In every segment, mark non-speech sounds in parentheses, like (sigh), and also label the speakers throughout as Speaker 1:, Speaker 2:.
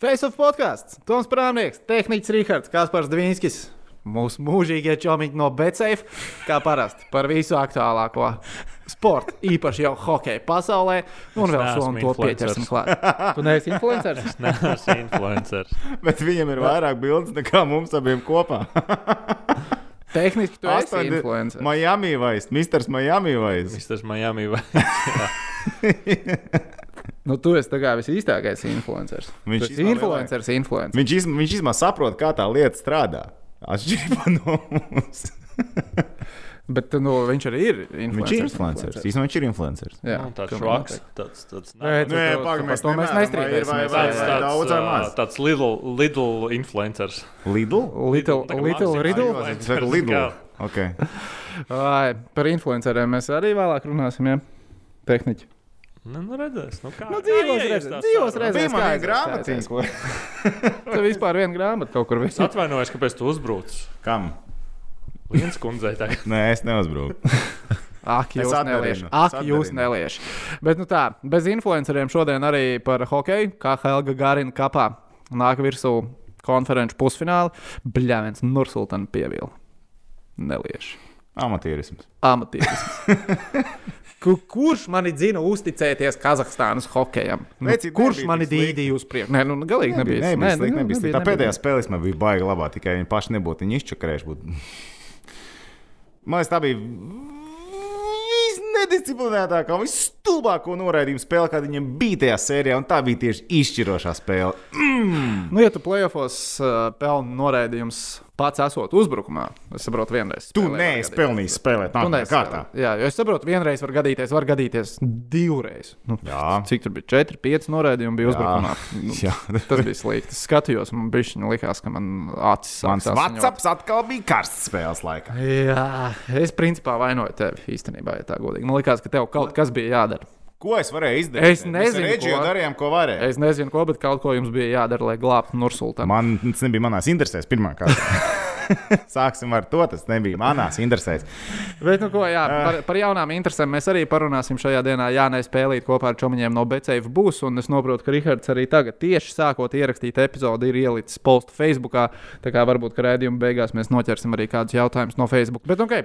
Speaker 1: Face of podkāsts, Toms Prāmnieks, Tehnikas Rīgards, Kaspars Dvīnskis. Mūsu mūžīgie čomiņi no Becēfa, kā parasti, par visu aktuālāko sportu, īpaši jau hokeja pasaulē, un
Speaker 2: Es
Speaker 1: vēl
Speaker 2: neesmu
Speaker 1: somu to pieķersim
Speaker 2: influenceris.
Speaker 1: klāt. Tu neesi influenceris?
Speaker 2: Nē, tas ir influenceris.
Speaker 3: Bet viņam ir vairāk bildes nekā mums abiem kopā.
Speaker 1: Tehniski tu esi
Speaker 3: Astoņdi-
Speaker 1: influenceris.
Speaker 3: Miami vairs, Mr. Miami vairs.
Speaker 2: Viņš tas Miami vai
Speaker 1: Nu, tu esi tā kā visīstākais influenceris.
Speaker 3: Viņš
Speaker 1: Tu esi
Speaker 3: izvēlē
Speaker 1: influenceris, influenceris.
Speaker 3: Viņš, izm, viņš izmā saprot, kā tā lieta strādā. Atšķirībā no mums.
Speaker 1: Bet nu, viņš arī ir
Speaker 3: Viņš ir
Speaker 1: influenceris.
Speaker 3: influenceris. Īstenībā viņš ir influenceris.
Speaker 1: Jā,
Speaker 2: Nu, tāds
Speaker 1: pilnīgi
Speaker 2: šoks.
Speaker 1: noteikti.
Speaker 2: Tāds, tāds,
Speaker 1: Nē,
Speaker 2: nē,
Speaker 1: tu- tu-
Speaker 3: pagaid,
Speaker 1: par
Speaker 3: mēs
Speaker 1: to mēs
Speaker 3: nevaram, vai ir,
Speaker 1: nestrīdamies. mēs
Speaker 3: vai- Nu,
Speaker 2: tāds,
Speaker 3: vai-
Speaker 1: nestrīdamies.
Speaker 3: vai-
Speaker 2: tāds, uh,
Speaker 3: daudz vai maz?
Speaker 2: ā, tāds little, little influenceris.
Speaker 3: Lidl?
Speaker 1: Little,
Speaker 2: Tā kā
Speaker 1: little
Speaker 2: mākslinieks.
Speaker 1: riddle.
Speaker 2: Vai-
Speaker 3: Es saku Lidl.
Speaker 2: Kā?
Speaker 3: Okay.
Speaker 1: Ai, par influenceriem mēs arī vēlāk runāsim. Ja? Tehniķi.
Speaker 2: Nu, nu redzēs, nu kā.
Speaker 1: Nu,
Speaker 2: kā
Speaker 1: dzīvos
Speaker 2: ieies
Speaker 1: redzēs,
Speaker 2: tā
Speaker 1: dzīvos
Speaker 2: saruna.
Speaker 1: redzēs. Redzēs,
Speaker 3: Bija
Speaker 1: kā
Speaker 3: man
Speaker 1: aizies, kā
Speaker 3: grāmatiņa.
Speaker 1: aizies.
Speaker 3: ko-
Speaker 1: Tur vispār viena grāmata kaut kur
Speaker 2: Es atvainojos, kāpēc tu uzbrūc.
Speaker 3: Kam?
Speaker 2: Viens kundzei tagad.
Speaker 3: Nē, es neuzbruku.
Speaker 1: Ak,
Speaker 3: Es
Speaker 1: jūs
Speaker 3: atdarinu,
Speaker 1: neliešu.
Speaker 3: es
Speaker 1: Ak,
Speaker 3: atdarinu.
Speaker 1: jūs neliešu. Bet, nu tā, bez influenceriem šodien arī par hokeju, kā Helga Garina kapā nāk virsū konferenču pusfināli. Bļāviens Nursultāna pievīla. Neliešu.
Speaker 3: Amatierisms.
Speaker 1: Amatierisms.
Speaker 3: (laughs)
Speaker 1: Ku- Kurš man dzina uzticēties Kazahstānas hokejam? Nu,
Speaker 3: Vecīt,
Speaker 1: kurš
Speaker 3: nebija
Speaker 1: man
Speaker 3: tik slikti.
Speaker 1: dīdīja uz priekšu? Nē, nu, galīgi nebija.
Speaker 3: Nebija, nebija, slikti,
Speaker 1: nu,
Speaker 3: nebija slikti. Tā
Speaker 1: nebija.
Speaker 3: pēdējā spēlē man bija baigta labā, tikai viņi paši nebūtu viņu izčakarējuši. Būtu. (laughs) Man liekas, tā bija visnedisciplinētākā, visstulbākā noraidījuma spēle, kāda viņam bija tajā sērijā, un tā bija tieši izšķirošā spēle.
Speaker 1: Nu, ja tu plēsofos uh, pelnu noraidījums pats esot uzbrukumā, es saprotu, vienreiz.
Speaker 3: Tu
Speaker 1: spēlē var
Speaker 3: neesi
Speaker 1: gadīties.
Speaker 3: pelnījis spēlēt,
Speaker 1: Tu
Speaker 3: nākamā
Speaker 1: neesi
Speaker 3: kārtā.
Speaker 1: spēlē. Jā, jo es saprotu, vienreiz var gadīties, var gadīties divreiz. Nu,
Speaker 3: Jā.
Speaker 1: Cik tur bija? 4, 5 noraidījumi bija
Speaker 3: Jā.
Speaker 1: uzbrukumā. Nu,
Speaker 3: Jā.
Speaker 1: tas bija slikti. Es skatījos, un man bija likās, ka man acis
Speaker 3: Mans
Speaker 1: sāks asiņot.
Speaker 3: Vatsaps atkal bija karsts spēles laikā.
Speaker 1: Jā, es principā vainoju tevi īstenībā, ja tā godīgi. Man liekas, ka tev
Speaker 3: Nu.
Speaker 1: kaut kas bija jādara.
Speaker 3: Ko es varēju izdarīt?
Speaker 1: Es nezinu,
Speaker 3: Mēs
Speaker 1: ko.
Speaker 3: reģionā darījām, ko varēja.
Speaker 1: Es nezinu, ko, bet kaut ko jums bija jādara, lai glābtu Nursultānu.
Speaker 3: Man tas nebija manās interesēs, pirmā kārta. (laughs) Sāksim ar to, tas nebija manās interesēs.
Speaker 1: Bet, nu, ko, jā, par, par jaunām interesēm mēs arī parunāsim šajā dienā. Jā, nē, spēlīt kopā ar čomiņiem no Becēvas būs. Un es saprotu, ka Rahards arī tagad, tieši sākot ierakstīt epizodi, ir ielicis postu Facebookā. Tā kā varbūt, ka rādījuma beigās mēs noķersim arī kādus jautājumus no Facebook. Bet, nu, ok,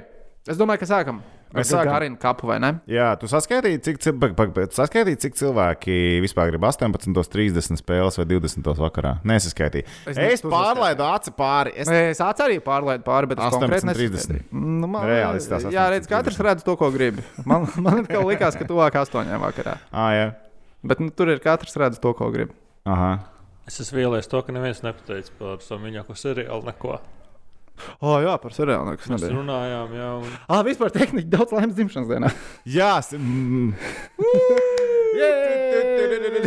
Speaker 1: es domāju, ka sākam.
Speaker 3: Mēs
Speaker 1: Ar
Speaker 3: sākam.
Speaker 1: Garinu kapu vai ne?
Speaker 3: Jā, tu saskaitīji, cik, cil- pag- pag- pag- saskaitīji, cik cilvēki vispār grib 18.30 spēles vai 20.00 vakarā. Nesaskaitīju.
Speaker 1: Es
Speaker 3: Es,
Speaker 1: ne-
Speaker 3: es
Speaker 1: tu
Speaker 3: pārlaidu aci pāri. Es...
Speaker 1: Nē, Es ats arī pārlaidu pāri, bet es konkrēti
Speaker 3: 18.30.
Speaker 1: nesaskaitīju. Nu, man,
Speaker 3: Reāli tas tās
Speaker 1: jā, redz, katrs redz to, ko grib. Man, man atkal likās, ka tuvāk astoņiem vakarā.
Speaker 3: Ah, jā.
Speaker 1: Bet nu, tur ir katrs redz to, ko grib.
Speaker 3: Aha.
Speaker 2: Es esmu vīlies to, ka neviens nepateica par savu mīļāko seriālu neko.
Speaker 1: O, jā, par seriālu nekas
Speaker 2: Mēs
Speaker 1: nebija.
Speaker 2: runājām jau. Un...
Speaker 1: Ah, vispār tehniski daudz laimes dzimšanas dienā.
Speaker 3: Jā, s- mm,
Speaker 1: (laughs)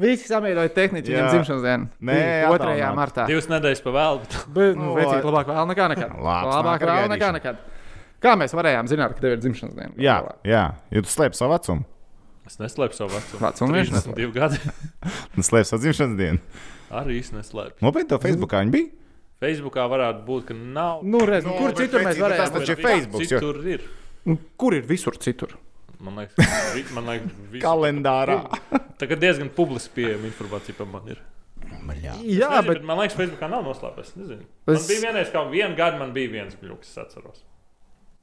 Speaker 1: Visi samīļoja tehniski viņam
Speaker 3: Jā.
Speaker 1: dzimšanas dienu.
Speaker 3: Nē,
Speaker 1: Bija 2.
Speaker 3: attālināt.
Speaker 1: martā.
Speaker 2: Divas nedēļas pa vēlu, bet (laughs)
Speaker 1: Bet, nu,
Speaker 3: Nu,
Speaker 1: vecīt,
Speaker 3: lai-
Speaker 1: labāk vēl nekā nekad.
Speaker 3: Labs
Speaker 1: labāk
Speaker 3: vakar
Speaker 1: vēl nekā
Speaker 3: gaidīšana.
Speaker 1: nekad. Kā mēs varējām zināt, ka tev ir dzimšanas diena?
Speaker 3: jā, jā. jo tu slēp savu vecumu.
Speaker 2: es neslēpju savu vecumu.
Speaker 1: Vecumu viņš neslēpj.
Speaker 2: 32 gadi. (laughs)
Speaker 3: Tu slēp savu dzimšanas dienu.
Speaker 2: Arī es neslēpju.
Speaker 3: Nopietni, to Facebookā viņi bija.
Speaker 2: Facebookā varētu būt, ka nav.
Speaker 1: Nu, redz, nu,
Speaker 3: Nu,
Speaker 1: kur
Speaker 3: bet
Speaker 1: citur mēs
Speaker 3: vecīt, bet tas
Speaker 1: varējām?
Speaker 3: taču ir
Speaker 2: Bet
Speaker 3: Facebooks, jo-
Speaker 2: Citur ir.
Speaker 1: Nu, Kur ir visur citur?
Speaker 2: Man liekas, (laughs) vi- man liekas visu,
Speaker 3: Kalendārā.
Speaker 2: tagad diezgan publiski pieejama informācija par mani. Ir.
Speaker 1: Jā,
Speaker 2: nezinu,
Speaker 1: bet
Speaker 2: bet man liekas, Facebookā nav noslēpts. Es... Man
Speaker 1: Es-
Speaker 2: bija vienreiz, kā vienu gadu, man bija viens kļūks, es atceros.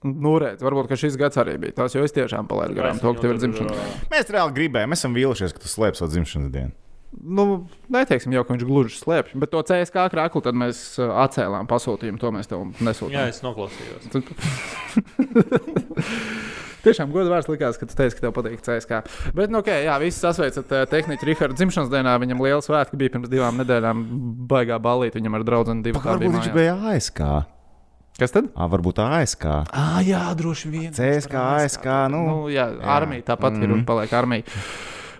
Speaker 1: nu, redz, varbūt ka šis gads arī bija. Tas jau es tiešām palaidu garām to, ka tev ir dzimšanas diena.
Speaker 3: Mēs reāli gribējām, mēs esam vīlušies, ka tu slēp savu dzimšanas dienu.
Speaker 1: nu, neteiksim, jau, ka viņš gluži slēpj, bet to CSK krāklu tad mēs uh, atcēlām pasūtījumu, to mēs tev
Speaker 2: Jā,
Speaker 1: nesūtījām.
Speaker 2: es noklausījos.
Speaker 1: Tiešām godu vārds likās, ka tu teici, ka tev patīk CSK. Bet, nu, ok, jā, visi sasveicat uh, tehniku Rahāra dzimšanas dienā. Viņam liela svētki bija pirms divām nedēļām. Baigā balīt viņam ar draugu divu
Speaker 3: Varbūt viņš bija ASK.
Speaker 1: Kas tad?
Speaker 3: Ā, varbūt ASK.
Speaker 1: Ah, jā, droši vien.
Speaker 3: CSK, ASK. Nu, Mhm.
Speaker 1: Nu, jā, jā. armija tāpat mm. ir un paliek armija.
Speaker 3: (laughs)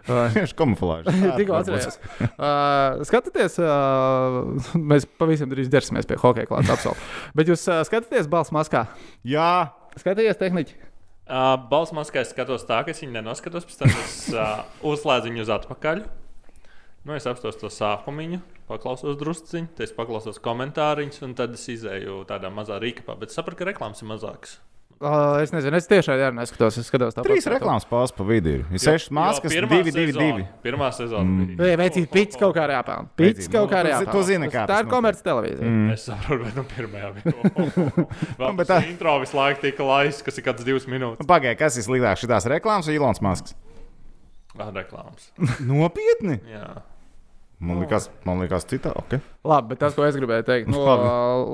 Speaker 1: Uh,
Speaker 3: Tieši
Speaker 1: (laughs)
Speaker 3: kamuflāža.
Speaker 1: Tikko atcerējos. Uh, skatāties, uh, mēs pavisam drīz ķersimies pie hokeja klāta apsolu. Bet jūs uh, skatāties balss maskā.
Speaker 3: Jā,
Speaker 1: Skatāties, tehniķi.
Speaker 2: Uh, Balsts maskā es skatos tā, ka es viņu nenoskatos, pēc tam es uh,
Speaker 1: (laughs)
Speaker 2: uzslēdzu viņu uz atpakaļ. Nu, es apstāstu to sākumu, paklausos drusciņu, tad es paklausos komentāriņus, un tad es izēju tādā mazā rīkapā. Bet es sapratu, ka reklāmas ir mazākas.
Speaker 1: Uh, es nezinu, es tiešām jā, neskatos. Es skatos tāpat.
Speaker 3: Trīs reklāmas pauzes pa vidu ir. Ir sešas maskas,
Speaker 2: Jo pirmā
Speaker 3: divi, divi,
Speaker 2: sezona-
Speaker 3: divi.
Speaker 2: Pirmā sezona. Mm.
Speaker 1: Vai veicīt pits kaut kā jāpelnā? Pits
Speaker 3: Vecīt,
Speaker 1: kaut kā
Speaker 3: nu, tu zi-
Speaker 1: jāpelnā.
Speaker 3: tu zini, kā
Speaker 1: tā
Speaker 3: tas
Speaker 1: ir
Speaker 3: notiek.
Speaker 1: komerc televīzija. Mm.
Speaker 2: Es saprotu, vai nu pirmajā
Speaker 3: (laughs)
Speaker 2: bija.
Speaker 3: Nu,
Speaker 2: Vēl
Speaker 3: bet
Speaker 2: tā
Speaker 3: tā-
Speaker 2: intro visu laiku tika laists, kas ir kāds divas minūtes.
Speaker 3: Nu, Pagaidiet, kas ir sliktāk? Šitās reklāmas vai Ilons Masks?
Speaker 2: Ah, reklāmas.
Speaker 3: Nopietni!
Speaker 2: Jā.
Speaker 3: Man liekas, man liekas citā. Okay.
Speaker 1: Labi, bet tas, ko es gribēju teikt, nu,
Speaker 3: Labi.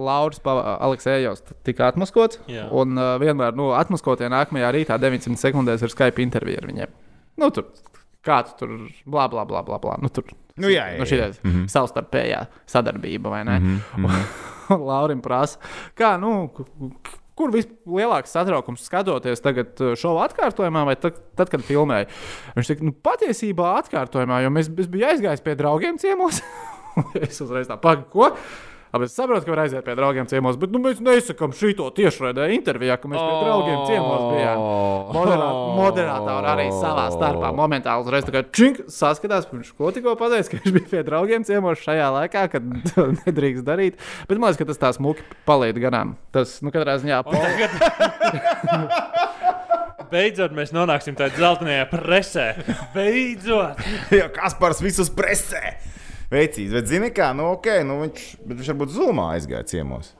Speaker 1: Lauris Aleksējos tika atmaskots.
Speaker 2: Jā.
Speaker 1: Un uh, vienmēr, nu, atmaskotie nākamajā rītā 900 sekundēs ir Skype intervija ar viņiem. Nu, tur kāds tur, bla, bla, bla, bla. bla. Nu, tur
Speaker 3: Nu, jā, jā,
Speaker 1: nu,
Speaker 3: jā. Mhm.
Speaker 1: šī mm -hmm. savstarpējā sadarbība, vai ne? Mm -hmm. (laughs) Laurim prasa, kā, nu. k- k- Kur vislielākais satraukums skatoties tagad uh, šovu atkārtojumā, vai tad, tad kad filmēju? Viņš teica, nu, patiesībā atkārtojumā, jo mēs, es biju aizgājis pie draugiem ciemos. (laughs) es uzreiz tā pagaidu, ko? Abi es saprotu, ka var aiziet pie draugiem ciemos, bet nu, mēs nesakām šito tiešraidē intervijā, ka mēs pie draugiem ciemos bijām. Moderā-
Speaker 3: Oh.
Speaker 1: Moderātori arī savā starpā momentāli uzreiz tā kā čink, saskatās, viņš ko tikko pateica, ka viņš bija pie draugiem ciemos šajā laikā, kad (laughs) to nedrīkst darīt. Bet man liekas, ka tas tā smuki paliek garām. Tas, nu, katrā ziņā
Speaker 3: Oh.
Speaker 2: Un
Speaker 3: (laughs)
Speaker 2: Tagad... Beidzot, mēs nonāksim tādā zeltainajā presē. Beidzot!
Speaker 3: (laughs) Jā, Kaspars visus presē! Veicīs, bet zini, kā, nu, ok, nu, viņš, bet viņš varbūt zumā aizgāja ciemos.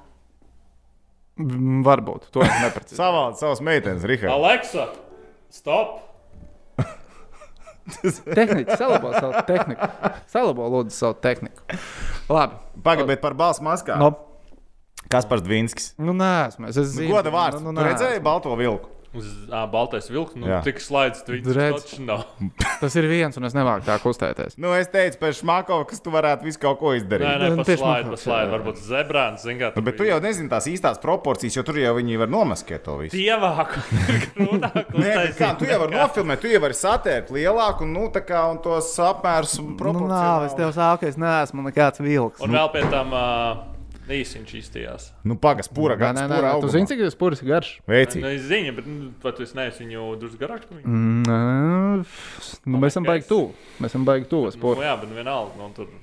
Speaker 1: Mm, varbūt to es neprecīzi.
Speaker 3: Savādi savas meitenes, Rihards.
Speaker 2: Aleksa, stop!
Speaker 1: Tehnici, salabo savu tehniku. Salabo lūdzu savu tehniku. Labi.
Speaker 3: Pagaidiet, bet par balss maskām.
Speaker 1: No,
Speaker 3: Kaspars Dvinskis.
Speaker 1: nu, nē, esmu. Es esmu.
Speaker 3: Goda vārds. Nu. Nu, nu,
Speaker 1: nē,
Speaker 3: redzēji balto vilku.
Speaker 2: Uz ā, baltais vilks, nu,
Speaker 3: Jā.
Speaker 2: tik slēdzis tvīts.
Speaker 1: Redz.
Speaker 2: taču nav.
Speaker 1: Tas ir viens, un es nemāku tā kustēties.
Speaker 3: Nu, es teicu, pēc Šmakova, kas tu varētu visu kaut ko izdarīt.
Speaker 2: Nē, nē,
Speaker 1: Nu, tieši man-
Speaker 2: paslēdz, paslēdz. Varbūt zebrāns, zin kā.
Speaker 3: Nu, Bet tu jau nezini tās īstās proporcijas, jo tur jau viņi var nomaskēt to visu.
Speaker 2: (laughs) Dievāk, grūtāk
Speaker 3: Nē, bet kā, tu jau vari nofilmēt, tu jau vari satērt lielāku, nu, tā kā un tos apmērus un
Speaker 1: Nu,
Speaker 3: proporcijas.
Speaker 1: nav, es tev saku, es neesmu nekāds vilks.
Speaker 2: Un vēl pie tam uh, īsiņš iztījās.
Speaker 3: Nu, pagas, pura
Speaker 1: Nē,
Speaker 3: gada.
Speaker 1: nē, nē, nē, tu zini, cik tas puris ir garš.
Speaker 3: Veicīgi.
Speaker 2: Nu, es zinu, bet nu, vai tu esi neesi viņu drusku garāks par viņu?
Speaker 1: Mm. Nē, Nu, mēs esam baigi tuvu. Mēs esam baigi tuvu
Speaker 2: Nu,
Speaker 1: spūrim.
Speaker 2: jā, bet nu vienalga. Nu, tur...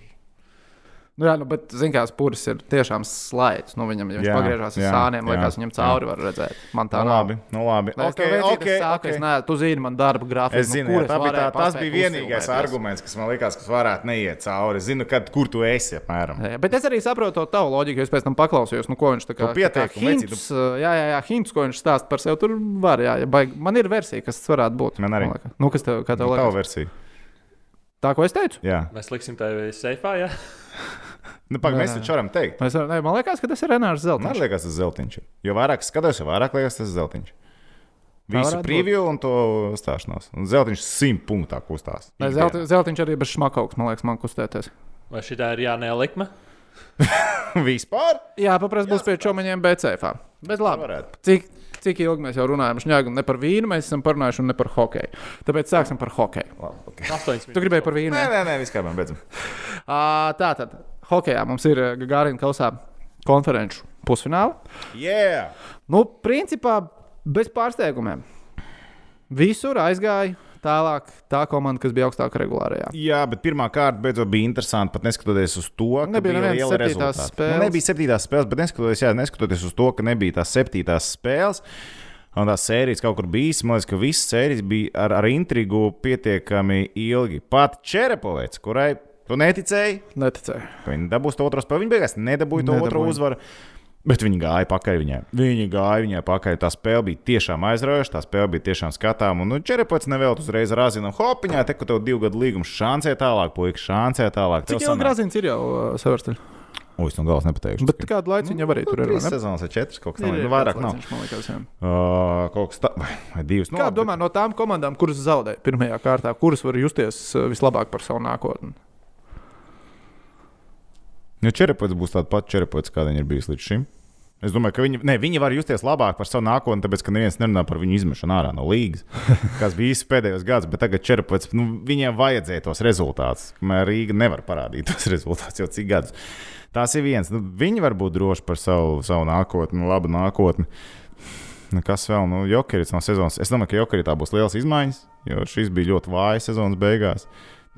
Speaker 1: Nu, jā, nu, bet, zināms, kā spūris ir tiešām slēgts. Nu, viņam, ja viņš
Speaker 3: Jā,
Speaker 1: pagriežās ar
Speaker 3: jā,
Speaker 1: sāniem,
Speaker 3: jā,
Speaker 1: liekas, viņam cauri var redzēt. Man tā
Speaker 3: Nu,
Speaker 1: nav.
Speaker 3: labi, nu, labi.
Speaker 1: Nē,
Speaker 3: Okay,
Speaker 1: Es, okay,
Speaker 3: okay,
Speaker 1: sāku, okay. es
Speaker 3: okay.
Speaker 1: nezinu, tu zini, man darba grafiks.
Speaker 3: Es zinu,
Speaker 1: nu,
Speaker 3: jā,
Speaker 1: kur
Speaker 3: tā bija tā,
Speaker 1: varēju
Speaker 3: tas
Speaker 1: paspēt
Speaker 3: bija vienīgais
Speaker 1: uzfilmēties?
Speaker 3: arguments, kas man liekas, kas varētu neiet cauri. Zinu, kad, kur tu esi apmēram.
Speaker 1: Jā, jā, Bet es arī saprotu to tavu loģiku, jo es pēc tam paklausījos, nu, ko viņš tā kā
Speaker 3: Tu pieteikumu veici,
Speaker 1: hints, jā, jā, jā, hints, ko viņš stāsta par sevi. Tur var, jā, ja baig... man ir versija, kas tas varētu būt.
Speaker 3: Man arī.
Speaker 1: liekas. Nu, kas tev, kā tev
Speaker 3: Tā ir tā
Speaker 1: liekas?
Speaker 3: versija.
Speaker 1: Tā, ko es teicu?
Speaker 3: Jā,
Speaker 2: Mēs liksim tevi seifā, jā?
Speaker 3: nu, pagaidi, mēs
Speaker 1: Nē.
Speaker 3: taču varam teikt.
Speaker 1: Mēs, varam- nē, man liekas, ka tas ir Renārs Zeltmans.
Speaker 3: Man liekas, tas ir zeltiņš. Jo vairāk es skatos, jo vairāk liekas, tas ir zeltiņš. Visu
Speaker 1: varētu
Speaker 3: preview un to stāšanos. Un zeltiņš simt punktā kustās.
Speaker 1: Nē,
Speaker 3: Ikdienā.
Speaker 1: zelti, zeltiņš arī bez šmakauks, man liekas, man kustēties.
Speaker 2: Vai šī tā ir jānē likme?
Speaker 3: (laughs) Vispār?
Speaker 1: Jā, paprasti būs pie čomaņiem BCF. Bet labi.
Speaker 3: varētu.
Speaker 1: Cik, cik ilgi mēs jau runājam? Šņāgam, ne par vīnu mēs esam parunājuši un ne par hokeju. Tāpēc sāksim par hokeju.
Speaker 3: Labi, okay.
Speaker 2: Astoņas
Speaker 1: Tu gribēji par vīnu?
Speaker 3: Nē,
Speaker 1: jā?
Speaker 3: nē, nē vispār man beidzam.
Speaker 1: Ā, Tā tad, hokejā mums ir eh, Gagārina kausā konferenču pusfināla.
Speaker 3: Yeah!
Speaker 1: Nu, principā bez pārsteigumiem. Visur aizgāja tālāk tā komanda, kas bija augstāk regulārajā.
Speaker 3: Jā, bet pirmā kārta beidzot bija interesanta. Pat neskatoties uz to, ka
Speaker 1: Nebija
Speaker 3: nebija
Speaker 1: nevienas
Speaker 3: liela
Speaker 1: septītās
Speaker 3: rezultāta.
Speaker 1: spēles.
Speaker 3: Nu, nebija septītās spēles, bet neskatoties, jā, neskatoties uz to, ka nebija tās septītās spēles. Un tās sērijas kaut kur bijis. Man liekas, ka visas sērijas bija ar, ar intrigu pietiekami ilgi. Pat Čerepovets, kurai tu neticēji,
Speaker 1: Neticēju.
Speaker 3: ka viņi dabūs to otro spēli, viņi beigās nedabūja to
Speaker 1: Nedabūja.
Speaker 3: otro uzvaru. Bet viņi gāja pakaļ viņai. Viņi gāja viņai pakaļ. Tā spēle bija tiešām aizraujoša, tā spēle bija tiešām skatāma. Un nu, Čerepovets nevēlas uzreiz rāzina, hopiņā, te, ka tev divu gadu līgums šāncē tālāk, puika, šāncē tālāk.
Speaker 1: Cik ilgi Grāzins ir jau savērstaļ?
Speaker 3: Uz no galas nepateikšu.
Speaker 1: Bet kādu laiku viņa arī tur ir? vai
Speaker 3: Nu, trīs
Speaker 1: ne?
Speaker 3: sezonas vai četras kaut kas
Speaker 1: Ir,
Speaker 3: tāds.
Speaker 1: ir
Speaker 3: Nu, vairāk
Speaker 1: kāds
Speaker 3: nav.
Speaker 1: laiciņš, man liekas, jā.
Speaker 3: Uh, kaut kas tāds - vai divas. Nu,
Speaker 1: Kā domā no tām komandām, kuras zaudēja pirmajā kārtā, kuras var justies uh, vislabāk par savu nākotni?
Speaker 3: Nu, Čerepovets būs tāds pats Čerepovets, kāda viņa ir bijusi līdz šim. Es domāju, ka viņi, ne, viņi var justies labāk par savu nākotni, tāpēc, ka neviens nerunā par viņu izmešanu ārā no līnijas, kas bija īsi pēdējos gados. Bet tagad Čerepovets, nu, viņiem vajadzēja tos rezultātus. Kamēr Rīga nevar parādīt tos (laughs) rezultātus jau cik gadus. Tas ir viens. Nu, viņi var būt droši par savu, savu nākotni, labu nākotni. Nu, kas vēl? Nu, Jokeris no sezonas. Es domāju, ka Jokeritā būs liels izmaiņas, jo šis bija ļoti vājs sezonas beigās.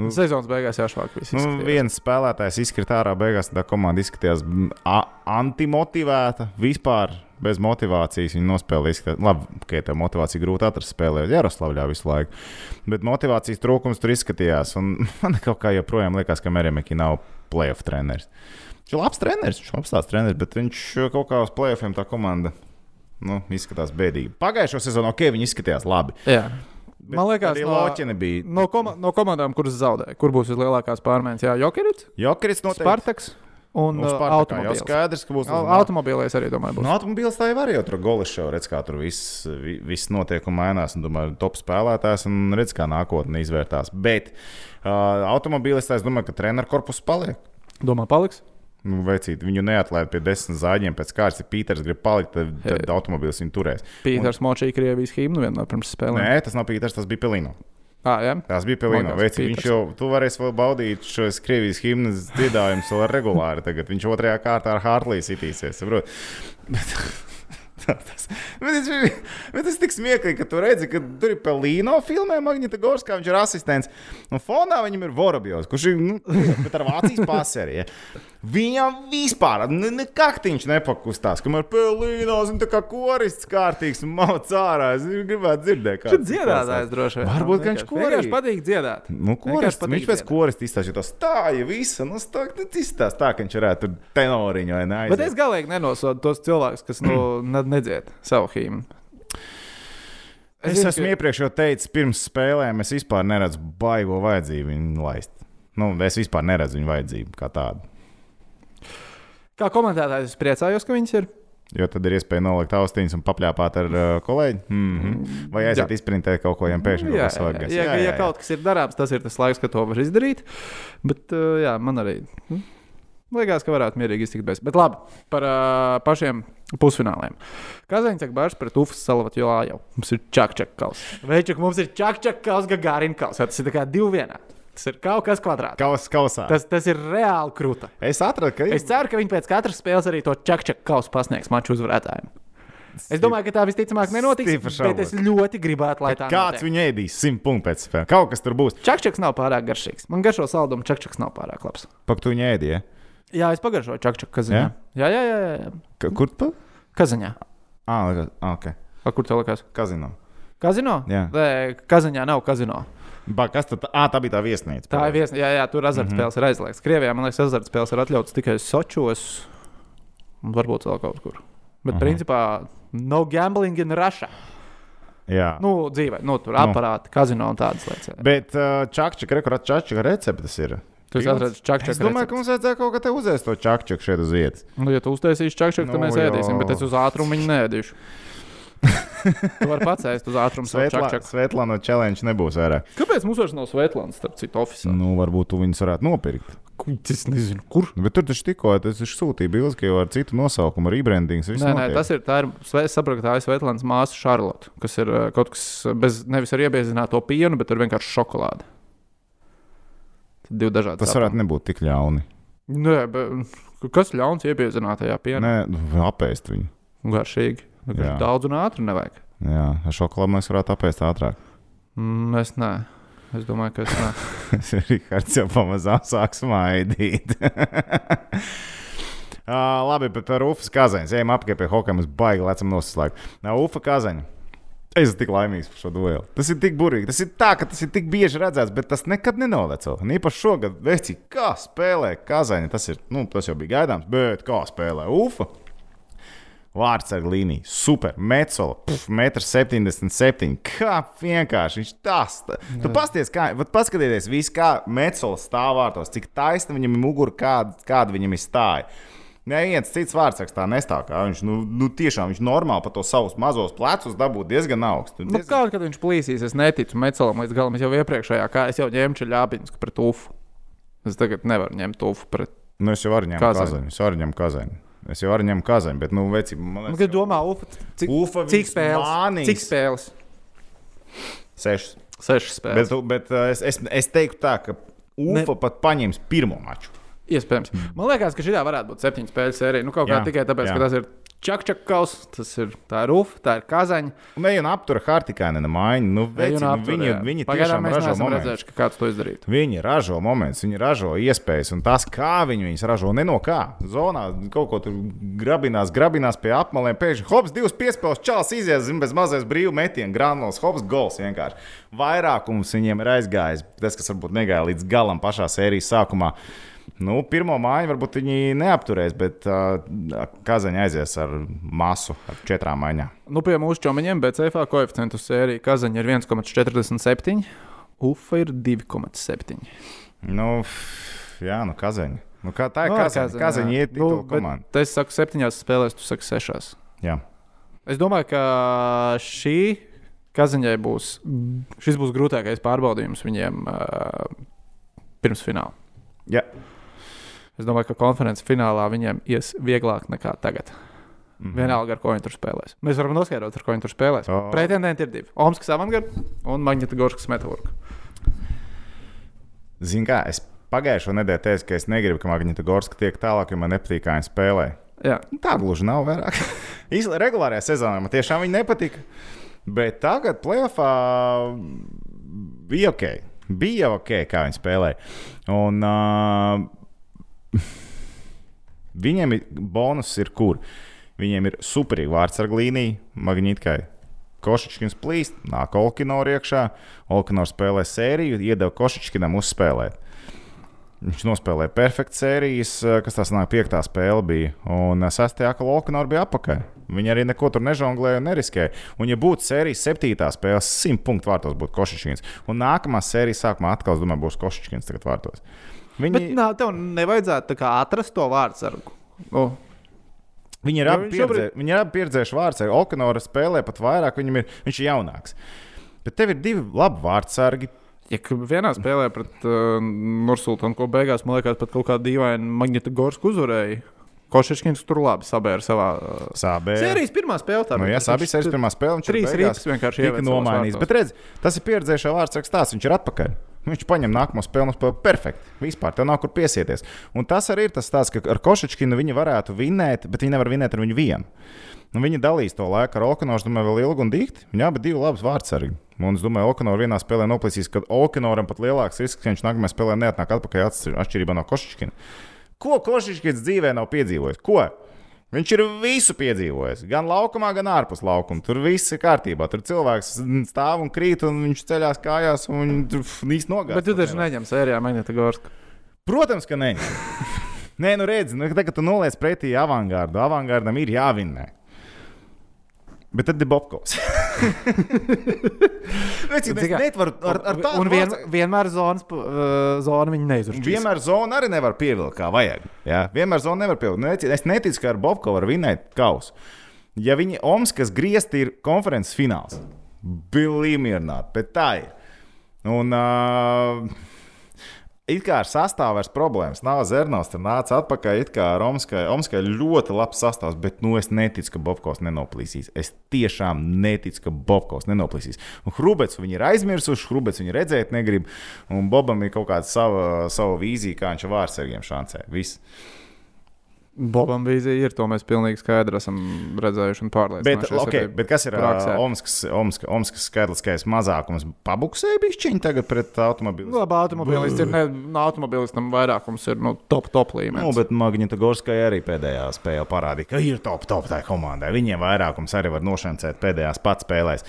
Speaker 3: Nu,
Speaker 1: Sezonas beigās jāšvāk viss.
Speaker 3: Nu,
Speaker 1: izskatījās.
Speaker 3: viens spēlētājs izkrita ārā, beigās tā komanda izskatījās mm, a- antimotivēta. Vispār bez motivācijas viņa nospēlēja. izskatījās- Labi, ka tā motivācija grūti atrast spēlē, Jaroslavļā visu laiku. Bet motivācijas trūkums tur izskatījās. Un (laughs) man kaut kā joprojām liekas, ka Merimekī nav playoff treneris. Viņš ir labs treneris, viņš ir apstāsts treneris, bet viņš eh, kaut kā uz playoffiem tā komanda. Nu, izskatās bēdīgi. Pagājušo sezonu, ok, viņi izskatījās labi.
Speaker 1: Jā. Man liekas,
Speaker 3: arī
Speaker 1: no-
Speaker 3: Loķina bija.
Speaker 1: No, koma no komandām, kuras zaudēja, kur būs vislielākās pārmaiņas? Jā, Jokeris,
Speaker 3: Jokeris noteikti.
Speaker 1: Spartaks un
Speaker 3: Uz
Speaker 1: uh,
Speaker 3: Spartakā jau
Speaker 1: automobilis.
Speaker 3: skaidrs, ka būs Nu.
Speaker 1: Au-
Speaker 3: uzmanība.
Speaker 1: Automobīlēs arī domāju, būs.
Speaker 3: No automobīļa tā jau var jau tur golišs, jau redz, kā tur viss, vi- viss notiek un mainās. Un, domāju, top spēlētājs un redz, kā nākotnē izvērtās. Bet uh, automobīļa tā, es domāju, ka treneru korpusu paliek.
Speaker 1: Domā, paliks?
Speaker 3: Nu, veicīt, viņu neatlaid pie desmit zāģiem pēc kārtas. Ja Pīters grib palikt, tad, tad automobīlis viņu turēs.
Speaker 1: Pīters Močija Krievijas himnu vienmēr pirms spēlēm.
Speaker 3: Nē, tas nav Pīters, tas bija Pelīno.
Speaker 1: Ah, jā,
Speaker 3: Tās bija Pelīno.
Speaker 1: Man liekas,
Speaker 3: Veicīt, viņš
Speaker 1: Pīters.
Speaker 3: jau, tu varēsi vēl baudīt šos Krievijas himnas dziedājumus vēl regulāri. Tagad viņš otrajā kārtā ar Hartliju sitīsies. saproti? (laughs) Bet, tas, bet, tas, bija- bet tas tik smieklīgi, ka tu redzi, ka tur ir Pelīno filmē Magnita Gorskā, viņš ir asistents. Un fonā viņam ir Vorobjovs, kurš ir nu, bet ar vācijas pasēri. Ja. Viņam vispār ne, ne kaktiņš nepakustās, kamēr Pelīno zina, tā kā korists kārtīgs un mauc ārā. Es gribētu dzirdēt, kā
Speaker 1: Viņš ir dziedātājs droši vien.
Speaker 3: Varbūt, ka
Speaker 1: Man
Speaker 3: viņš
Speaker 1: vienkārši- vienkārši
Speaker 3: korī.
Speaker 1: patīk dziedāt.
Speaker 3: Nu, koris,
Speaker 1: patīk
Speaker 3: viņš pēc
Speaker 1: dziedāt.
Speaker 3: koris izstāsta, tas tā, ja visa, nu, tā, nu, izstāsta tā, ka viņš varētu tur tenoriņu vai nē.
Speaker 1: Bet es galīgi nenosodu tos cilvēkus, kas nu, (clears throat) ne- nedziedā savu himnu.
Speaker 3: es
Speaker 1: zinu,
Speaker 3: esmu
Speaker 1: ka-
Speaker 3: iepriekš jau teicis, pirms spēlēm es vispār neredzu baigo vajadzību viņu laist. Nu, es vispār neredzu viņu vajadzību kā tādu.
Speaker 1: Kā komentētājs, es priecājos, ka viņas ir.
Speaker 3: Jo tad ir iespēja nolikt austiņas un papļāpāt ar uh, kolēģi. Mm -hmm. Vai aiziet izprintēt kaut ko, ja pēkšņi kaut
Speaker 1: jā,
Speaker 3: kas
Speaker 1: jā,
Speaker 3: svarīgs.
Speaker 1: jā, jā, ja kaut kas ir darāms, tas ir tas laiks, kad to var izdarīt. Bet uh, jā, man arī mm, liekas, ka varētu mierīgi iztikt bez. Bet labi, par uh, pašiem pusfināliem. Kazaņcak bārs pret Ufas Salvatu Jāju. Mums ir čakčak kals. Veičuk, mums ir čakčak kals, gagārin kals. Tas ir tā kā divi vienā. Tas ir kaut kas kvadrāts.
Speaker 3: Kaus, kausā.
Speaker 1: Tas,
Speaker 3: Tas...
Speaker 1: tas ir reāli krūta.
Speaker 3: Es atradu, ka
Speaker 1: Es ceru, ka viņi pēc katras spēles arī to čakčaku kausu pasniegs maču uzvarētājiem. Es domāju, ka tā visticamāk nenotiks.
Speaker 3: Stipri šaubos.
Speaker 1: Bet es ļoti gribētu, lai tā
Speaker 3: kāds viņu ēdīs simt punktu pēc spēles. Kaut kas tur būs.
Speaker 1: Čakčaks nav pārāk garšīgs. Man garšo saldumu čakčaks nav pārāk labs.
Speaker 3: Pak tu viņu ēdīji. Ja?
Speaker 1: Jā, es pagaršoju čakčaku kazaņā. Jā, jā, jā. jā, jā.
Speaker 3: Ka- Kur tu?
Speaker 1: Kazaņā.
Speaker 3: Ah, labi, ok.
Speaker 1: A, kur tev likās?
Speaker 3: Kazino.
Speaker 1: Kazino?
Speaker 3: Jā.
Speaker 1: Nē, kazaņā nav kazino.
Speaker 3: Ba, kas tad? Ah, tā bija tā viesnīca.
Speaker 1: Tā ir viesnīca. Jā, jā, tur azartspēles mm -hmm. ir aizliegts. Krievijā, man liekas, azartspēles ir atļauts tikai Sočos un varbūt vēl kaut kur. Bet, mm -hmm. principā, no gambling in Russia.
Speaker 3: Jā. Nu,
Speaker 1: Nu, dzīvē, nu, tur aparāti, kazino un tādas lietas. jā.
Speaker 3: Bet uh, čakčika, rekurā čakčika recepte ir.
Speaker 1: Tu esi atradis čakčaku
Speaker 3: Es domāju,
Speaker 1: recepti.
Speaker 3: ka mums vajadzēja kaut kā te uzēst to čakčiku šeit uz vietas.
Speaker 1: Nu, ja tu uztaisīsi čakšķi, tad
Speaker 3: Nu,
Speaker 1: nu, mēs
Speaker 3: jā.
Speaker 1: ēdīsim, bet es uz ātrumu viņu
Speaker 3: (laughs)
Speaker 1: nēdīšu. tu vari pats ēst uz ātrumu savu čakšķi.
Speaker 3: Svetlā no challenge nebūs vairāk.
Speaker 1: Kāpēc mums vairs nav Svetlāns, starp citu, oficiāli?
Speaker 3: Nu, varbūt tu viņus varētu nopirkt.
Speaker 1: Es nezinu, kur.
Speaker 3: Bet tur taču tikko tas ir sūtīts bildes, ka jau ar citu nosaukumu, rebrandings.
Speaker 1: Nē, nē, tas ir tā, ir, sve- es saprotu, ka tā ir Svetlāns māsa Charlotte, kas ir eh, kaut kas bez, nevis ar iebiezināto pienu, bet ar vienkārši šokolādi. Tad Divi dažādi.
Speaker 3: tas
Speaker 1: sapumi.
Speaker 3: varētu nebūt tik ļauni.
Speaker 1: Nē, bet kas ļauns iebiezinātajā pienā?
Speaker 3: Nē, nu, apēst viņu.
Speaker 1: Garšīgi.
Speaker 3: Jā.
Speaker 1: Vienkārši Daudz un ātri nevajag.
Speaker 3: Jā, ar šokolādu mēs varētu apēst ātrāk.
Speaker 1: Mm, es nē. Es domāju, ka es nē.
Speaker 3: (laughs) Rihards jau pamazām sāk (laughs) smaidīt. Uh, labi, bet par Ufa Kazaņu. Ejam apkārt pie hokeja, mums baigi lecam noslēgt. Nav Ufa Kazaņa. Es esmu tik laimīgs par šo dueli. Tas ir tik burvīgi. Tas ir tā, ka tas ir tik bieži redzēts, bet tas nekad nenolēca. Un īpaši šogad, veci, kā spēlē Kazaņa. Tas, ir, nu, tas jau bija gaidāms, bet kā spēlē Ufa. Vārds ar līniju, super, mecola, 1,77 m. Kā vienkārši viņš tas. tā- Tu pasties, kā, vat paskatieties, viss kā mecola stāv vārtos, cik taisna viņam ir mugura, kāda, kāda viņam ir stāja. Neviens cits vārdsargs tā nestāv. kā Viņš nu, nu, tiešām viņš normāli pa to savus mazos plecus dabū diezgan augstu.
Speaker 1: Nu,
Speaker 3: Diezgan...
Speaker 1: kaut kad viņš plīsīs, es neticu Mecalam līdz galam. Es jau iepriekšējā kā es jau ņēmu čaļābiņus pret ufu. Es tagad nevaru ņemt ufu pret.
Speaker 3: Nu, es jau varu ņemt
Speaker 1: Kazaņu.
Speaker 3: kazaņu. Es varu ņemt kazaņu. Es jau varu ņemt kazaņu, bet, nu, veci,
Speaker 1: Man
Speaker 3: man liekas,
Speaker 1: liekas, domā, ufa, cik,
Speaker 3: Ufa
Speaker 1: cik
Speaker 3: viņus
Speaker 1: spēles?
Speaker 3: mānīs.
Speaker 1: Cik spēles?
Speaker 3: sešas.
Speaker 1: Sešas spēles.
Speaker 3: Bet, tu- bet uh, es, es, es teiktu tā, ka Ufa ne... pat paņems pirmo maču.
Speaker 1: Iespējams. Man liekas, ka šī varētu būt septiņu spēļu sērija. Nu, kaut kā
Speaker 3: Jā,
Speaker 1: tikai tāpēc,
Speaker 3: jā.
Speaker 1: jā. ka tas ir Čakčakaus, tas ir tā rufa, tā ir kazaņa.
Speaker 3: Un ej Nu, un aptura Hartikainena maiņu. Nu,
Speaker 1: Ej
Speaker 3: veci,
Speaker 1: un
Speaker 3: nu,
Speaker 1: aptur,
Speaker 3: viņi,
Speaker 1: jā.
Speaker 3: viņi
Speaker 1: Pagaidām
Speaker 3: tiešām
Speaker 1: mēs
Speaker 3: ražo
Speaker 1: neesam
Speaker 3: momentus.
Speaker 1: redzējuši, ka kāds to izdarītu.
Speaker 3: Viņi ražo momentus, viņi ražo iespējas, un tas, kā viņi viņus ražo, ne no kā. Zonā kaut ko tur grabinās, grabinās pie apmaliem. Pēkšņi hops, divas piespēles, čels izies zin, bez mazais brīvā metiena, granulas, hops, gols vienkārši. Vairākums viņiem ir aizgājis, tas, kas varbūt negāja līdz galam pašā sērijas sākumā. Nu, pirmo māju varbūt viņi neapturēs, bet uh, Kazaņa aizies ar masu, ar četrām maiņām.
Speaker 1: Nu, pie mūsu čomiņiem BCF koeficientu sērija Kazaņa ir 1,47. Ufa ir 2,7.
Speaker 3: Nu, f- jā, nu Kazaņa. Nu, kā tā ir
Speaker 1: Nu, ar
Speaker 3: Kazaņa?
Speaker 1: Kazaņu,
Speaker 3: Kazaņa
Speaker 1: jā.
Speaker 3: iet nu, to
Speaker 1: bet
Speaker 3: komandu.
Speaker 1: Es saku, septiņās spēlēs, tu saki, sešās.
Speaker 3: Jā.
Speaker 1: Es domāju, ka šī kazaņai būs, šis būs grūtākais pārbaudījums viņiem uh, pirms fināla.
Speaker 3: Jā.
Speaker 1: Es domāju, ka konferences finālā viņiem ies vieglāk nekā tagad.
Speaker 3: Mhm.
Speaker 1: Mm. Vienalga, ar ko viņi tur spēlēs. Mēs varam noskaidrot, ar ko viņi tur spēlēs. Oh.
Speaker 3: O.
Speaker 1: Pretendenti ir divi. Omskas avangarda un Magnitogorska metālurga.
Speaker 3: Zini, kā es pagājušo nedēļu teicu, ka es negribu, ka Magnita Gorska tiek tālāk, jo man nepatīk, kā viņa spēlē.
Speaker 1: Jā,
Speaker 3: Nu, Tā gluži nav vairāk. (laughs) Īsla- Regulārajā sezonā man tiešām viņa nepatika. Bet tagad plēfā bija ok. Bija ok, kā viņa spēlēja. Un, uh, viņiem ir bonus, ir kur? Viņiem ir superīga vārdsarga līnija, magnitkai. Košičkins plīst, nāk Olkino iekšā. Olkino spēlē sēriju, iedeva Košičkinam uzspēlēt. Viņš nospēlēja perfektu sērijas, eh, kas tas nāk, piektā spēle bija. Un eh, sestajā aklā Okanora bija apakaļ. Viņa arī neko tur nežonglēja un neriskēja. Un, ja būtu sērijas septītā spēle, simt punktu vārtos būtu Košičkins. Un nākamā sērijas sākumā atkal, es domāju, būs Košičkins tagad vārtos. Viņi,
Speaker 1: bet nu, nā, tev nevajadzētu tā kā atrast to vārdsargu. Nu,
Speaker 3: Viņi ir
Speaker 1: Nu,
Speaker 3: abi
Speaker 1: viņš
Speaker 3: pieredzē, viņi ir abi pieredzējuši vārds. Okanora spēlē pat vairāk, viņam ir, viņš ir jaunāks. Bet tev ir divi labi vārdsargi.
Speaker 1: Ja k- vienā spēlē pret uh, Nursultānu, ko beigās man liekas, pat kaut kāda dīvaina magnēta Gorska uzvarēja, Košiškins tur labi sabēra savā uh,
Speaker 3: Sābēji.
Speaker 1: sērijas pirmā spēlē. tā
Speaker 3: Nu,
Speaker 1: bija.
Speaker 3: jā, abi
Speaker 1: Viņš
Speaker 3: ir
Speaker 1: tur-
Speaker 3: pirmā spēle. Viņš
Speaker 1: trīs rītas vienkārši
Speaker 3: tika
Speaker 1: ieveda savos
Speaker 3: nomainīts.
Speaker 1: vārtos.
Speaker 3: Bet redz, tas ir pieredzējušā vārds stāsts. Viņš ir atpakaļ. Viņš paņem nākamo spēli un spēlē perfekti. Vispār tev nav kur piesieties. Un tas arī ir tas stāsts, ka ar Košičkinu viņi varētu vinēt, bet viņi nevar vinēt ar viņu vienu. Nu, viņi dalīs to laiku ar Okanoru, domāju, vēl ilgi un dikti. Viņam abi bija labi vārdsargi. Un es domāju, Okanora vienā spēlē noplīsīs, ka Okanoram pat lielāks risks, ka viņš nākamajā spēlē neatnāk atpakaļ atšķir- atšķirībā no Košičkina. Ko Košičkins dzīvē nav piedzīvojis? Ko? Viņš ir visu piedzīvojis. Gan laukumā, gan ārpus laukuma. Tur viss ir kārtībā. Tur cilvēks stāv un krīt, un viņš ceļās kājās, un viņš īstenībā nogāzās.
Speaker 1: Bet tu taču neņem sērijā magnēta Gorska.
Speaker 3: Protams, ka nē. Nē, nu redz, nu, tagad tu noliec pretī avangārdu. Avangārdam ir jāvinē. Bet tad ir Bobkovs. (laughs) Redz, cik
Speaker 1: Cik-
Speaker 3: Mēs nevaram ar, ar tādu
Speaker 1: un vien,
Speaker 3: vārdu-
Speaker 1: vienmēr zonas, p- uh, zonu viņi neizrunā.
Speaker 3: Vienmēr zonu arī nevar pievilkt, kā vajag. Jā? Vienmēr zonu nevar pievilkt. Nec- Es neticu, ka ar Bobkovu var vinēt kausu. Ja viņi Omskas griezti ir konferences fināls, bilimierā, bet tā ir. Un, uh, It kā ar sastāvu vairs problēmas nav. Zernovs tur nāca atpakaļ. It kā ar Omskai, Omskai ļoti labs sastāvs, bet nu, es neticu, ka Bobkovs nenoplīsīs. Es tiešām neticu, ka Bobkovs nenoplīsīs. Un Hrubets viņi ir aizmirsuši, Hrubets viņi redzēt negrib. Un Bobam ir kaut kāda sava, sava vīzija, kā viņš ar vārsargiem šancē. Viss.
Speaker 1: Bobam vīzija ir, to mēs pilnīgi skaidri esam redzējuši un
Speaker 3: Bet,
Speaker 1: pārliecinājušies.
Speaker 3: okay,
Speaker 1: arī
Speaker 3: bet kas ir uh,
Speaker 1: praksē.
Speaker 3: ā, Omskas, Omska, Omskas skaitliskais mazākums? Pabuksēja bišķiņi tagad pret
Speaker 1: Nu,
Speaker 3: automobilu.
Speaker 1: Labi, automobilistam ir. ne- Nu, automobilistam vairākums ir nu, top, top līmenis.
Speaker 3: Nu, bet Magnita Gorska arī pēdējā spēlē parādīja, ka ir top, top tā komandai. Viņiem vairākums arī var nošancēt pēdējās pats spēlēs.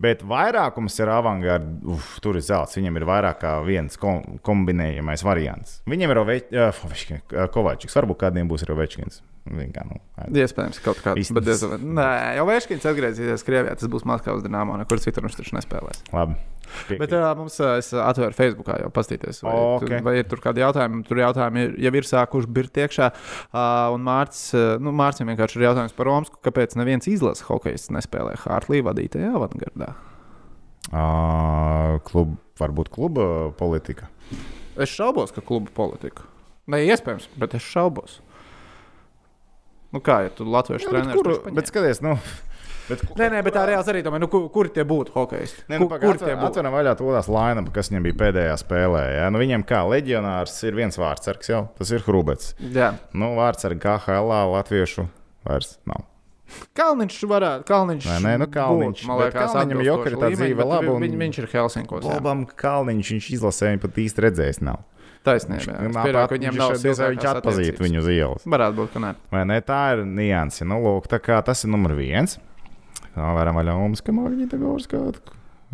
Speaker 3: Bet vairākums ir avangarda, uf, tur ir zelts. Viņam ir vairāk kā viens kom kombinējamais variants. Viņam ir eh, Ovečkins, Kovačiks, varbūt kādiem būs arī Ovečkins. Zini kā, nu, ai.
Speaker 1: Iespējams, kaut kāds.
Speaker 3: Īsti.
Speaker 1: Bet diez vai- Nē, jau Vēškins atgriezīsies Krievijā. Tas būs Maskavas dīnāmā, nekur citur viņš taču nespēlēs.
Speaker 3: Labi. Piekrītu.
Speaker 1: Bet uh, mums, uh, es atvēru Facebook, jau paskatīties, vai,
Speaker 3: O,
Speaker 1: okay.
Speaker 3: ok.
Speaker 1: vai ir tur kādi jautājumi. Tur jautājumi ir, jau ir sākuši birkt iekšā. Uh, un Mārcis, uh, nu, Mārcis vienkārši ir jautājums par Romsku, kāpēc neviens izlases hokejs nespēlē Hārtlī vadītajā avangardā.
Speaker 3: Ā, Klub, varbūt kluba politika.
Speaker 1: Es šaubos, ka kluba politika. Nē, iespējams, bet es šaubos. Nu kā, ja tu latviešu
Speaker 3: Jā, bet,
Speaker 1: treniņš
Speaker 3: kur, bet skaties, nu. (laughs) Bet, ku-
Speaker 1: Nē, nē, bet tā reāli arī domāju, nu, kur, kur tie būtu hokejisti?
Speaker 3: Nē, nu,
Speaker 1: Kur-
Speaker 3: pagaid,
Speaker 1: kur tie būtu?
Speaker 3: Atveram vaļā to tās lainam, kas viņam bija pēdējā spēlē. Ja? Nu, viņam kā leģionārs ir viens vārds, jau tas ir Hrubets.
Speaker 1: Jā.
Speaker 3: Nu, vārds ar KHL, Latviešu vairs nav.
Speaker 1: Kalniņš varētu. Kalniņš
Speaker 3: Vai ne? Nu, Kalniņš.
Speaker 1: Būtu, man
Speaker 3: Bet
Speaker 1: liekas,
Speaker 3: Kalniņam
Speaker 1: atbilstoši
Speaker 3: jokeri tā
Speaker 1: līmeņi,
Speaker 3: dzīve
Speaker 1: bet
Speaker 3: laba un-
Speaker 1: Viņ, viņš ir Helsinkos. jā.
Speaker 3: Labam Kalniņš viņš izlasē, viņa pat īsti redzējis nav.
Speaker 1: Taisnība. jā. Es
Speaker 3: Nā,
Speaker 1: pieļauju,
Speaker 3: pat
Speaker 1: ka Viņam
Speaker 3: viņš
Speaker 1: nav
Speaker 3: šeit diez vai viņš
Speaker 1: cilvēkās
Speaker 3: atpazītu
Speaker 1: attiecības.
Speaker 3: viņu uz ielas.
Speaker 1: Varētu būt, ka nē.
Speaker 3: Vai ne? Tā ir nianse. Nu, lūk, tā kā tas ir numur viens. Tā varam vaļā mums, ka Magnita Gorskāta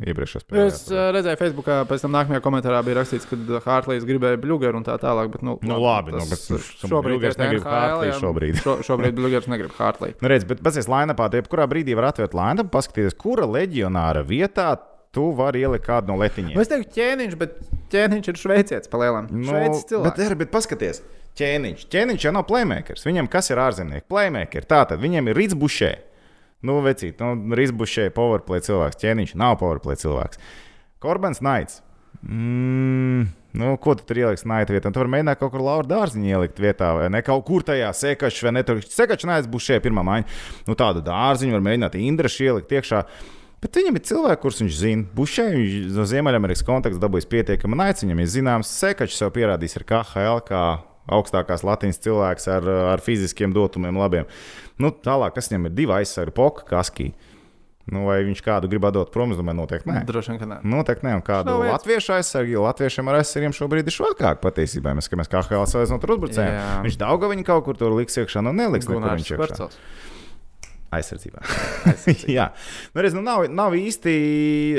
Speaker 3: iepriekšējā spēlē.
Speaker 1: Es uh, redzēju, Facebookā pēc tam nākamajā komentārā bija rakstīts, ka uh, Hartlīs gribēja blugeru un tā tālāk. Bet, nu,
Speaker 3: Nu, labi, nu, bet šobrīd Bluegers
Speaker 1: ir NHL,
Speaker 3: negrib
Speaker 1: jā.
Speaker 3: Hartlī šobrīd.
Speaker 1: Šo, šobrīd Bluegers negrib Hartlī.
Speaker 3: Nu, redz, bet pazies lainapā, tad jebkurā brīdī var atvērt lainapu, paskatīties, kura leģionāra vietā tu vari ielikt kādu no letiņiem.
Speaker 1: Es teiktu, ķēniņš, bet ķēniņš ir šveicietis palielam.
Speaker 3: Nu,
Speaker 1: Šveicis
Speaker 3: bet,
Speaker 1: cilvēks.
Speaker 3: ir, bet paskaties, ķēniņš. Ķēniņš jau nav playmakers. Viņam kas ir ārzemnieks? Playmaker. Tātad viņam ir rīzbušē. Nu, vecīt, nu, rīzbušē, powerplay cilvēks. Ķēniņš nav powerplay cilvēks. Korbans Naits. Mm, nu, ko tu tur ieliksi naita vietā? Nu, Tu vari mēģināt kaut kur Laura dārziņu ielikt vietā, vai ne? Kaut kur tajā sēkačā, vai ne? Tur sēkačā nāc būs šie pirmā maiņa. Nu, tādu dārziņu var mēģināt Indrašu ielikt iekšā. Bet viņam ir cilvēks, kurus viņš zina. Bušē, viņš no Ziemeļamerikas konteksta dabūjis pietiekami naids. Viņam ir zināms, sekačs jau pierādījis ar KHL, kā augstākās latīnas cilvēks ar, ar fiziskiem dotumiem labiem. Nu, tālāk, kas viņam ir divi aizsargi, poka, kaskī. Nu, vai viņš kādu grib dot prom, es domāju, noteikti nē.
Speaker 1: Droši vien, ka nē.
Speaker 3: Noteikti Nu, ne. Un kādu
Speaker 1: Nav vietas.
Speaker 3: latviešu aizsargu, jo latviešiem ar aizsargiem šobrīd ir švakāk patiesībā. Mēs skatāmies, kā HL salīdzinot ar uzbrucējiem.
Speaker 1: Jā.
Speaker 3: Viņš daudz viņa kaut kur tur liks iekšā, nu neliks nekur
Speaker 1: Gunārs
Speaker 3: viņš iekšā.
Speaker 1: Švarcels.
Speaker 3: Aizsardzībā. Jā, nu, redz, nu, nav, nav īsti.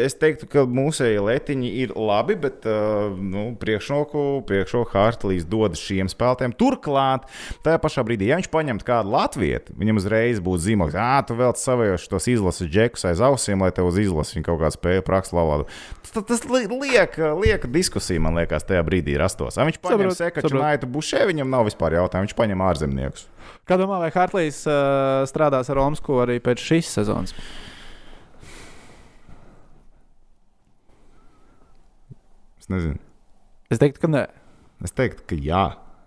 Speaker 3: Es teiktu, ka mūsu letiņi ir labi, bet uh, nu, priekšroku, priekšroku Hartlīs dod šiem spēlētājiem. Turklāt, tajā pašā brīdī, ja viņš paņemtu kādu latviešu, viņam uzreiz būtu zīmogs, ah, tu vēl savējos tos izlases džekus aiz ausīm, lai tev uz izlases viņa kaut kāda spēja praksa lavādu. Tas, tas li- liek, liek diskusija, man liekas, tajā brīdī rastos. Ja viņš paņem
Speaker 1: Saprotu,
Speaker 3: sekaču
Speaker 1: saprotu.
Speaker 3: naitu bušē, viņam nav vispār jautājumu, viņš paņem ārzemniekus.
Speaker 1: Kā domā, vai Hartlīs uh, strādās ar Omsku arī pēc šīs sezonas?
Speaker 3: Es nezinu.
Speaker 1: Es teiktu, ka nē.
Speaker 3: Es teiktu, ka jā.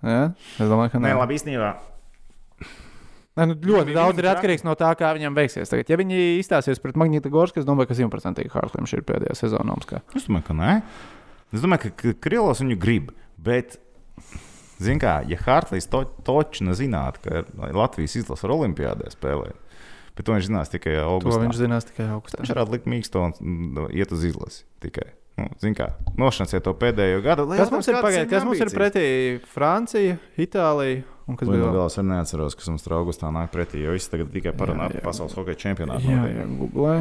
Speaker 1: Ja? Es domāju, ka nē.
Speaker 3: Nē, labi, īstenībā.
Speaker 1: Nē, nu, ļoti
Speaker 3: Viņam ir
Speaker 1: daudz ir
Speaker 3: viens
Speaker 1: atkarīgs no tā, kā viņam veiksies. Tagad. Ja viņi izstāsies pret Magnītu Gorsku, es domāju, ka simtprocentīgi Hartlīns ir pēdējā sezonā. Omskā.
Speaker 3: Es domāju, ka nē. Es domāju, ka K- Krilovs viņu grib. Bet, zināmā kā, ja Hartlīs to točina zinātu, ka Latvijas izlase ar olimpiādē spēlē, bet to viņš zinās tikai
Speaker 1: To
Speaker 3: augustā.
Speaker 1: viņš zinās tikai
Speaker 3: Viņš
Speaker 1: augstāk.
Speaker 3: varētu likt mīksto un mm, iet uz izlasi tikai. Nu, Ziniet, kā nošansiet to pēdējo gadu. lai
Speaker 1: Kas
Speaker 3: redzam,
Speaker 1: mums ir
Speaker 3: kāds
Speaker 1: pagaidā? Kas mums ir
Speaker 3: ambīcijas.
Speaker 1: pretī? Francija, Itālija un kas
Speaker 3: Vai nu
Speaker 1: bija vēl?
Speaker 3: vēl es arī neatceros, kas mums tur augustā nāk pretī, jo viss tagad tikai parunā
Speaker 1: jā.
Speaker 3: par pasaules hokeja čempionātu.
Speaker 1: Jā,
Speaker 3: notiek.
Speaker 1: jā, googlē.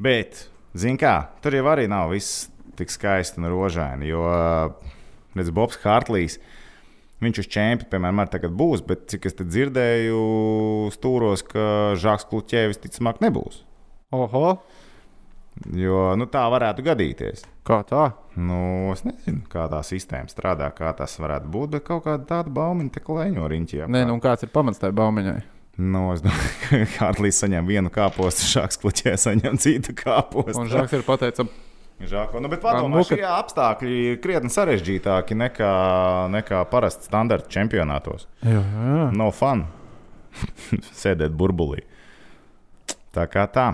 Speaker 3: Bet, zināmā kā, tur jau arī nav viss tik skaisti un rožaini. Jo, redziet, Bobs Hartlīs, viņš uz čempionu, piemēram, arī tagad būs, bet cik es te dzirdēju, stūros, ka Žaks Kluķēvis ticamāk nebūs.
Speaker 1: Oho,
Speaker 3: Jo nu, tā varētu gadīties.
Speaker 1: kā tā?
Speaker 3: Nu, es nezinu, kā tā sistēma strādā, kā tas varētu būt, bet kaut kāda tāda baumiņa te klēņo riņķī. apkārt.
Speaker 1: Nē, nu un kāds ir pamats tajā baumiņai?
Speaker 3: Nu, es domāju, (laughs) ka Hartlīs saņem vienu kāpostu, Žaks Kluķēvis saņem citu kāpostu.
Speaker 1: Un Žaks ir pateicams,
Speaker 3: Žāko, nu, bet padomā,
Speaker 1: nu,
Speaker 3: šie apstākļi ir krietni sarežģītāki nekā, nekā parasti standarta čempionātos.
Speaker 1: jā, jā.
Speaker 3: Nav no fun (laughs) sēdēt burbulī. Tā kā tā.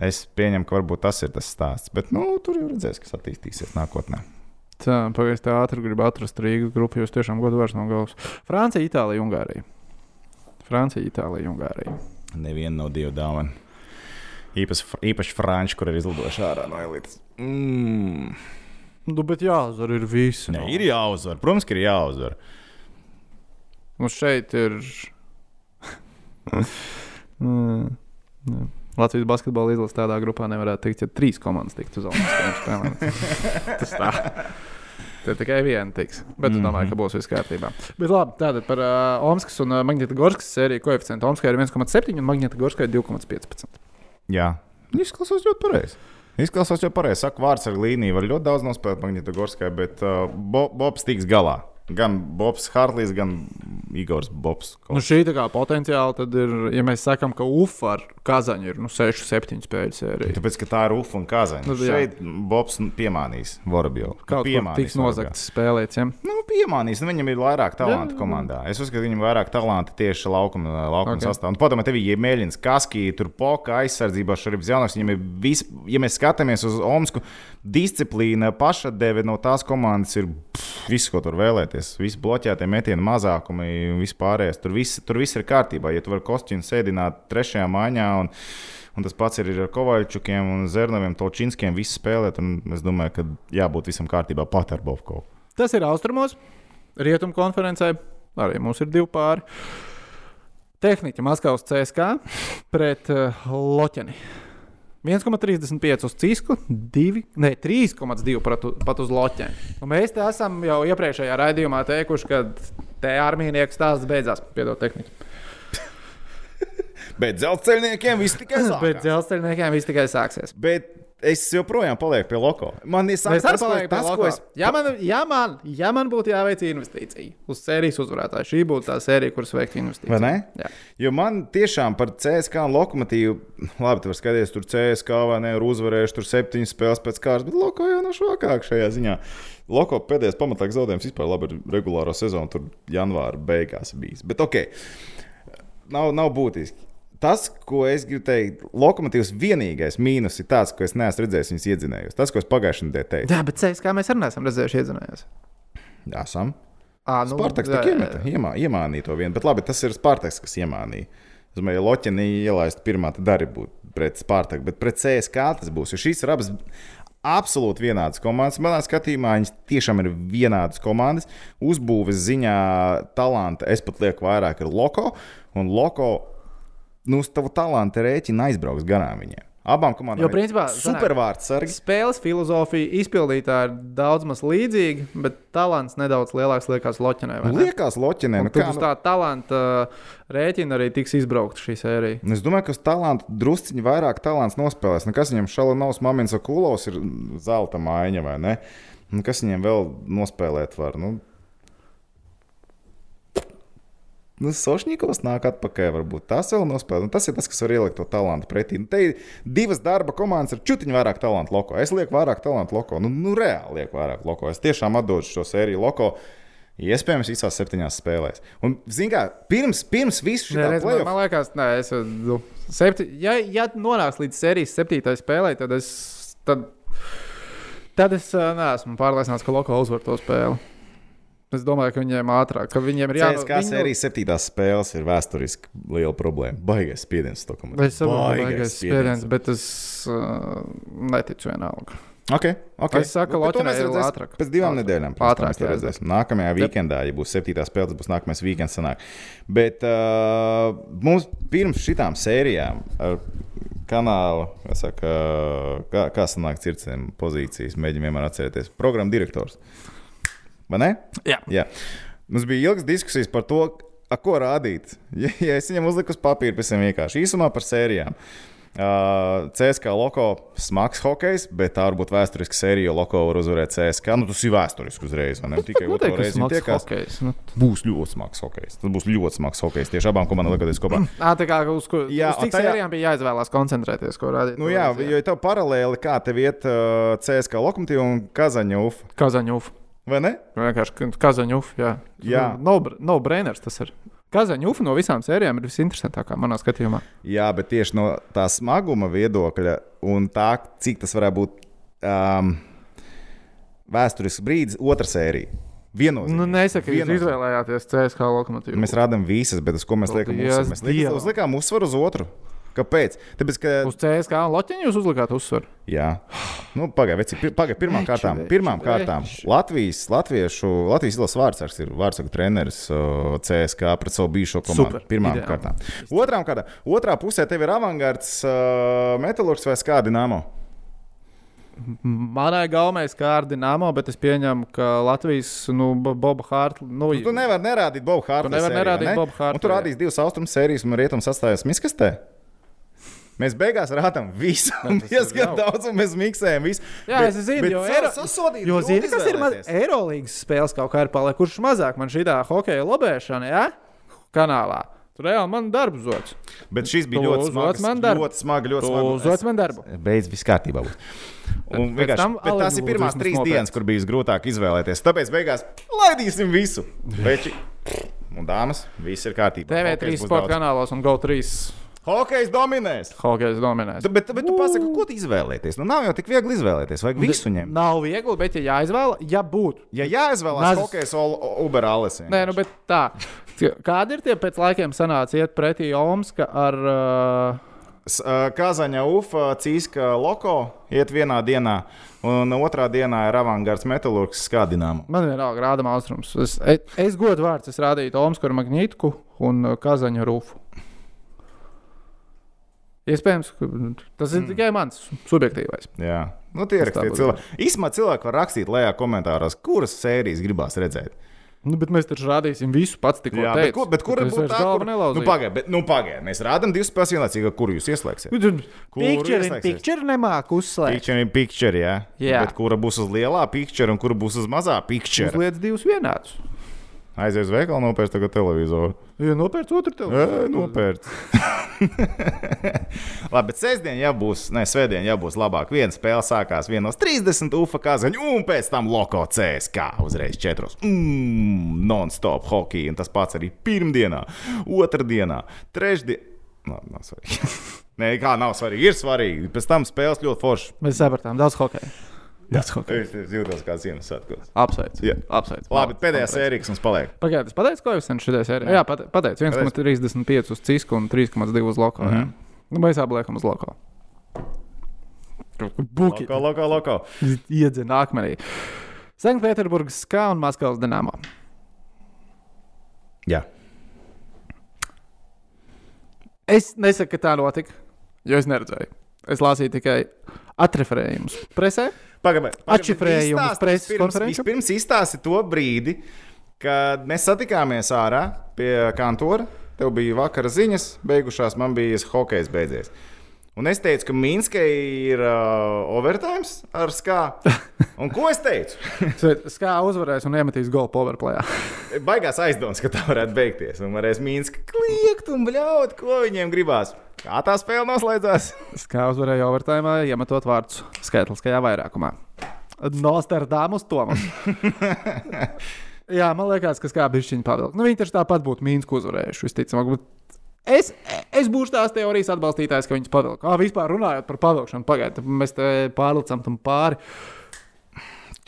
Speaker 3: Es pieņemu, ka varbūt tas ir tas stāsts. Bet nu, tur jau redzēs, kas attīstīsies nākotnē.
Speaker 1: Tā, pagaidzi, tā ātri gribu atrast Rīgas grupu, jo es tiešām godu vairs no galvas. Francija, Itālija, Ungārija. Francija, Itālija, Ungārija.
Speaker 3: Neviena no divu dāvanu. Īpaši, fr- īpaši Frančija, kur ir izlidojuši ārā no elites. Mm.
Speaker 1: Nu, bet jāuzvar ir visi.
Speaker 3: Ne,
Speaker 1: nu.
Speaker 3: ir jāuzvar. Protams, ka ir jāuzvar.
Speaker 1: Mums šeit ir. (laughs) Mm, jā. Latvijas basketbola izlases tādā grupā nevarētu teikt, ja trīs komandas tiktu uz Olimpiskajām spēlēm. Tas tā. Tur tikai viena tiks. Bet es domāju, ka būs viss kārtībā. Mhm. Bet labi, tātad par uh, Omaskas un uh, Magnēta Gorskas sēriju koeficientu. Omaskai ir 1,7 un Magnēta Gorskai 2,15.
Speaker 3: Jā, izklausās ļoti pareizi. Izklausās ļoti pareizi. Saku, vārds ar līniju var ļoti daudz nospēlēt Magnitogorskai, bet uh, Bo Bobs tiks galā. Gan Bobs Hartlīs, gan Igors Bobs.
Speaker 1: Nu, šī tā kā potenciāli tad ir, ja mēs sakām, ka UF ar Kazaņa ir nu, 6, 7 spēļu sērija.
Speaker 3: Tāpēc, ka tā ir UFO un Kazanis.
Speaker 1: Nu,
Speaker 3: Nu,
Speaker 1: jā.
Speaker 3: šeit Bobs nu, piemānīs Nu, Vorbiju.
Speaker 1: Kaut kā tiks nozagts spēlēt. Ja?
Speaker 3: Nu, piemānīs, nu, viņam ir vairāk talantu komandā. Es uzskatu, ka viņam ir vairāk talantu tieši laukuma, laukuma
Speaker 1: Ok.
Speaker 3: okay. sastāvā. Nu, Padomā, tev ir Mēlins, Kaskija, tur Poka, aizsardzībā Šarības Janovs. Viņam ir vis, ja mēs skatāmies uz Omsku, disciplīna, pašadeve no tās komandas ir pff, viss, ko tur vēlēties. Visi bloķētie metieni mazākumi un vispārējais. Tur viss, tur viss ir kārtībā. Ja tu vari kostīnu sēdināt trešajā maiņā. Un, Un tas pats ir ar Kovaļčukiem, un Zernoviem, Tolčinskiem. Visi spēlēt, un es domāju, ka jābūt visam kārtībā pat ar Bobkovu.
Speaker 1: Tas ir austrumos, rietumu konferencē. Arī mums ir divi pāri. Tehniķa Maskavas CSK pret uh, Loķeni. 1,35 uz Cisku, 2, ne, 3,2 pat u- pat uz Loķeni. Un mēs te esam jau iepriekšējā raidījumā teikuši, ka te armijnieku stāsts beidzās. Piedod, tehniķi.
Speaker 3: Bet dzelzceļniekiem viss
Speaker 1: (laughs)
Speaker 3: tikai
Speaker 1: Bet dzelzceļniekiem viss tikai sāksies.
Speaker 3: Bet es joprojām palieku pie loko. Man ir
Speaker 1: Es arī
Speaker 3: sākums tas, ko,
Speaker 1: palieku pie
Speaker 3: tas, ko
Speaker 1: lokā.
Speaker 3: es.
Speaker 1: Ja man, ja, man, ja man būtu jāveic investīcija uz sērijas uzvarētāju, šī būtu tā sērija, kuras veikt investīciju.
Speaker 3: Vai ne?
Speaker 1: Jā.
Speaker 3: Jo man tiešām par CSK un lokomotīvu, labi, tur skaties, tur CSK vai ne, ir uzvarējuši tur septiņas spēles pēc kārtas, bet loko jau nav švakāk šajā ziņā. Loko pēdējais pamatīgs zaudējums vispār labi ir regulāro sezonu, tur janvāra beigās bijis. Bet ok, nav, nav būtiski. Tas, ko es gribu teikt, lokomotīvs vienīgais mīnus ir tas, ko es neesmu redzējis viņas iedzinējus. Tas, ko es pagājušajā nedēļā teicu,
Speaker 1: Jā, bet CSK mēs arī neesam redzējuši iedzinājās.
Speaker 3: esam.
Speaker 1: Ah, nu,
Speaker 3: Spartaks
Speaker 1: jā,
Speaker 3: tikai
Speaker 1: jā,
Speaker 3: iemeta,
Speaker 1: jā.
Speaker 3: iemā, iemānīja to vienu, bet labi, tas ir Spartaks, kas iemānīja. Es domāju, ja Loķina ielaist pirmā, tad arī būtu pret Spartaku, bet pret CSK tas būs. Jo šīs ir abas absolūti vienādas komandas. Manā skatījumā viņas tiešām ir vienādas komandas. Uzbūves ziņā talanta es pat lieku vairāk ar Loko, un Loko nu, uz tavu talantu rēķinu aizbrauks garām viņiem. Abām komandām
Speaker 1: Jo, principā,
Speaker 3: ir supervārds sargi.
Speaker 1: Spēles filozofija izpildītā ir daudz maz līdzīga, bet talants nedaudz lielāks liekas Loķinai. vai
Speaker 3: Nu,
Speaker 1: ne?
Speaker 3: Liekas, Loķinē,
Speaker 1: Un
Speaker 3: nu,
Speaker 1: tur
Speaker 3: kā,
Speaker 1: uz
Speaker 3: nu,
Speaker 1: tā talanta uh, rēķina arī tiks izbraukta šī sērija.
Speaker 3: Nu, Es domāju, ka uz talantu drusciņā vairāk talants nospēlēs. Nu, kas viņam šādi nav mamins, kulos ir zelta mājiņa vai ne? Nu, kas viņam vēl nospēlēt var? Nu, Nu, Sošņikovs nāk atpakaļ, varbūt tas vēl nospēlē. Nu, tas ir tas, kas var ielikt to talantu pretī. Nu, te ir divas darba komandas ar čutiņu vairāk talantu loko. Es lieku vairāk talantu loko. Nu, nu reāli lieku vairāk loko. Es tiešām atdodu šo sēriju loko. Iespējams, visās septiņās spēlēs. Un, zinām, pirms, pirms
Speaker 1: Nē,
Speaker 3: visu šo
Speaker 1: redz, man, man liekas, nē, es nu, septi, ja, ja nonāks līdz sērijas septītajai spēlē, tad es. Tad, tad es ā, neesmu pārliecināts, ka Loka uzvar to spēli. Es domāju, ka viņiem ātrāk, ka viņiem ir jābūt
Speaker 3: CSK sērijas septītās spēles ir vēsturiski liela problēma. Baigais spiediens to komandai.
Speaker 1: Es saprotu, ka tas ir spiediens, bet es uh, neticu vienalga.
Speaker 3: Okay, okay.
Speaker 1: Es saku,
Speaker 3: Nu, Bet
Speaker 1: Lotinai
Speaker 3: to mēs
Speaker 1: ir
Speaker 3: redzēsim
Speaker 1: ātrāk.
Speaker 3: Pēc divām
Speaker 1: Ātrāk.
Speaker 3: nedēļām.
Speaker 1: Ātrāk,
Speaker 3: Protams, ātrāk,
Speaker 1: jā.
Speaker 3: redzēsim. Nākamajā
Speaker 1: Jep.
Speaker 3: weekendā, ja būs septītā spēle, tas būs nākamais weekends. Sanāk. Bet uh, mums pirms šitām sērijām ar kanālu, kā saka, kā, kā sanāk cirksim pozīcijas, mēģinām vienmēr atcerēties. Programma direktors. Vai ne?
Speaker 1: Jā.
Speaker 3: Jā. Mums bija ilgas diskusijas par to, a, ko rādīt. (laughs) Ja, ja es viņam uzliku uz papīra, pavisam vienkārši īsumā par sērijām. Uh, CSK loko smags hokejs, bet tā varbūt vēsturiski sērija, jo loko var uzvarēt CSK. Nu, tas ir vēsturiski uzreiz, vai ne? Tikai
Speaker 1: Nu,
Speaker 3: otru
Speaker 1: Noteikti, ka
Speaker 3: reizi viņi
Speaker 1: smags
Speaker 3: tiekās.
Speaker 1: hokejs. Nu,
Speaker 3: Būs ļoti smags hokejs. Tas būs ļoti smags hokejs tieši abām komandām liekot kopā.
Speaker 1: Ā, tā kā uz, kur, jā,
Speaker 3: Jā,
Speaker 1: uz cik
Speaker 3: un tajā-
Speaker 1: sērijām bija jāizvēlās koncentrēties, ko radīt.
Speaker 3: Nu, jā, jo tev paralēli kā tev iet uh, CSK lokomotīva un Kazaņa UF,
Speaker 1: Kazaņuf.
Speaker 3: vai ne?
Speaker 1: Vienkārši Kazaņuf, jā.
Speaker 3: Jā.
Speaker 1: Nu, No, br- no brainers tas ir. Kazaņuf no visām sērijām ir visinteresantākā manā skatījumā.
Speaker 3: Jā, bet tieši no tā smaguma viedokļa un tā, cik tas varētu būt um, vēsturisks brīdis, otra sērija. Viennozīmīgi.
Speaker 1: Nu, nesaka, ka jūs
Speaker 3: Viennozīmīgi.
Speaker 1: izvēlējāties CSK lokomotīvu.
Speaker 3: Mēs rādām visas, bet uz ko mēs liekam
Speaker 1: Paldies
Speaker 3: uzsvaru? Mēs liekam,
Speaker 1: Dievam.
Speaker 3: uzliekam uzsvaru uz otru. Kāpēc? Tāpēc, ka.
Speaker 1: Uz CSK un Loķiņu jūs uzlikāt uzsvaru.
Speaker 3: Jā, nu, pagaidiet, pagaid, pirmām kārtām,
Speaker 1: veči,
Speaker 3: pirmām kārtām
Speaker 1: veči.
Speaker 3: Latvijas, Latviešu, Latvijas ilas vārdsargs ir vārdsargs treneris uh, CSK pret savu bijušo komandu.
Speaker 1: Super,
Speaker 3: Pirmām
Speaker 1: ideāli.
Speaker 3: kārtām. Otrām kārtām, otrā pusē tev ir avangards, uh, metālurgs vai skādi namo.
Speaker 1: Manai galvā ir kārdināmo, bet es pieņemu, ka Latvijas nu, Bo- Boba Hārta. Nu,
Speaker 3: Tu nevari nerādīt Bobu Hārtu.
Speaker 1: Tu nevari nerādīt Bobu Hartu,
Speaker 3: Tur
Speaker 1: jā.
Speaker 3: rādīs divas austrumu sērijas, un rietumu sastājas miskastē. Mēs beigās rādām visu,
Speaker 1: tas ir
Speaker 3: diezgan
Speaker 1: jauki.
Speaker 3: daudz, un mēs miksējam visu.
Speaker 1: Jā, es zinu, jo Eiro-
Speaker 3: sasodīt,
Speaker 1: Jo, zini, kas ir maz... Eirolandes spēles, kaut kā ir palikušas mazāk. Man šī tā hokeja lobēšana, ja? Kanālā. Tu reāli man darbu zots.
Speaker 3: Bet šis bija
Speaker 1: Tu
Speaker 3: ļoti
Speaker 1: uzvāc
Speaker 3: smags.
Speaker 1: man darbu.
Speaker 3: Ļoti smagi, ļoti
Speaker 1: Tu
Speaker 3: smagi.
Speaker 1: zots man darbu.
Speaker 3: Beidz, viss kārtībā. būs. Un
Speaker 1: Pēc
Speaker 3: vienkārši
Speaker 1: tam
Speaker 3: bet tās
Speaker 1: alerģija
Speaker 3: ir pirmās
Speaker 1: būtu
Speaker 3: trīs
Speaker 1: vismaz
Speaker 3: dienas, kur bija grūtāk izvēlēties. Tāpēc beigās laidīsim visu. Veči. Un dāmas, viss ir kārtībā.
Speaker 1: TV3 sporta kanālos un GO3
Speaker 3: Hokejs dominēs!
Speaker 1: hokejs dominēs.
Speaker 3: Tu- Bet, bet tu pasaki, ko tu izvēlēties? Nu, nav jau tik viegli izvēlēties.
Speaker 1: Nu,
Speaker 3: Vajag visu ņemt.
Speaker 1: Nav viegli, bet ja jāizvēlas, ja būtu.
Speaker 3: Ja jāizvēlās,
Speaker 1: Naz-
Speaker 3: tad hokejs Uber Alice.
Speaker 1: Nē, nu, bet tā. Kādi ir tie pēc laikiem sanāca iet pretī Omska ar. Uh,
Speaker 3: S- ā, Kazaņa Ufa, Cīska Loko iet vienā dienā, un otrā dienā ir avangards metālurgs skādinām.
Speaker 1: man vienalga rādām austrums. Es, es, es godu vārds, es rādīju Omsku ar Magnītku un ā, Kazaņu Rūfu. Iespējams, ka tas ir mm. tikai mans subjektīvais.
Speaker 3: Jā, nu tie ir
Speaker 1: Tas tā
Speaker 3: rakstīti
Speaker 1: būtu.
Speaker 3: cilvēki. Īsumā cilvēki var rakstīt lejā komentāros, kuras sērijas gribās redzēt.
Speaker 1: Nu, bet mēs taču rādīsim visu pats, tikko
Speaker 3: Jā, bet,
Speaker 1: teicu.
Speaker 3: ko, bet kura
Speaker 1: Es
Speaker 3: būtu
Speaker 1: vairs
Speaker 3: tā,
Speaker 1: galvu
Speaker 3: kur
Speaker 1: nelauzīju.
Speaker 3: Nu, pagaid, bet, nu, pagaid, mēs rādām divas spēles vienlaicīgi, kur jūs ieslēgsiet. Kuru
Speaker 1: Picture in
Speaker 3: ieslēgsies?
Speaker 1: picture nemāku uzslēgt.
Speaker 3: Picture ir picture, jā.
Speaker 1: Jā.
Speaker 3: Bet kura būs uz lielā picture un kura būs uz mazā picture?
Speaker 1: Uzliec divus vienādus.
Speaker 3: Aizies uz veikalu, nopērts tagad televizoru.
Speaker 1: Jo nopērts otru tev.
Speaker 3: Ē, Nopērts. (laughs) Labi, bet sestdien jau būs, ne, svētdien jau būs labāk. Viena spēle sākās 1.30 UFO kazaņu, un pēc tam Loko CSK uzreiz 4. Mmm, non-stop hockey, un tas pats arī pirmdienā, otrdienā, trešdienā. Labi, nav svarīgi. (laughs) Nē, kā nav svarīgi, ir svarīgi. Pēc tam spēles ļoti forši.
Speaker 1: Mēs sapratām, daudz hokeja. Daudz hokeja.
Speaker 3: Es es jūtos kā Ziemassvētkos.
Speaker 1: Apsveicu.
Speaker 3: Jā.
Speaker 1: Apsveicu.
Speaker 3: Labi, pēdējā sērija, kas mums paliek.
Speaker 1: Pagaidiet, es pateicu, ko jau sen šodien sērijā. Jā, pate- pateicu. 1,35 uz cisku un 3,2 uz loko. Mm -hmm. Nu, mēs apliekam uz loko. Buki.
Speaker 3: Loko, loko, loko.
Speaker 1: Iedzina akmenī. Sanktpēterburgas skā un Maskavas dinamo.
Speaker 3: Jā.
Speaker 1: Es nesaku, ka tā notika, jo es neredzēju. Es lasīju tikai atreferējumus (laughs) presē.
Speaker 3: Pagaidām,
Speaker 1: Atšifrējumus preses konferenču?
Speaker 3: Pirms izstāsti to brīdi, kad mēs satikāmies ārā pie kantora. Tev bija vakara ziņas, beigušās, man bija hockey beidzies. Un es teicu, ka Mīnskai ir uh, overtime ar
Speaker 1: (laughs)
Speaker 3: skābi. Un ko es teicu?
Speaker 1: Skā uzvarēs un iemetīs golfu overplayā.
Speaker 3: Baigās aizdomas, ka tā varētu beigties. Un varēs Mīnska kliegt un bļaut, ko viņiem gribās. Kā tā spēle noslēdzās?
Speaker 1: Kā uzvarēja overtājumā, iemetot vārdus skaitliskajā vairākumā. Nostardāmus (laughs) Tomas. Jā, man liekas, ka kā bišķiņa pavilka. Nu, viņi taču tāpat būtu Mīnsku uzvarējuši, visticamāk. Bet es, es būšu tās teorijas atbalstītājs, ka viņas pavilka. Kā vispār runājot par pavilkšanu, pagaidiet, mēs te pārlicam tam pāri.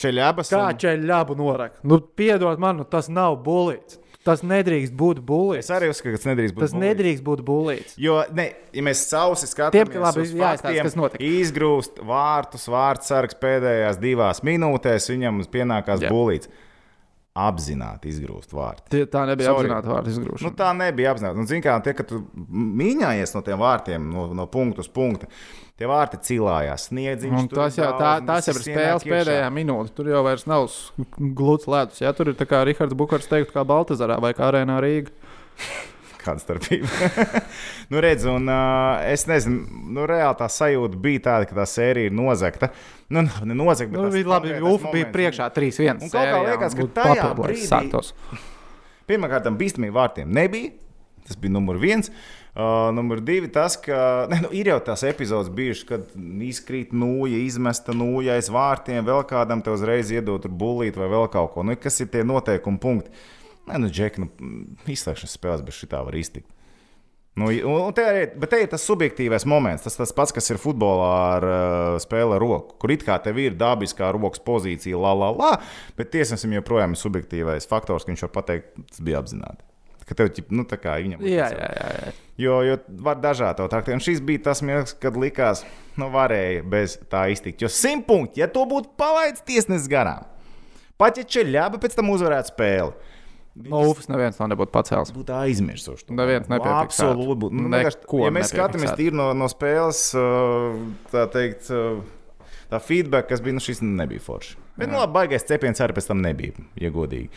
Speaker 3: Čeļabas.
Speaker 1: Kā
Speaker 3: un-
Speaker 1: ķēļabu noraka? Nu, piedod man, nu, tas nav bulīts. Tas nedrīkst būt
Speaker 3: Es
Speaker 1: bulīts.
Speaker 3: arī uzskatu, ka tas nedrīkst būt.
Speaker 1: Tas
Speaker 3: bullying.
Speaker 1: nedrīkst būt bulīts.
Speaker 3: Jo, ne, ja mēs sausi
Speaker 1: Tiem,
Speaker 3: skatāmies,
Speaker 1: ka labi,
Speaker 3: uz
Speaker 1: jāizstāsta,
Speaker 3: faktiem,
Speaker 1: kas notika.
Speaker 3: Izgrūst vārtus, vārdsargs pēdējās divās minūtēs, viņam uz pienākās
Speaker 1: Jā.
Speaker 3: būlīts. Apzināti izgrūst vārtus.
Speaker 1: Tie- Tā nebija
Speaker 3: Sorry.
Speaker 1: apzināta vārdu izgrūšana.
Speaker 3: Nu, tā nebija apzināta. Nu, Zinām, kā tie, kad tu mīnājies no tiem vārtiem, no, no punkta uz punktu, tie vārti cilājās, sniedziņš.
Speaker 1: Un tas jau, tā, tas jau ir spēles pēdējā minūte. Tur jau vairs nav s- gluds ledus. Ja? Tur ir tā kā Rahards Bukārs teikt, kā Baltazarā vai kā Arēnā Rīgā.
Speaker 3: Kāda starpība? (laughs) nu, redz, un uh, es nezinu, nu, reāli tā sajūta bija tāda, ka tā sērija ir nozagta. Nu, ne nozagta, bet
Speaker 1: Nu,
Speaker 3: tas
Speaker 1: bija labi,
Speaker 3: konkrētais
Speaker 1: Ufa bija
Speaker 3: moments.
Speaker 1: priekšā 3-1.
Speaker 3: Un kaut kā liekas, ka tajā brīdī-
Speaker 1: sāktos.
Speaker 3: Pirmkārt, tam bīstamiem vārtiem nebija. Tas bija numurs viens. Uh, numur divi, tas, ka ne, nu, ir jau tās epizodes bijušas, kad izkrīt nūja, izmesta nūja aiz vārtiem, vēl kādam te uzreiz iedot buļbuļsaktu vai vēl kaut ko. Nu, kas ir tie noteikumi punkti? Nē, nu, Džek, nu, mm, izslēgšanas spēles bez šitā var iztikt. Nu, i- un, un te, arī, bet te ir tas subjektīvais moments. Tas tas pats, kas ir futbolā ar uh, spēli ar roku, kur it kā tev ir dabiskā rokas pozīcija, la, la, la, bet tiesnesim joprojām ir subjektīvais faktors, ka viņš var pateikt, tas bija apzināti. Ka tev, ķip, nu, tā kā viņam
Speaker 1: Jā,
Speaker 3: likās,
Speaker 1: jā, jā. jā.
Speaker 3: Jo, jo var dažādi to traktēt. Un šis bija tas mirklis, kad likās, nu, varēja bez tā iztikt. Jo simt punkti, ja to būtu palaidis tiesnesis garām, pat ja ceļā, bet pēc tam uzvarētu spēli.
Speaker 1: No Ufas neviens to nebūtu pacēlis.
Speaker 3: Būtu aizmirsuši. to.
Speaker 1: Nu, Neviens nepiefiksētu.
Speaker 3: Absolūti. būtu. Nu,
Speaker 1: Neko
Speaker 3: vienkārši, ja mēs
Speaker 1: nepiefiksētu.
Speaker 3: skatāmies tīri no, no spēles, uh, tā teikt, uh, tā feedback, kas bija, nu, šis nebija forši. Bet, nu, labi, baigais cepiens arī pēc tam nebija, ja godīgi.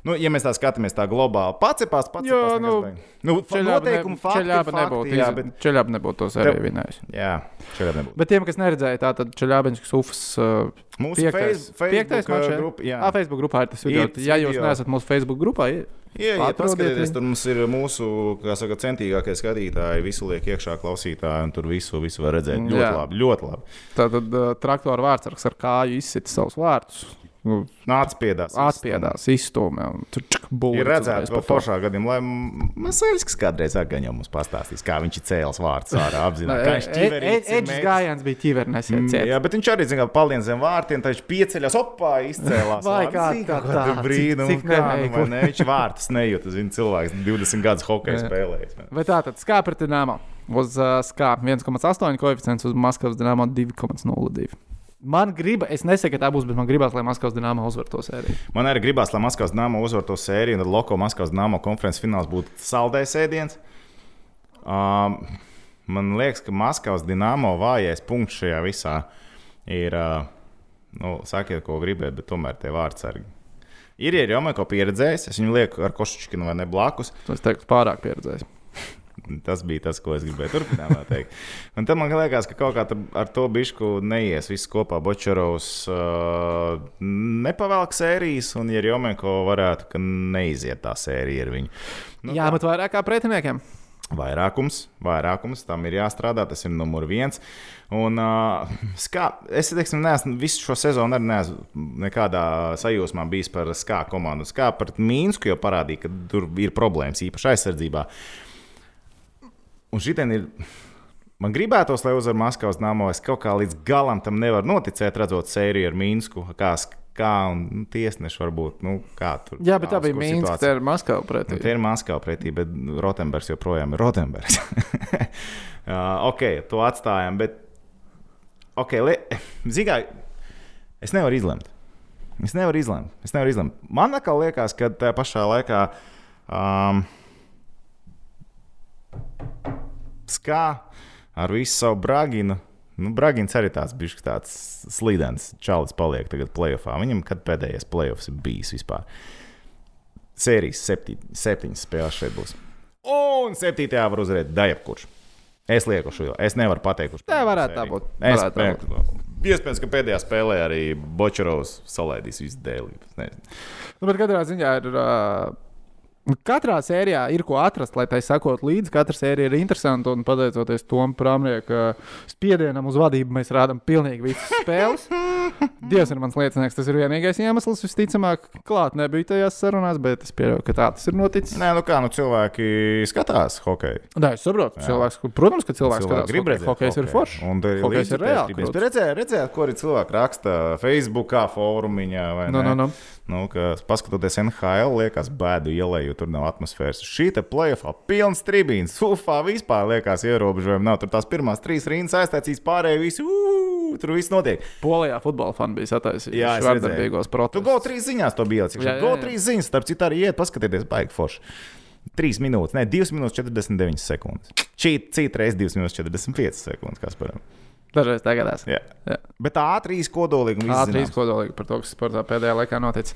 Speaker 3: Nu, ja mēs tā skatāmies, tā globāli pacēpās, pats
Speaker 1: Jo,
Speaker 3: nu,
Speaker 1: nu,
Speaker 3: nu, fa- noteikumi fakti, ir
Speaker 1: Čeļāba
Speaker 3: fakti, jā, bet,
Speaker 1: nebūtu. Čeļāba nebūtu tos arī
Speaker 3: Tev-
Speaker 1: vinējis.
Speaker 3: jā, šeit nebūtu.
Speaker 1: Bet tiem, kas neredzēja, tā tad Čeļābiņš Ufas. uh,
Speaker 3: Mūsu
Speaker 1: piektais-
Speaker 3: Face- Facebook,
Speaker 1: piektais mačs,
Speaker 3: uh,
Speaker 1: jā?
Speaker 3: grupa, jā.
Speaker 1: Ā, Facebook grupā ir tas
Speaker 3: Ir
Speaker 1: video.
Speaker 3: tas
Speaker 1: Ja jūs
Speaker 3: video.
Speaker 1: neesat mūsu Facebook grupā, ie-
Speaker 3: Jā, ja
Speaker 1: Atrodiet
Speaker 3: paskatieties,
Speaker 1: viņu.
Speaker 3: tur mums ir mūsu kā saka, centīgākie skatītāji. Visu liek iekšā klausītāji, un tur visu, visu var redzēt. Ļoti
Speaker 1: Jā.
Speaker 3: labi, ļoti labi.
Speaker 1: Tātad uh, traktora vārdsargs ar kāju izsita savus Nu, vārdus.
Speaker 3: Nāc piedās.
Speaker 1: Atspiedās, izstūmē un tur čak būvēja.
Speaker 3: Nu, Ir redzēts, ka pašā gadījumā Masēļskis kādreiz arī mums pastāstīs, kā viņš ir cēlis vārds
Speaker 1: (laughs)
Speaker 3: ārā apzināti. Kā
Speaker 1: e-
Speaker 3: viņš ķiverīts ir
Speaker 1: Edžas
Speaker 3: mē-
Speaker 1: gājiens bija ķivernes.
Speaker 3: Mm, Jā, bet viņš arī zina, ka palien zem vārtiem, tad viņš pieceļās, opā, izcēlās.
Speaker 1: Vai
Speaker 3: vārdu.
Speaker 1: kā
Speaker 3: Zini,
Speaker 1: tā,
Speaker 3: kādu
Speaker 1: tā, cik-
Speaker 3: brīnumu,
Speaker 1: cik
Speaker 3: kā nu, vai
Speaker 1: neveikli.
Speaker 3: ne? Viņš vārtus nejūt, zina, cilvēks 20 gadus hokeja spēlējis. vai ne?
Speaker 1: Bet tā tad skāpja pret dīnāmu. Uz uh, skāpja 1,8 koeficients, uz Maskavas dīnāmu 2,02. Man gribas, es nesaku, ka tā būs, bet man gribās, lai Maskavas dīnāma uzvar to sēriju.
Speaker 3: Man arī gribās, lai Maskavas dāmas uzvarētu to sēriju, un tad Loko Maskavas dāmas konferences fināls būtu saldējs ēdiens. Um, man liekas, ka Maskavas dīnāmo vājais punkts šajā visā ir. Uh, nu, sakiet, ko gribēt, bet tomēr tie vārdsargi. Ir jau Jomeko pieredzējis, es viņu lieku ar Košučkinu vai ne blakus.
Speaker 1: To es teiktu, pārāk pieredzējis.
Speaker 3: Tas bija tas, ko es gribēju turpināt. teikt. Un tad man liekas, ka kaut kā tam- ar to bišu neies viss kopā. Bočerovs uh, nepavēlk sērijas, un ja Jomeko varētu, ka neiziet tā sērija ar viņu.
Speaker 1: Nu, Jā, bet vairāk kā pretiniekiem.
Speaker 3: Vairākums, vairākums, tam ir jāstrādā, tas ir numur viens. Un, uh, skā, es teiksim, neesmu visu šo sezonu arī neesmu nekādā sajūsmā bijis par SKA komandu. SKA pret Mīnsku jau parādīja, ka tur ir problēmas īpaši aizsardzībā. Un šitien ir. Man gribētos, lai uzvar Maskavas nama. Es kaut kā līdz galam tam nevaru noticēt, redzot sēriju ar Mīnsku. Kā, kā un nu, tiesneši varbūt. Nu, kā tur,
Speaker 1: Jā, bet tā
Speaker 3: uz
Speaker 1: bija
Speaker 3: ko
Speaker 1: Mīnska,
Speaker 3: situācija.
Speaker 1: tā ir Maskava
Speaker 3: Nu,
Speaker 1: pretī.
Speaker 3: Tie ir Maskavas pretī, bet Rotenbergs joprojām ir Rotenbergs. (laughs) uh, ok, to atstājam. Bet, ok, Zigā, es nevaru izlemt. Es nevaru izlemt. Es nevaru izlemt. Man atkal liekas, ka tajā pašā laikā. Um, Skā ar visu savu brāģinu. Nu, Brāģins arī tāds bijis tāds slīdens čalis, paliek tagad playoffā. Viņam kad pēdējais playoffs ir bijis vispār? sērijas septi, septiņas spēles šeit būs. Un septītajā var uzvarēt Dārbkurš. Es lieku šo, es nevaru pateikt, kurš.
Speaker 1: Tā varētu
Speaker 3: sēriju.
Speaker 1: tā būt,
Speaker 3: Es
Speaker 1: varētu tā
Speaker 3: domāju, iespējams, ka pēdējā spēlē arī Bočerovs salaidīs visu dēlī. Es nezinu.
Speaker 1: Nu, bet katrā ziņā ir. Uh, Katrā sērijā ir ko atrast, lai tai sakot līdzi. Katra sērija ir interesanta, un pateicoties Tomam Prāmnieka spiedienam uz vadību, mēs rādām pilnīgi visas (laughs) spēles. Dievs ir mans liecinieks, tas ir vienīgais iemesls. Visticamāk, klāt nebija tajās sarunās, bet es pieļauju, ka tā tas ir noticis.
Speaker 3: Nē, nu kā, nu cilvēki skatās hokeju.
Speaker 1: Jā, es saprotu. Cilvēks, kur- protams, ka cilvēks
Speaker 3: Cilvēki
Speaker 1: skatās,
Speaker 3: grib
Speaker 1: hokeju.
Speaker 3: redzēt
Speaker 1: Hokejs ir
Speaker 3: hokeju.
Speaker 1: foršs.
Speaker 3: Un tur ir
Speaker 1: Hokejs ir
Speaker 3: līdzi
Speaker 1: reāli
Speaker 3: pētījums.
Speaker 1: krūts.
Speaker 3: Bet Redzējāt, redzēt, ko arī cilvēki raksta Facebook, fórumiņā. vai
Speaker 1: Nu,
Speaker 3: ne?
Speaker 1: nu, nu.
Speaker 3: Nu, ka, paskatoties NHL, liekas, bēdu ielai, jo tur nav atmosfēras. Šī te plēsoņa, pilns tribīns, ufā vispār liekas, ierobežojumi nav. Tur tās pirmās trīs rindas aiztaisīs, pārējie visi, ū, tur viss notiek.
Speaker 1: Polijā futbola fani bija
Speaker 3: Jā,
Speaker 1: sataisījuši
Speaker 3: es
Speaker 1: vardarbīgos
Speaker 3: Tu go
Speaker 1: protestus.
Speaker 3: trīs ziņās to bija ielicis.
Speaker 1: Jā, jā,
Speaker 3: Go
Speaker 1: jā.
Speaker 3: trīs ziņas, starp citu, arī iet, paskatieties, baigi forši. 3 minūtes, ne 2 minūtes 49 sekundes. Šī citreiz 2 minūtes 45 sekundes, kas param.
Speaker 1: Dažreiz tā gadās.
Speaker 3: Jā.
Speaker 1: Jā.
Speaker 3: Bet tā ātrīs kodolīgi un viss
Speaker 1: Ātrīs
Speaker 3: zināms.
Speaker 1: kodolīgi par to, kas sportā pēdējā laikā noticis.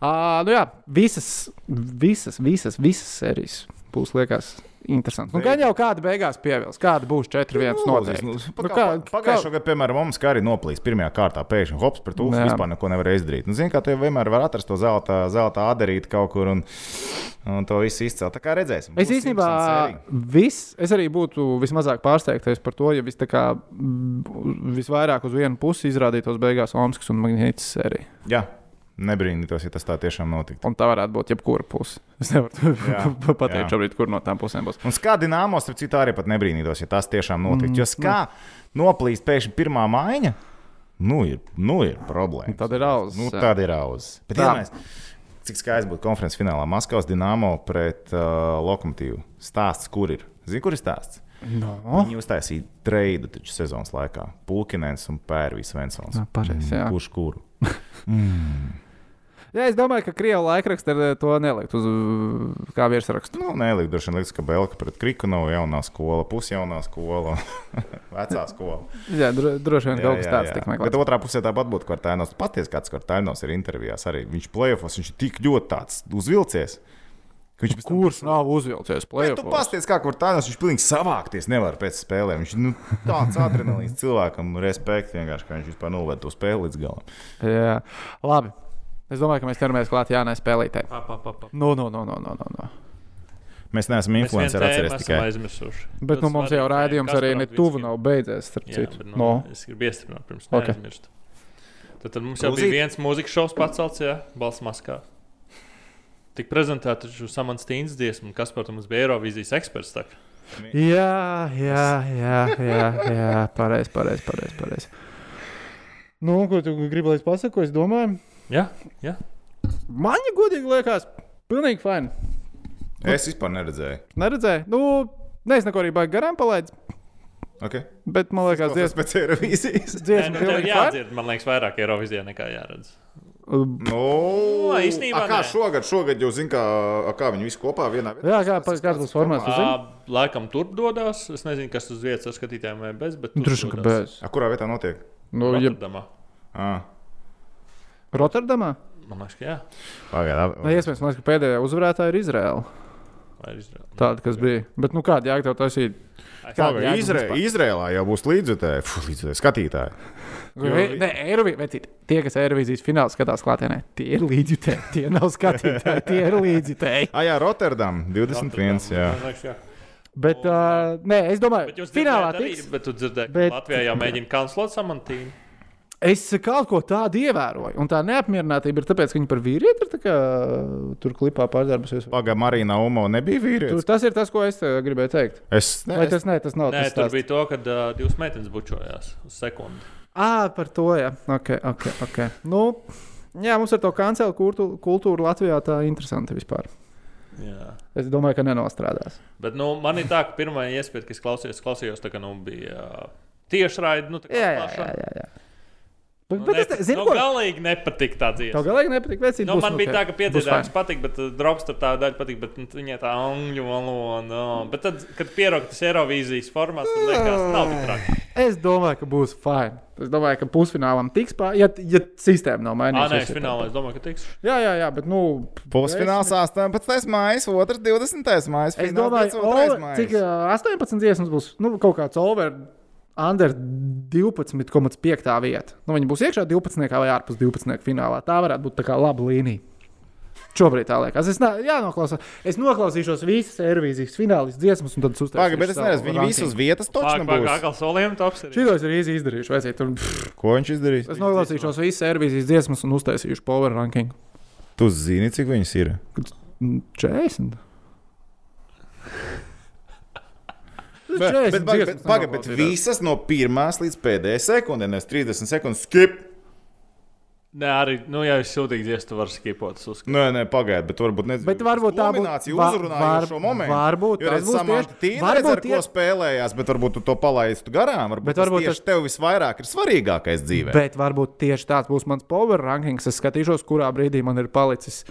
Speaker 1: Uh, nu jā, visas, visas, visas, visas sērijas būs liekas interesantas. Nu, gan jau kāda beigās pievilks, kāda būs 4-1 noteikti.
Speaker 3: Nu,
Speaker 1: Nu,
Speaker 3: pagā-
Speaker 1: kā-
Speaker 3: Pagājušā
Speaker 1: kā-
Speaker 3: gada, piemēram, mums kā arī noplīs pirmajā kārtā, pēkšņi hops pret ūdeni,
Speaker 1: Jā.
Speaker 3: vispār neko nevar izdarīt. Nu, Ziniet, kā tu jau vienmēr vari atrast to zelta, zelta adarīt kaut kur un, un to visu izcelt. Tā kā redzēsim.
Speaker 1: Es
Speaker 3: Būs
Speaker 1: īstenībā
Speaker 3: interesanti sērija.
Speaker 1: vis, es arī būtu vismazāk pārsteigtais par to, ja vis tā kā, mm, visvairāk uz vienu pusi izrādītos beigās Omaskas un Magnītas sērija.
Speaker 3: Jā, nebrīnītos, ja tas tā tiešām notiktu.
Speaker 1: Un tā varētu būt jebkura puse. Es nevaru
Speaker 3: Jā,
Speaker 1: (laughs) pateikt,
Speaker 3: jā.
Speaker 1: šobrīd, kur no tām pusēm būs.
Speaker 3: Un skādi nāmos, ap citu, arī pat nebrīnītos, ja tas tiešām
Speaker 1: Mm,
Speaker 3: notiktu.
Speaker 1: nu.
Speaker 3: Jo skā noplīst pēkšņi pirmā maiņa. Nu, ir, nu ir problēma.
Speaker 1: Tad ir auss.
Speaker 3: Nu,
Speaker 1: jā.
Speaker 3: tāda ir auza. Bet,
Speaker 1: Tā.
Speaker 3: iedomājies, Cik skaisti būtu konferences finālā Maskavas Dienāmo pret uh, Lokomotīvu? Stāsts, kur ir? Zini, kur ir stāsts?
Speaker 1: No.
Speaker 3: Viņi uztaisīja treidu taču sezonas laikā. Pulkinens un Pērvis Vensons. Mm,
Speaker 1: Jā, Ah, pareizi, jā.
Speaker 3: Kurš kuru?
Speaker 1: Jā, es domāju, ka krievu laikraksta ar, eh, to nelikt uz eh, kā virsrakstu.
Speaker 3: Nu, nē, liek, droši vien liekas, ka Belka pret Krikunovu jaunā skola, pusjaunā skola, (laughs) vecā skola.
Speaker 1: Jā, dro, droši vien kaut kas tāds tik
Speaker 3: Bet
Speaker 1: meklēts.
Speaker 3: otrā pusē tāpat būtu Kvartainos. Paties kāds Kvartainos ir intervijās arī. Viņš plēsofos, viņš ir tik ļoti tāds uzvilcies. ka Viņš pēc tam-
Speaker 1: Kurš nav uzvilcies
Speaker 3: Bet tu
Speaker 1: plēsoņā?
Speaker 3: pasties, kā kur tāds viņš pilnīgi savākties nevar pēc spēlēm. Viņš nu, tāds adrenalīns cilvēkam, respekts vienkārši, ka viņš vispār noved to spēli līdz galam.
Speaker 1: Jā, labi. Es domāju, ka mēs ķeramies klāt Jānai spēlītē.
Speaker 2: Pa, pa, pa, pa.
Speaker 1: Nu, nu, nu, nu, nu, nu, nu.
Speaker 3: Mēs neesam
Speaker 2: Mēs vienu
Speaker 3: influenceri,
Speaker 2: tēmu
Speaker 3: atcerieties
Speaker 2: esam
Speaker 3: tikai.
Speaker 2: aizmirsuši.
Speaker 1: Bet nu,
Speaker 2: Tas
Speaker 1: mums jau
Speaker 2: svarīgi,
Speaker 1: rādījums
Speaker 2: kas
Speaker 1: arī
Speaker 2: par
Speaker 1: ne
Speaker 2: Latvijas
Speaker 1: tuvu
Speaker 2: ir.
Speaker 1: nav beidzies, starp
Speaker 2: Jā,
Speaker 1: citu.
Speaker 2: bet, nu,
Speaker 1: No.
Speaker 2: Es gribu iestiprināt, pirms
Speaker 1: Ok.
Speaker 2: okay. aizmirst. Tad, tad mums jau
Speaker 3: Lūdzu.
Speaker 2: bija viens mūzikas šovs pacelts, ja balss maskā. Tik prezentēta taču Samants Tīns dziesma, un kas par to mums bija Eirovīzijas eksperts. Tā. kā.
Speaker 1: Jā, jā, jā, jā, jā pareizi, pareizi, pareizi. Pareiz. Nu, ko tu gribi, lai es pasaku, ko es domāju?
Speaker 2: Jā, jā.
Speaker 1: Man, ja godīgi liekas, pilnīgi fini.
Speaker 3: Es vispār neredzēju.
Speaker 1: Neredzēju, nu, ne es neko arī baigi garām palaidu,
Speaker 3: Okay.
Speaker 1: bet man liekas,
Speaker 3: Tas
Speaker 1: dziesma,
Speaker 3: pēc Eirovīzijas.
Speaker 2: Nē,
Speaker 1: dziesma
Speaker 2: nu, tev
Speaker 1: pilnīgi fini.
Speaker 2: jādzird, man liekas, vairāk Eirovīzijā nekā jāredz.
Speaker 3: (laughs) No,
Speaker 2: Nu, īstenībā
Speaker 3: kā
Speaker 2: nē.
Speaker 3: šogad, šogad jau zina, kā, a, kā viņi visi kopā vienā vietā.
Speaker 1: Jā, kā, pa- kāds būs formāts? tu zini?
Speaker 2: Ā, Laikam tur dodas. Es nezinu, kas uz vietas ar skatītājiem vai bez, bet tur
Speaker 1: Nu, Droši vien, ka
Speaker 2: dodas.
Speaker 1: bez.
Speaker 3: A, kurā vietā notiek?
Speaker 1: Nu, ja
Speaker 2: Rotterdamā.
Speaker 3: Ah,
Speaker 1: Rotterdamā?
Speaker 2: Man liekas, ka jā.
Speaker 1: Nē,
Speaker 3: Pagaidām.
Speaker 1: Nu, iespējams, man liekas, ka pēdējā uzvarētāja ir Izraela.
Speaker 2: Vai ir Izraela?
Speaker 1: Tāda, kas bija. Bet, nu, kāda jēga tev taisīt? Kāda jēga mums
Speaker 3: Izra Izrēlā jau būs līdzjutēji, Fu, līdzjutēji skatītāji.
Speaker 1: Jo, vi- Nē, Eirovīzijas tie, kas Eirovīzijas finālā skatās klātienē, tie ir līdzjutēji. Tie
Speaker 2: (laughs)
Speaker 1: nav skatītāji, tie ir līdzjutēji.
Speaker 3: Ah, jā, Rotterdam 21. Jā.
Speaker 2: Man liekas, jā.
Speaker 1: Bet, uh, nē, es domāju,
Speaker 2: Bet jūs
Speaker 1: ka finālā
Speaker 2: dzirdējāt arī,
Speaker 1: tiks.
Speaker 2: bet tu dzirdēji, ka
Speaker 1: Bet-
Speaker 2: Latvijā jau mēģina kancelēt samantīnu.
Speaker 1: Es kaut ko tādu ievēroju, un tā neapmierinātība ir tāpēc, ka viņi par vīrieti ir tā kā, tur klipā pārdarbusies.
Speaker 3: Pagaidām, Marina Umo nebija
Speaker 1: Tur,
Speaker 3: vīrietis.
Speaker 1: tas ir tas, ko es eh, gribēju teikt.
Speaker 3: Es
Speaker 1: Vai
Speaker 3: nezinu,
Speaker 1: tas nē, tas nav
Speaker 2: Nē,
Speaker 1: tas
Speaker 2: tur
Speaker 1: stāsts?
Speaker 2: bija to, ka uh, divas meitenes bučojās uz sekundi.
Speaker 1: Ā, Ah, par to, jā. Ok, ok. okay. Nu, jā, mums ar to kancelu kultu- kultūru Latvijā tā ir interesanti vispār.
Speaker 2: Jā.
Speaker 1: Es domāju, ka nenostrādās.
Speaker 2: Bet nu, man ir tā, ka pirmā iespēja, kas klausījās, klausījās tā, ka nu, bija tieši raidījums. Nu, tā kā
Speaker 1: Jā, jā, jā.
Speaker 2: atklāšana.
Speaker 1: jā, jā. Bet,
Speaker 2: Nu,
Speaker 1: bet es
Speaker 2: nepa-
Speaker 1: te- zinu,
Speaker 2: nu,
Speaker 1: ko
Speaker 2: galīgi nepatīk tā dziesma.
Speaker 1: Tev galīgi nepatīk vecīt.
Speaker 2: Nu, man bija tā, ka piedzīvājums patīk, bet uh, draugs tur tā daļa patīk, bet nu, viņai tā angļu valoda. No. Bet tad, kad pieroka tas Eirovīzijas formāts, tad liekas, nav tik traki.
Speaker 1: Es domāju, ka būs fajn. Es domāju, ka pusfinālam tiks pāri, ja, ja sistēma nav
Speaker 2: Ā,
Speaker 1: mainījusies.
Speaker 2: nē, es finālā es domāju, ka tiks.
Speaker 1: Jā, jā, jā, bet nu.
Speaker 3: Pusfināls 18. maijā, 2. 20. maijā.
Speaker 1: Es, es domāju, over, cik ā, 18 dziesmas būs nu, kaut kāds over. Under 12,5 vieta. Nu, viņa būs iekšā 12. vai ārpus 12. finālā. Tā varētu būt tā kā laba līnija. Šobrīd tā liekas. Es, nā- jānoklausa- es noklausīšos visas aerobīzijas finālas dziesmas, un tad es uztaisīšu.
Speaker 3: Pagaidām, bet es
Speaker 1: savu
Speaker 3: nezinu, viņi
Speaker 1: rankingu.
Speaker 3: visi uz vietas
Speaker 2: Pārāk
Speaker 3: točnu būs.
Speaker 2: atkal solījumi tops. arī.
Speaker 1: Šitos ir īsi izdarījuši. Vajadzēja tur. Pff,
Speaker 3: Ko viņš izdarīs?
Speaker 1: es noklausīšos visas servīzijas dziesmas un uztaisīšu power ranking.
Speaker 3: Tu zini, cik viņas ir?
Speaker 1: Mm, 40. Tas
Speaker 3: Bet,
Speaker 1: 40
Speaker 3: bet, bet, bet,
Speaker 1: dziesmas
Speaker 3: paga, bet
Speaker 1: nenoklausītās.
Speaker 3: visas no pirmās līdz pēdējai sekundē, nevis 30 sekundes skip.
Speaker 2: Nē, arī, nu, ja es sūdīgi dziesmu, tu vari skipot. Es uzskatu.
Speaker 3: Nē, nē, pagaidiet, bet varbūt nezinu.
Speaker 1: Bet varbūt tā būtu-
Speaker 3: nominācija
Speaker 1: va-
Speaker 3: uzrunāja
Speaker 1: var-
Speaker 3: šo momentu.
Speaker 1: varbūt
Speaker 3: jo,
Speaker 1: tas
Speaker 3: redz,
Speaker 1: būs
Speaker 3: Samanta
Speaker 1: tieši-
Speaker 3: Tīna
Speaker 1: varbūt
Speaker 3: redz, ar
Speaker 1: tie-
Speaker 3: ko spēlējās, bet varbūt tu to palaistu garām. Varbūt,
Speaker 1: Bet
Speaker 3: bet
Speaker 1: varbūt
Speaker 3: varbūt tieši
Speaker 1: tas-
Speaker 3: tas... tev visvairāk ir svarīgākais dzīvē.
Speaker 1: Bet varbūt tieši tāds būs mans power rankings. Es skatīšos, kurā brīdī man ir palicis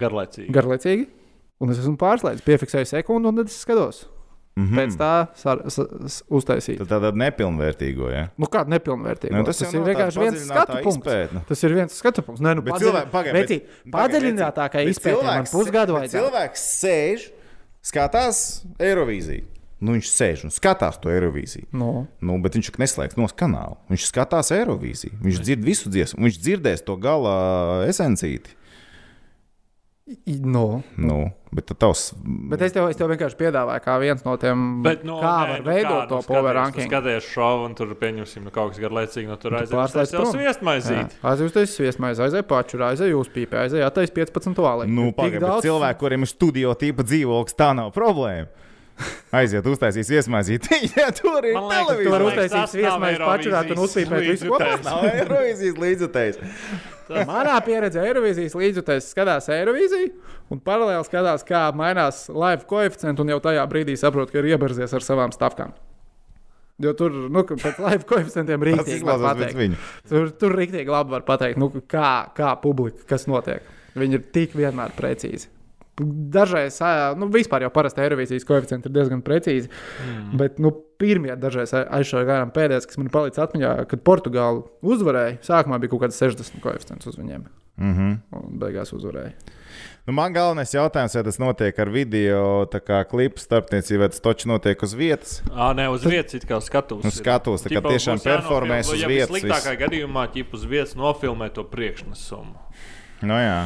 Speaker 2: Garlaicīgi.
Speaker 1: garlaicīgi. Un es esmu pārslēdzis, piefiksēju sekundi, un tad es skatos. Mm -hmm. Pēc tā sar, s, s, uztaisīt.
Speaker 3: Mhm. Tad tāda nepilnvērtīgo. Ja?
Speaker 1: Nu, kāda nepilnvērtīga.
Speaker 3: Nu, tas
Speaker 1: tas
Speaker 3: jau
Speaker 1: ir
Speaker 3: nav tāda
Speaker 1: vienkārši viens
Speaker 3: padziļinātā
Speaker 1: skatu punkts.
Speaker 3: izpētne.
Speaker 1: Tas ir viens skatu punkts. Nē, nu,
Speaker 3: Bet
Speaker 1: padziļin-
Speaker 3: cilvēki- pagaid,
Speaker 1: Vecīt,
Speaker 3: bet-
Speaker 1: Padziļinātākā
Speaker 3: pagaid, bet
Speaker 1: izpētē man
Speaker 3: cilvēks
Speaker 1: pusgadu
Speaker 3: se- bet
Speaker 1: vajadzēja.
Speaker 3: Cilvēks sēž, skatās Eirovīziju. Nu, viņš sēž un skatās to Eirovīziju.
Speaker 1: Nu.
Speaker 3: Nu, bet viņš neslēdz no kanāla. Viņš skatās Eirovīziju. Viņš dzird visu dziesmu, viņš dzirdēs to gala esencīti.
Speaker 1: I- Nu.
Speaker 3: Nu, bet tad tavs
Speaker 1: Bet es tev, es tev vienkārši piedāvāju, kā viens no tiem,
Speaker 2: Bet,
Speaker 1: no,
Speaker 2: nu,
Speaker 1: kā
Speaker 2: nē,
Speaker 1: var
Speaker 2: nu,
Speaker 1: veidot
Speaker 2: kā,
Speaker 1: to
Speaker 2: nu,
Speaker 1: power
Speaker 2: skaties, nu,
Speaker 1: ranking.
Speaker 2: Skaties šovu, un tur pieņemsim nu, kaut kas garlaicīgi, no tur aizies. Tas
Speaker 1: pārslēdz
Speaker 2: jau
Speaker 1: prom.
Speaker 2: sviestmaizīt.
Speaker 1: Aizjūtas tas viesmaiņas, aizēja paču, aizēja jūs pīpē, aizēja attais 15 valē.
Speaker 3: Nu, pagaidi, bet cilvēki, kuriem ir studio tipa dzīvoklis, tā nav problēma. Aiziet, uztaisīs, iesmaizīt. (laughs) Jā, tur ir
Speaker 2: Man liekas,
Speaker 1: Tu
Speaker 2: Man
Speaker 1: vari
Speaker 2: liekas,
Speaker 3: televīzija.
Speaker 1: uztaisīt
Speaker 2: tas nav
Speaker 1: viesmaiņas pačurāt un
Speaker 2: Eirovīzijas
Speaker 1: uzpīpēt visu kopā.
Speaker 2: līdzjutējs.
Speaker 3: Nav Eirovīzijas līdzjutējs.
Speaker 1: (laughs) Manā pieredzē Eirovīzijas līdzjutējs skatās Eirovīziju un paralēli skatās, kā mainās live koeficients, un jau tajā brīdī saprot, ka ir ieberzies ar savām stavkām. Jo tur, nu, ka pēc live koeficientiem
Speaker 3: Tas
Speaker 1: rīktīgi var
Speaker 3: izklausās pēc
Speaker 1: pateikt.
Speaker 3: viņa.
Speaker 1: Tur, tur rīktīgi labi var pateikt, nu, kā, kā publika, kas notiek. Viņi ir tik vienmēr precīzi. Dažreiz, ā, nu, vispār jau parasti aerovīzijas koeficienti ir diezgan precīzi. Mm. Bet, nu, pirmie dažreiz ai- aizšāva garām pēdējais, kas man palicis atmiņā, kad Portugāla uzvarēja. Sākumā bija kaut kāds 60 koeficients uz viņiem,
Speaker 3: Mhm.
Speaker 1: un beigās uzvarēja.
Speaker 3: Nu, man galvenais jautājums, vai tas notiek ar video, tā kā klips starpniecība, vai tas taču notiek uz vietas?
Speaker 2: Ā, nē, uz vietas it kā skatos.
Speaker 3: Uz skatuves, Nu, tā kā tiešām performēs uz vietas
Speaker 2: Sliktākā gadījumā, ja uz vietas nofilmē to priekšnesumu.
Speaker 3: Nu, jā.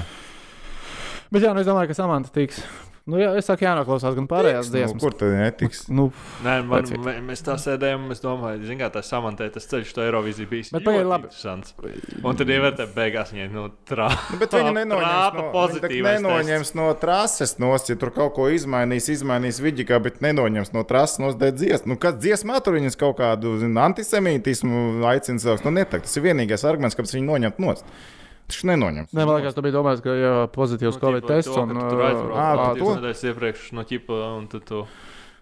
Speaker 1: Bet jā, nu, es domāju, ka samants tiks. Nu, jā, es saku, jānoklausās gan pārējās
Speaker 3: Nu,
Speaker 1: dziesmas.
Speaker 3: kur tad netiks?
Speaker 1: Nu,
Speaker 2: Nē, man,
Speaker 1: Vecīt.
Speaker 2: mē- mēs tā sēdējām, es domāju, zin kā tā samantē, tas ceļš to Eiroviziju bijis
Speaker 1: Bet
Speaker 2: ļoti
Speaker 1: pagaidi, labi.
Speaker 2: interesants. Un tad ievērtē beigās viņai, nu, trā.
Speaker 3: Nu, Bet viņi
Speaker 2: trāpa
Speaker 3: nenoņems no, viņi tak
Speaker 2: pozitīvais tests.
Speaker 3: nenoņems no trases nost, ja tur kaut ko izmainīs, izmainīs viģikā, bet nenoņems no trases nost dēļ dziesmu. Nu, kas dziesmā tur viņas kaut kādu zin, antisemītismu aicina savus? Nu, netakt. Tas ir vienīgais arguments, kāpēc viņi noņemt nost. Taču
Speaker 1: Nē,
Speaker 3: nenoņems.
Speaker 1: man liekas, tu biji domājis, ka jā, pozitīvs
Speaker 2: Nu,
Speaker 1: Covid
Speaker 2: ķipa,
Speaker 1: tests.
Speaker 2: to, ka
Speaker 1: un,
Speaker 2: tu Tur
Speaker 1: ā,
Speaker 3: ā,
Speaker 2: aizbraukt,
Speaker 3: tu
Speaker 2: divas
Speaker 3: to?
Speaker 2: nedēļas iepriekš no ķipa, un tad tu.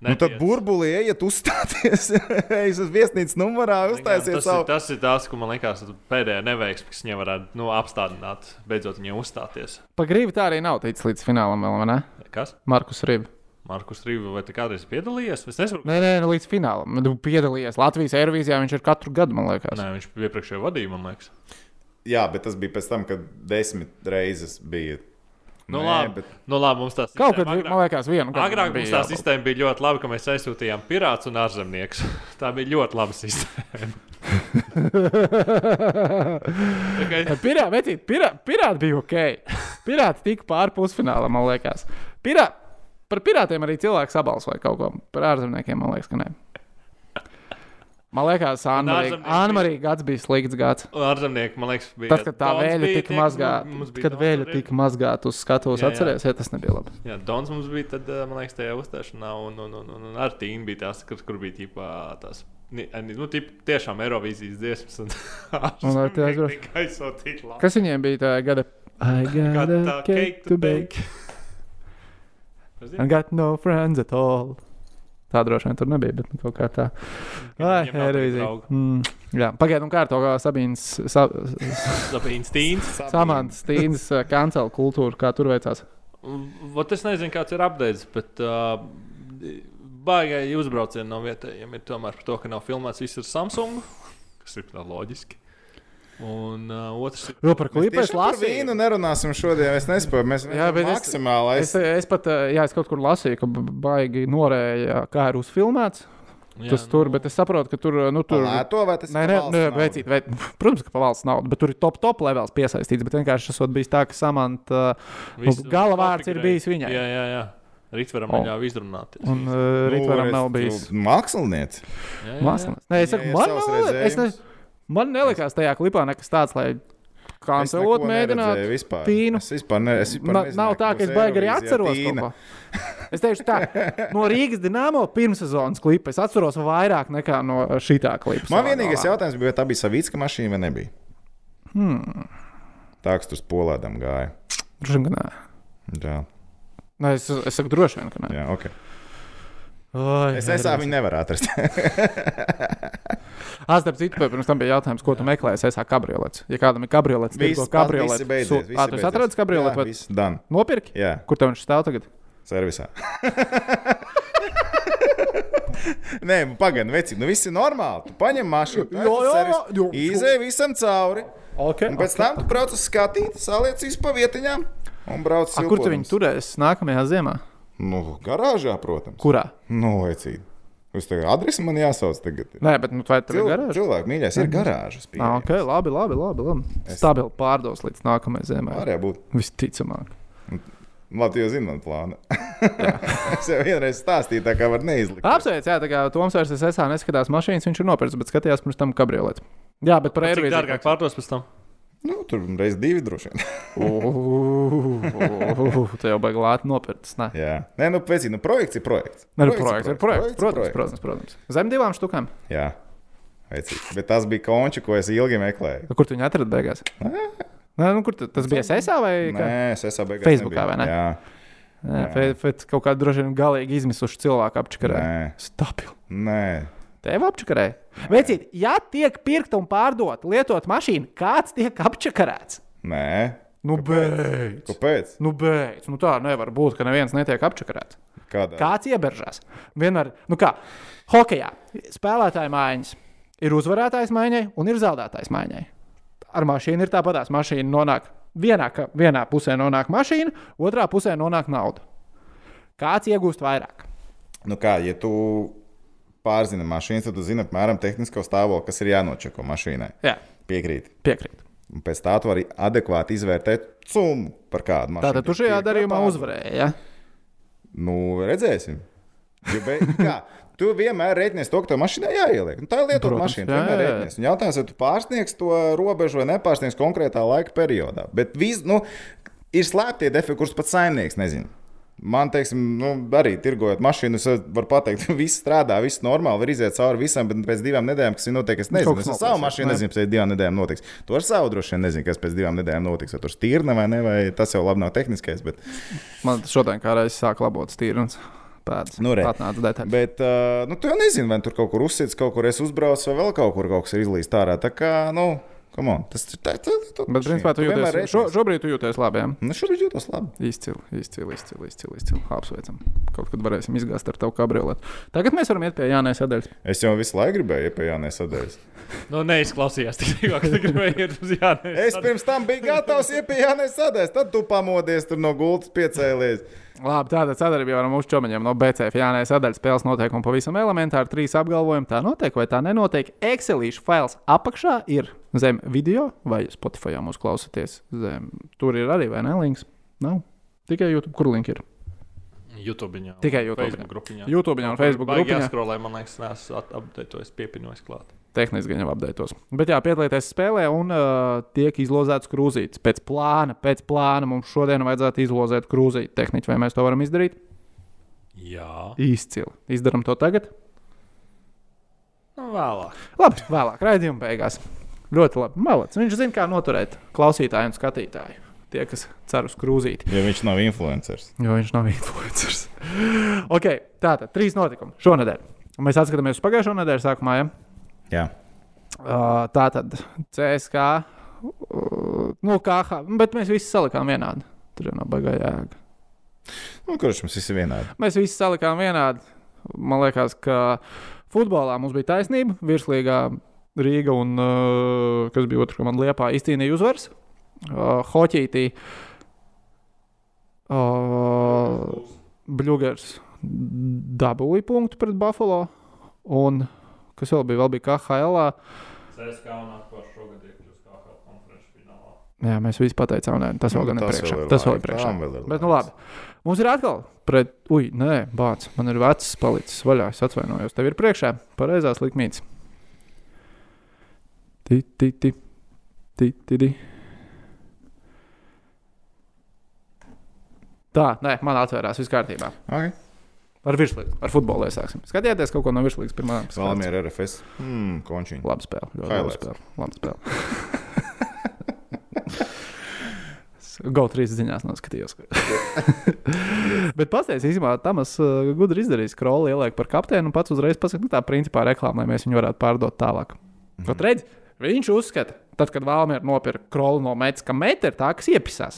Speaker 3: Nu, tad
Speaker 2: netiec.
Speaker 3: burbulī ejiet uzstāties, (laughs) ejiet uz viesnīcas numurā,
Speaker 2: Zin kā,
Speaker 3: uztaisiet
Speaker 2: Nu, Tas,
Speaker 3: savu.
Speaker 2: ir, tas ir tas, ko man liekas, tas pēdējā neveiksme, kas viņai varētu nu, apstādināt, beidzot viņai uzstāties.
Speaker 1: Pa gribi tā arī nav ticis līdz finālam, vēl, vai ne?
Speaker 2: Kas?
Speaker 1: Markus Rība.
Speaker 2: Markus Rīva, vai tu kādreiz piedalījies? Es nesaprotu.
Speaker 1: Nē, nē, nu, līdz finālam. Tu piedalījies Latvijas aerobīzijā, viņš ir katru gadu, man liekas.
Speaker 2: Nē, viņš iepriekšēji vadīja, man liekas.
Speaker 3: Jā, bet tas bija pēc tam, kad desmit reizes bija.
Speaker 2: Nu,
Speaker 3: Nē,
Speaker 2: labi,
Speaker 3: bet-
Speaker 2: nu, labi, mums tās
Speaker 1: Kaut kad,
Speaker 2: sistēma agrāk-
Speaker 1: man liekas, vienu gadu.
Speaker 2: Agrāk mums tā
Speaker 1: bija jābūt.
Speaker 2: sistēma bija ļoti laba, ka mēs aizsūtījām pirāts un ārzemnieks. (laughs) Tā bija ļoti
Speaker 1: (laughs)
Speaker 2: laba sistēma. Tikai
Speaker 1: Pirā, vecīt, pirā, pirāti bija ok. Pirāti tika pāri pusfinālam, man liekas. Pirā, par pirātiem arī cilvēks sabalsoja kaut ko. Par ārzemniekiem, man liekas, ka nē. Man liekas,
Speaker 2: ārzemnieki-
Speaker 1: Anna-Marija gads bija slikts gads.
Speaker 2: ārzemnieki, man lieeks, bija.
Speaker 1: Tad, kad tā
Speaker 2: Dons
Speaker 1: vēja
Speaker 2: bija
Speaker 1: tika
Speaker 2: tiek-
Speaker 1: mazgāta,
Speaker 2: mums bija
Speaker 1: kad
Speaker 2: Dons
Speaker 1: vēja
Speaker 2: arī.
Speaker 1: tika mazgāta uz skatuves,
Speaker 2: Jā, jā.
Speaker 1: atcerieties, ja tas nebija labi.
Speaker 2: Jā, Dons mums bija, tad, eh, man liekas, tajā uzstāšanā, un, un, un, un, un ar Tīnu bija tās, kur, kur bija tīpā tās. ni- ani- Nu, tip, tiešām Eirovīzijas dziesmas. Un,
Speaker 1: Un ar tie aizbrauc.
Speaker 2: tikai aizsūtīt labi.
Speaker 1: Kas viņiem bija tā gada? I
Speaker 2: Kā
Speaker 1: got a
Speaker 2: tā
Speaker 1: cake to bake. I got no friends at all. Tā droši vien tur nebija, bet nu kaut kā tā. Ai,
Speaker 2: viņiem nav tik
Speaker 1: Eirovizija.
Speaker 2: draugu.
Speaker 1: Mm, jā, pagaidām kārtā, kā Sabīns, sa,
Speaker 2: Labīns Tīns.
Speaker 1: Samants, Tīns, kancela kultūra, kā tur veicās.
Speaker 2: Vat es nezinu, kāds ir apgādājis, bet uh, baigāji uzbraucieni no vietējiem ir tomēr par to, ka nav filmēts viss ar Samsung, kas ir tā loģiski. Un uh, otrs ir
Speaker 1: Jo par klipēs
Speaker 3: Tiešām par vīnu
Speaker 1: lasīju.
Speaker 3: nerunāsim šodien. Es nespēju. Mēs
Speaker 1: Jā, bet es-
Speaker 3: maksimāli
Speaker 1: Es, es pat, eh, jā, es kaut kur lasīju, ka b- baigi norēja, kā ir uzfilmēts. Jā, nu. tas tur, bet es saprotu, ka tur, eh, nu, tur.
Speaker 3: Lēto vai tas
Speaker 1: Nē, nē, nē veicīt, vei... protams, ka pavalsts naudu, bet tur ir top, top levels piesaistīts. Bet vienkārši tas bija tā, ka samanta nu,
Speaker 2: visu
Speaker 1: gala vārds ir
Speaker 2: konfigurēju.
Speaker 1: bijis viņai.
Speaker 2: Jā, jā, jā. Rītvaram
Speaker 1: O.
Speaker 2: neļāva izrunāties.
Speaker 1: un uh,
Speaker 3: Nu,
Speaker 1: Rītvaram nav bijis.
Speaker 3: Mākslinieci.
Speaker 2: jā, jā, jā.
Speaker 1: Mākslinieks. Nē, es saku, man, man, es ne, man nelikās tajā klipā nekas tāds, lai kancelot mēģinātu.
Speaker 3: vispār.
Speaker 1: Tīnu.
Speaker 3: Es vispār ne, es vispār
Speaker 1: Na,
Speaker 3: nezināju,
Speaker 1: nav tā,
Speaker 3: ka
Speaker 1: ka es
Speaker 3: uz
Speaker 1: baigi arī
Speaker 3: Eirovīzijā
Speaker 1: atceros kaut
Speaker 3: Tīna.
Speaker 1: ko. Es teikšu, tā,
Speaker 3: (laughs)
Speaker 1: no Rīgas dīnāmo pirmssezonas klipa es atceros vairāk nekā no uh, šitā klipa.
Speaker 3: Man vienīgais jautājums bija, vai tā bija savīdska mašīna vai nebija. Hmm. Tā, kas tur spolēdam gāja.
Speaker 1: Droši vien, ka nē.
Speaker 3: Jā,
Speaker 1: Nē, es, es saku, droši vien, ka nē.
Speaker 3: jā ok.
Speaker 1: Oi,
Speaker 3: Es esmu viņu nevaru atrast.
Speaker 1: Ah, starp citu, pirms tam bija jautājums, ko tu meklē SSA kabriolets. Ja kādam ir kabriolets, tad
Speaker 3: Viss
Speaker 1: ko
Speaker 3: pa-
Speaker 1: kabriolets
Speaker 3: visi beidzies. visi
Speaker 1: Ā, tu esi
Speaker 3: beidzies.
Speaker 1: atradis kabrioletu?
Speaker 3: Jā,
Speaker 1: vai-
Speaker 3: viss done.
Speaker 1: Nopirki?
Speaker 3: Jā,
Speaker 1: Kur tev viņš stāv tagad? (laughs)
Speaker 3: servisā. Nē, pagaidi, veci, nu viss ir normāli. Tu paņem mašīnu,
Speaker 1: Jo, jo, jo.
Speaker 3: izēj visam cauri.
Speaker 1: Okay,
Speaker 3: Un pēc tam tu brauc uz skatīt, saliec visu pa vietiņām un brauc uz
Speaker 1: A, kur tu viņu turēsi nākamajā ziemā?
Speaker 3: Nu, garāžā, protams.
Speaker 1: Kurā?
Speaker 3: Nu, vecīt. Uz tā adresi man jāsauc tagad.
Speaker 1: Nē, bet nu, vai tur ir
Speaker 3: Cilvēki,
Speaker 1: garāža?
Speaker 3: cilvēki mīļais, ir garāžas.
Speaker 1: Ah, ok, labi, labi, labi. labi.
Speaker 3: Es-
Speaker 1: Stabili pārdos līdz nākamajai ziemai.
Speaker 3: Arī būtu.
Speaker 1: Visticamāk.
Speaker 3: Labi, jau zinām, plānu. (laughs) es jau vienreiz stāstīju, tā kā var neizlikt.
Speaker 1: Apsveic, jā, tā kā Toms vairs es esmu neskatās mašīnas, viņš ir nopircis, bet skatījās pirms tam kabrioletu. Jā, bet par
Speaker 2: Cik dārgāk
Speaker 1: aerobīziju.
Speaker 2: pārdos pēc tam?
Speaker 3: Nu, tur reiz divi droši vien. (laughs)
Speaker 1: Ugh, Tu jau baigi lēti nopircis. Nē,
Speaker 3: Jā, Nē, nu, pēc tam, nu, projekts ir projekts.
Speaker 1: Nē, nu, projekts ir projekts.
Speaker 3: ir
Speaker 1: Protams, protams, protams. Zem divām štukām.
Speaker 3: Jā, vecīt. Bet tas bija končs, ko es ilgi meklēju.
Speaker 1: Kur tu viņu atradi (laughs) beigās? Nē, nu, kur tu, tas bija SSA vai kā?
Speaker 3: Nē, es esmu beigās.
Speaker 1: Facebookā, vai ne?
Speaker 3: Jā,
Speaker 1: Nē, fe- fe- kaut kāda droši vien galīgi izmisuša cilvēka apčakarē.
Speaker 3: nē,
Speaker 1: Stabili.
Speaker 3: nē.
Speaker 1: Tev apčakarē. Vecīt, ja tiek pirkta un pārdota lietot mašīna, kāds tiek apčakarēts?
Speaker 3: nē.
Speaker 1: Nu, beidz!
Speaker 3: Kāpēc?
Speaker 1: Nu, beidz! Nu, tā nevar būt, ka neviens netiek apčakarēts.
Speaker 3: Kādā?
Speaker 1: Kāds ieberžās? Vienmēr, nu kā, hokeja spēlētāja maiņas ir uzvarētājs maiņai un ir zaudētājs maiņai. Ar mašīnu ir tāpatās. Mašīna nonāk vienā, ka- vienā pusē nonāk mašīna, otrā pusē nonāk nauda. Kāds iegūst vairāk?
Speaker 3: Nu kā, ja tu pārzini mašīnas, tad tu zini apmēram tehnisko stāvokli, kas ir jānočeko mašīnai.
Speaker 1: Jā,
Speaker 3: Piekrīt.
Speaker 1: piekrīt.
Speaker 3: Un pēc tā tu vari adekvāti izvērtēt summu par kādu mašīnu.
Speaker 1: Tātad tu
Speaker 3: kas
Speaker 1: šajā
Speaker 3: tiek
Speaker 1: darījumā
Speaker 3: nopērta.
Speaker 1: uzvarēji. Ja?
Speaker 3: Nu, redzēsim. Jo, be, kā, tu vienmēr rēķinies to, ka tev mašīnā jāieliek. Nu, tā ir lietotā
Speaker 1: Protams,
Speaker 3: mašīna. tu
Speaker 1: jā,
Speaker 3: vienmēr
Speaker 1: jā, jā.
Speaker 3: rēķinies. Un Jautājums, vai tu pārsniegs to robežu vai nepārsniegs konkrētā laika periodā. Bet vis, nu, ir slēptie defekti, kurus pats saimnieks nezina. Man, teiksim, nu, arī tirgojot mašīnu, es varu pateikt, (laughs) ka viss strādā, viss normāli, var iziet cauri visam, bet pēc divām nedēļām, kas ir notiek, es nezinu.
Speaker 1: Kaut
Speaker 3: Es
Speaker 1: kas
Speaker 3: ar savu
Speaker 1: notiek,
Speaker 3: mašīnu
Speaker 1: ne?
Speaker 3: nezinu, kas pēc divām nedēļām notiks. To ar savu droši vien nezinu, kas pēc divām nedēļām notiks. Vai tur stīrna vai ne, vai tas jau labi nav tehniskais. Bet...
Speaker 1: Man šodien kā reizes sāk labot stīrums. Pēc
Speaker 3: Nu, re.
Speaker 1: atnāca detaļas.
Speaker 3: Bet, uh, nu, tu jau nezini, vai tur kaut kur uzsits, kaut kur es uzbraucu, vai vēl kaut kur kaut kas ir izlīst ārā. Tā kā, nu, come on, tas ir tāds -
Speaker 1: Bet, principā, tu jūties, šo, šobrīd tu jūties labi. Ja?
Speaker 3: Nu, šobrīd jūtos labi.
Speaker 1: Izcili, izcili, izcili, izcili, izcili. Apsveicam. Kaut kad varēsim izgāzt ar tavu kabrioletu. Tagad mēs varam iet pie Jānis Adēļas.
Speaker 3: Es jau visu laiku gribēju, ja pie Jānis atdevis.
Speaker 2: Nu, neizklausījās tik tikko, ka tu gribēji iet uz Jānis.
Speaker 3: Es pirms tam biju gatavs, ja pie Jānis atdevis. Tad tu pamodies tur no gultas piecēlies.
Speaker 1: Labi, tāda sadarbība ar mūsu čomiņiem no BCF. Jānis Adēļas spēles noteikumi pavisam elementāri. Trīs apgalvojumi tā notiek vai tā nenotiek. Excelīšu fails apakšā ir zem video, vai Spotify jau mūs klausāties. Zem. Tur ir arī, vai ne, links? Nav. Tikai YouTube, kur link ir?
Speaker 2: YouTube.
Speaker 1: Tikai YouTube'iņā.
Speaker 2: Facebook grupiņā.
Speaker 1: YouTube un Facebook
Speaker 2: Baigi
Speaker 1: grupā.
Speaker 2: jāskrolē, man liekas, nesu apdeitojis, piepinojis klāt.
Speaker 1: tehniski gan jau apdeitos. Bet jā, piedalīties spēlē un uh, tiek izlozēts krūzītis. Pēc plāna, pēc plāna mums šodien vajadzētu izlozēt krūzīti tehniski, vai mēs to varam izdarīt?
Speaker 2: Jā.
Speaker 1: Izcili. Izdarām to tagad.
Speaker 2: Nu, vēlāk.
Speaker 1: Labi, vēlāk, raidījuma beigās. Ļoti labi. Malac. Viņš zina, kā noturēt klausītāju un skatītāju. Tie, kas cer uz krūzīti,
Speaker 3: Ja viņš nav influenceris.
Speaker 1: jo viņš nav influenceris. (laughs) ok, tātad trīs notikumi šonadēļ. Mēs atskatāmies uz pagājušo nedēļu sākumā. Ja?
Speaker 3: Jā.
Speaker 1: Uh, tā tad CSK, uh, nu, KH, bet mēs visi salikām vienādi. Tur jau nav baigā jēga.
Speaker 3: Nu, kurš mums viss ir vienādi?
Speaker 1: Mēs visi salikām vienādi. Man liekas, ka futbolā mums bija taisnība. Virslīgā Rīga un uh, kas bija otrs, ko man liepā, izcīnīja uzvaras. Uh, Hoķītī. Uh, Bļūgers dabūja punktu pret Buffalo. Un kas vēl bija? Vēl bija KHL. -ā.
Speaker 2: CSK un atkal šogad iekļūst kā kā konferenču finālā.
Speaker 1: Jā, mēs visi pateicām, nē, tas vēl
Speaker 3: Nu,
Speaker 1: gan ir
Speaker 3: tas
Speaker 1: priekšā.
Speaker 3: vēl ir
Speaker 1: Tas vēl ir
Speaker 3: laiks,
Speaker 1: priekšā.
Speaker 3: tam vēl ir
Speaker 1: Bet, nu,
Speaker 3: laiks.
Speaker 1: labi. Mums ir atkal pret, ui, nē, bācis. Man ir vecs, palicis vaļā. Es atvainojos, tev ir priekšā pareizās likmītes. Ti, ti, ti, ti, ti, ti. Tā, nē, man atvērās viss kārtībā.
Speaker 3: Okay.
Speaker 1: Ar virslīgu, ar futbolu mēs sāksim. Skatieties, kaut ko no virslīgas pirmā
Speaker 3: Salām ir RFS. Hmm, končiņa.
Speaker 1: Labi spēlē. Ļoti labi
Speaker 3: Highlights.
Speaker 1: spēlē. Labi (laughs) spēlē. Gautrīs ziņās
Speaker 3: (laughs)
Speaker 1: noskatījos. Bet pastāstiet, īstenībā Tamas uh, gudri izdarījis kroli, ieliek par kapteini un pats uzreiz pasakīja, ka tā principā reklāmē mēs viņu varētu pārdot tālāk.
Speaker 3: Mhm.
Speaker 1: Mm -hmm. Kaut redz, viņš uzskata, tad, kad Valmiera nopirka kroli no metas, ka meta ir tā, kas iepisās.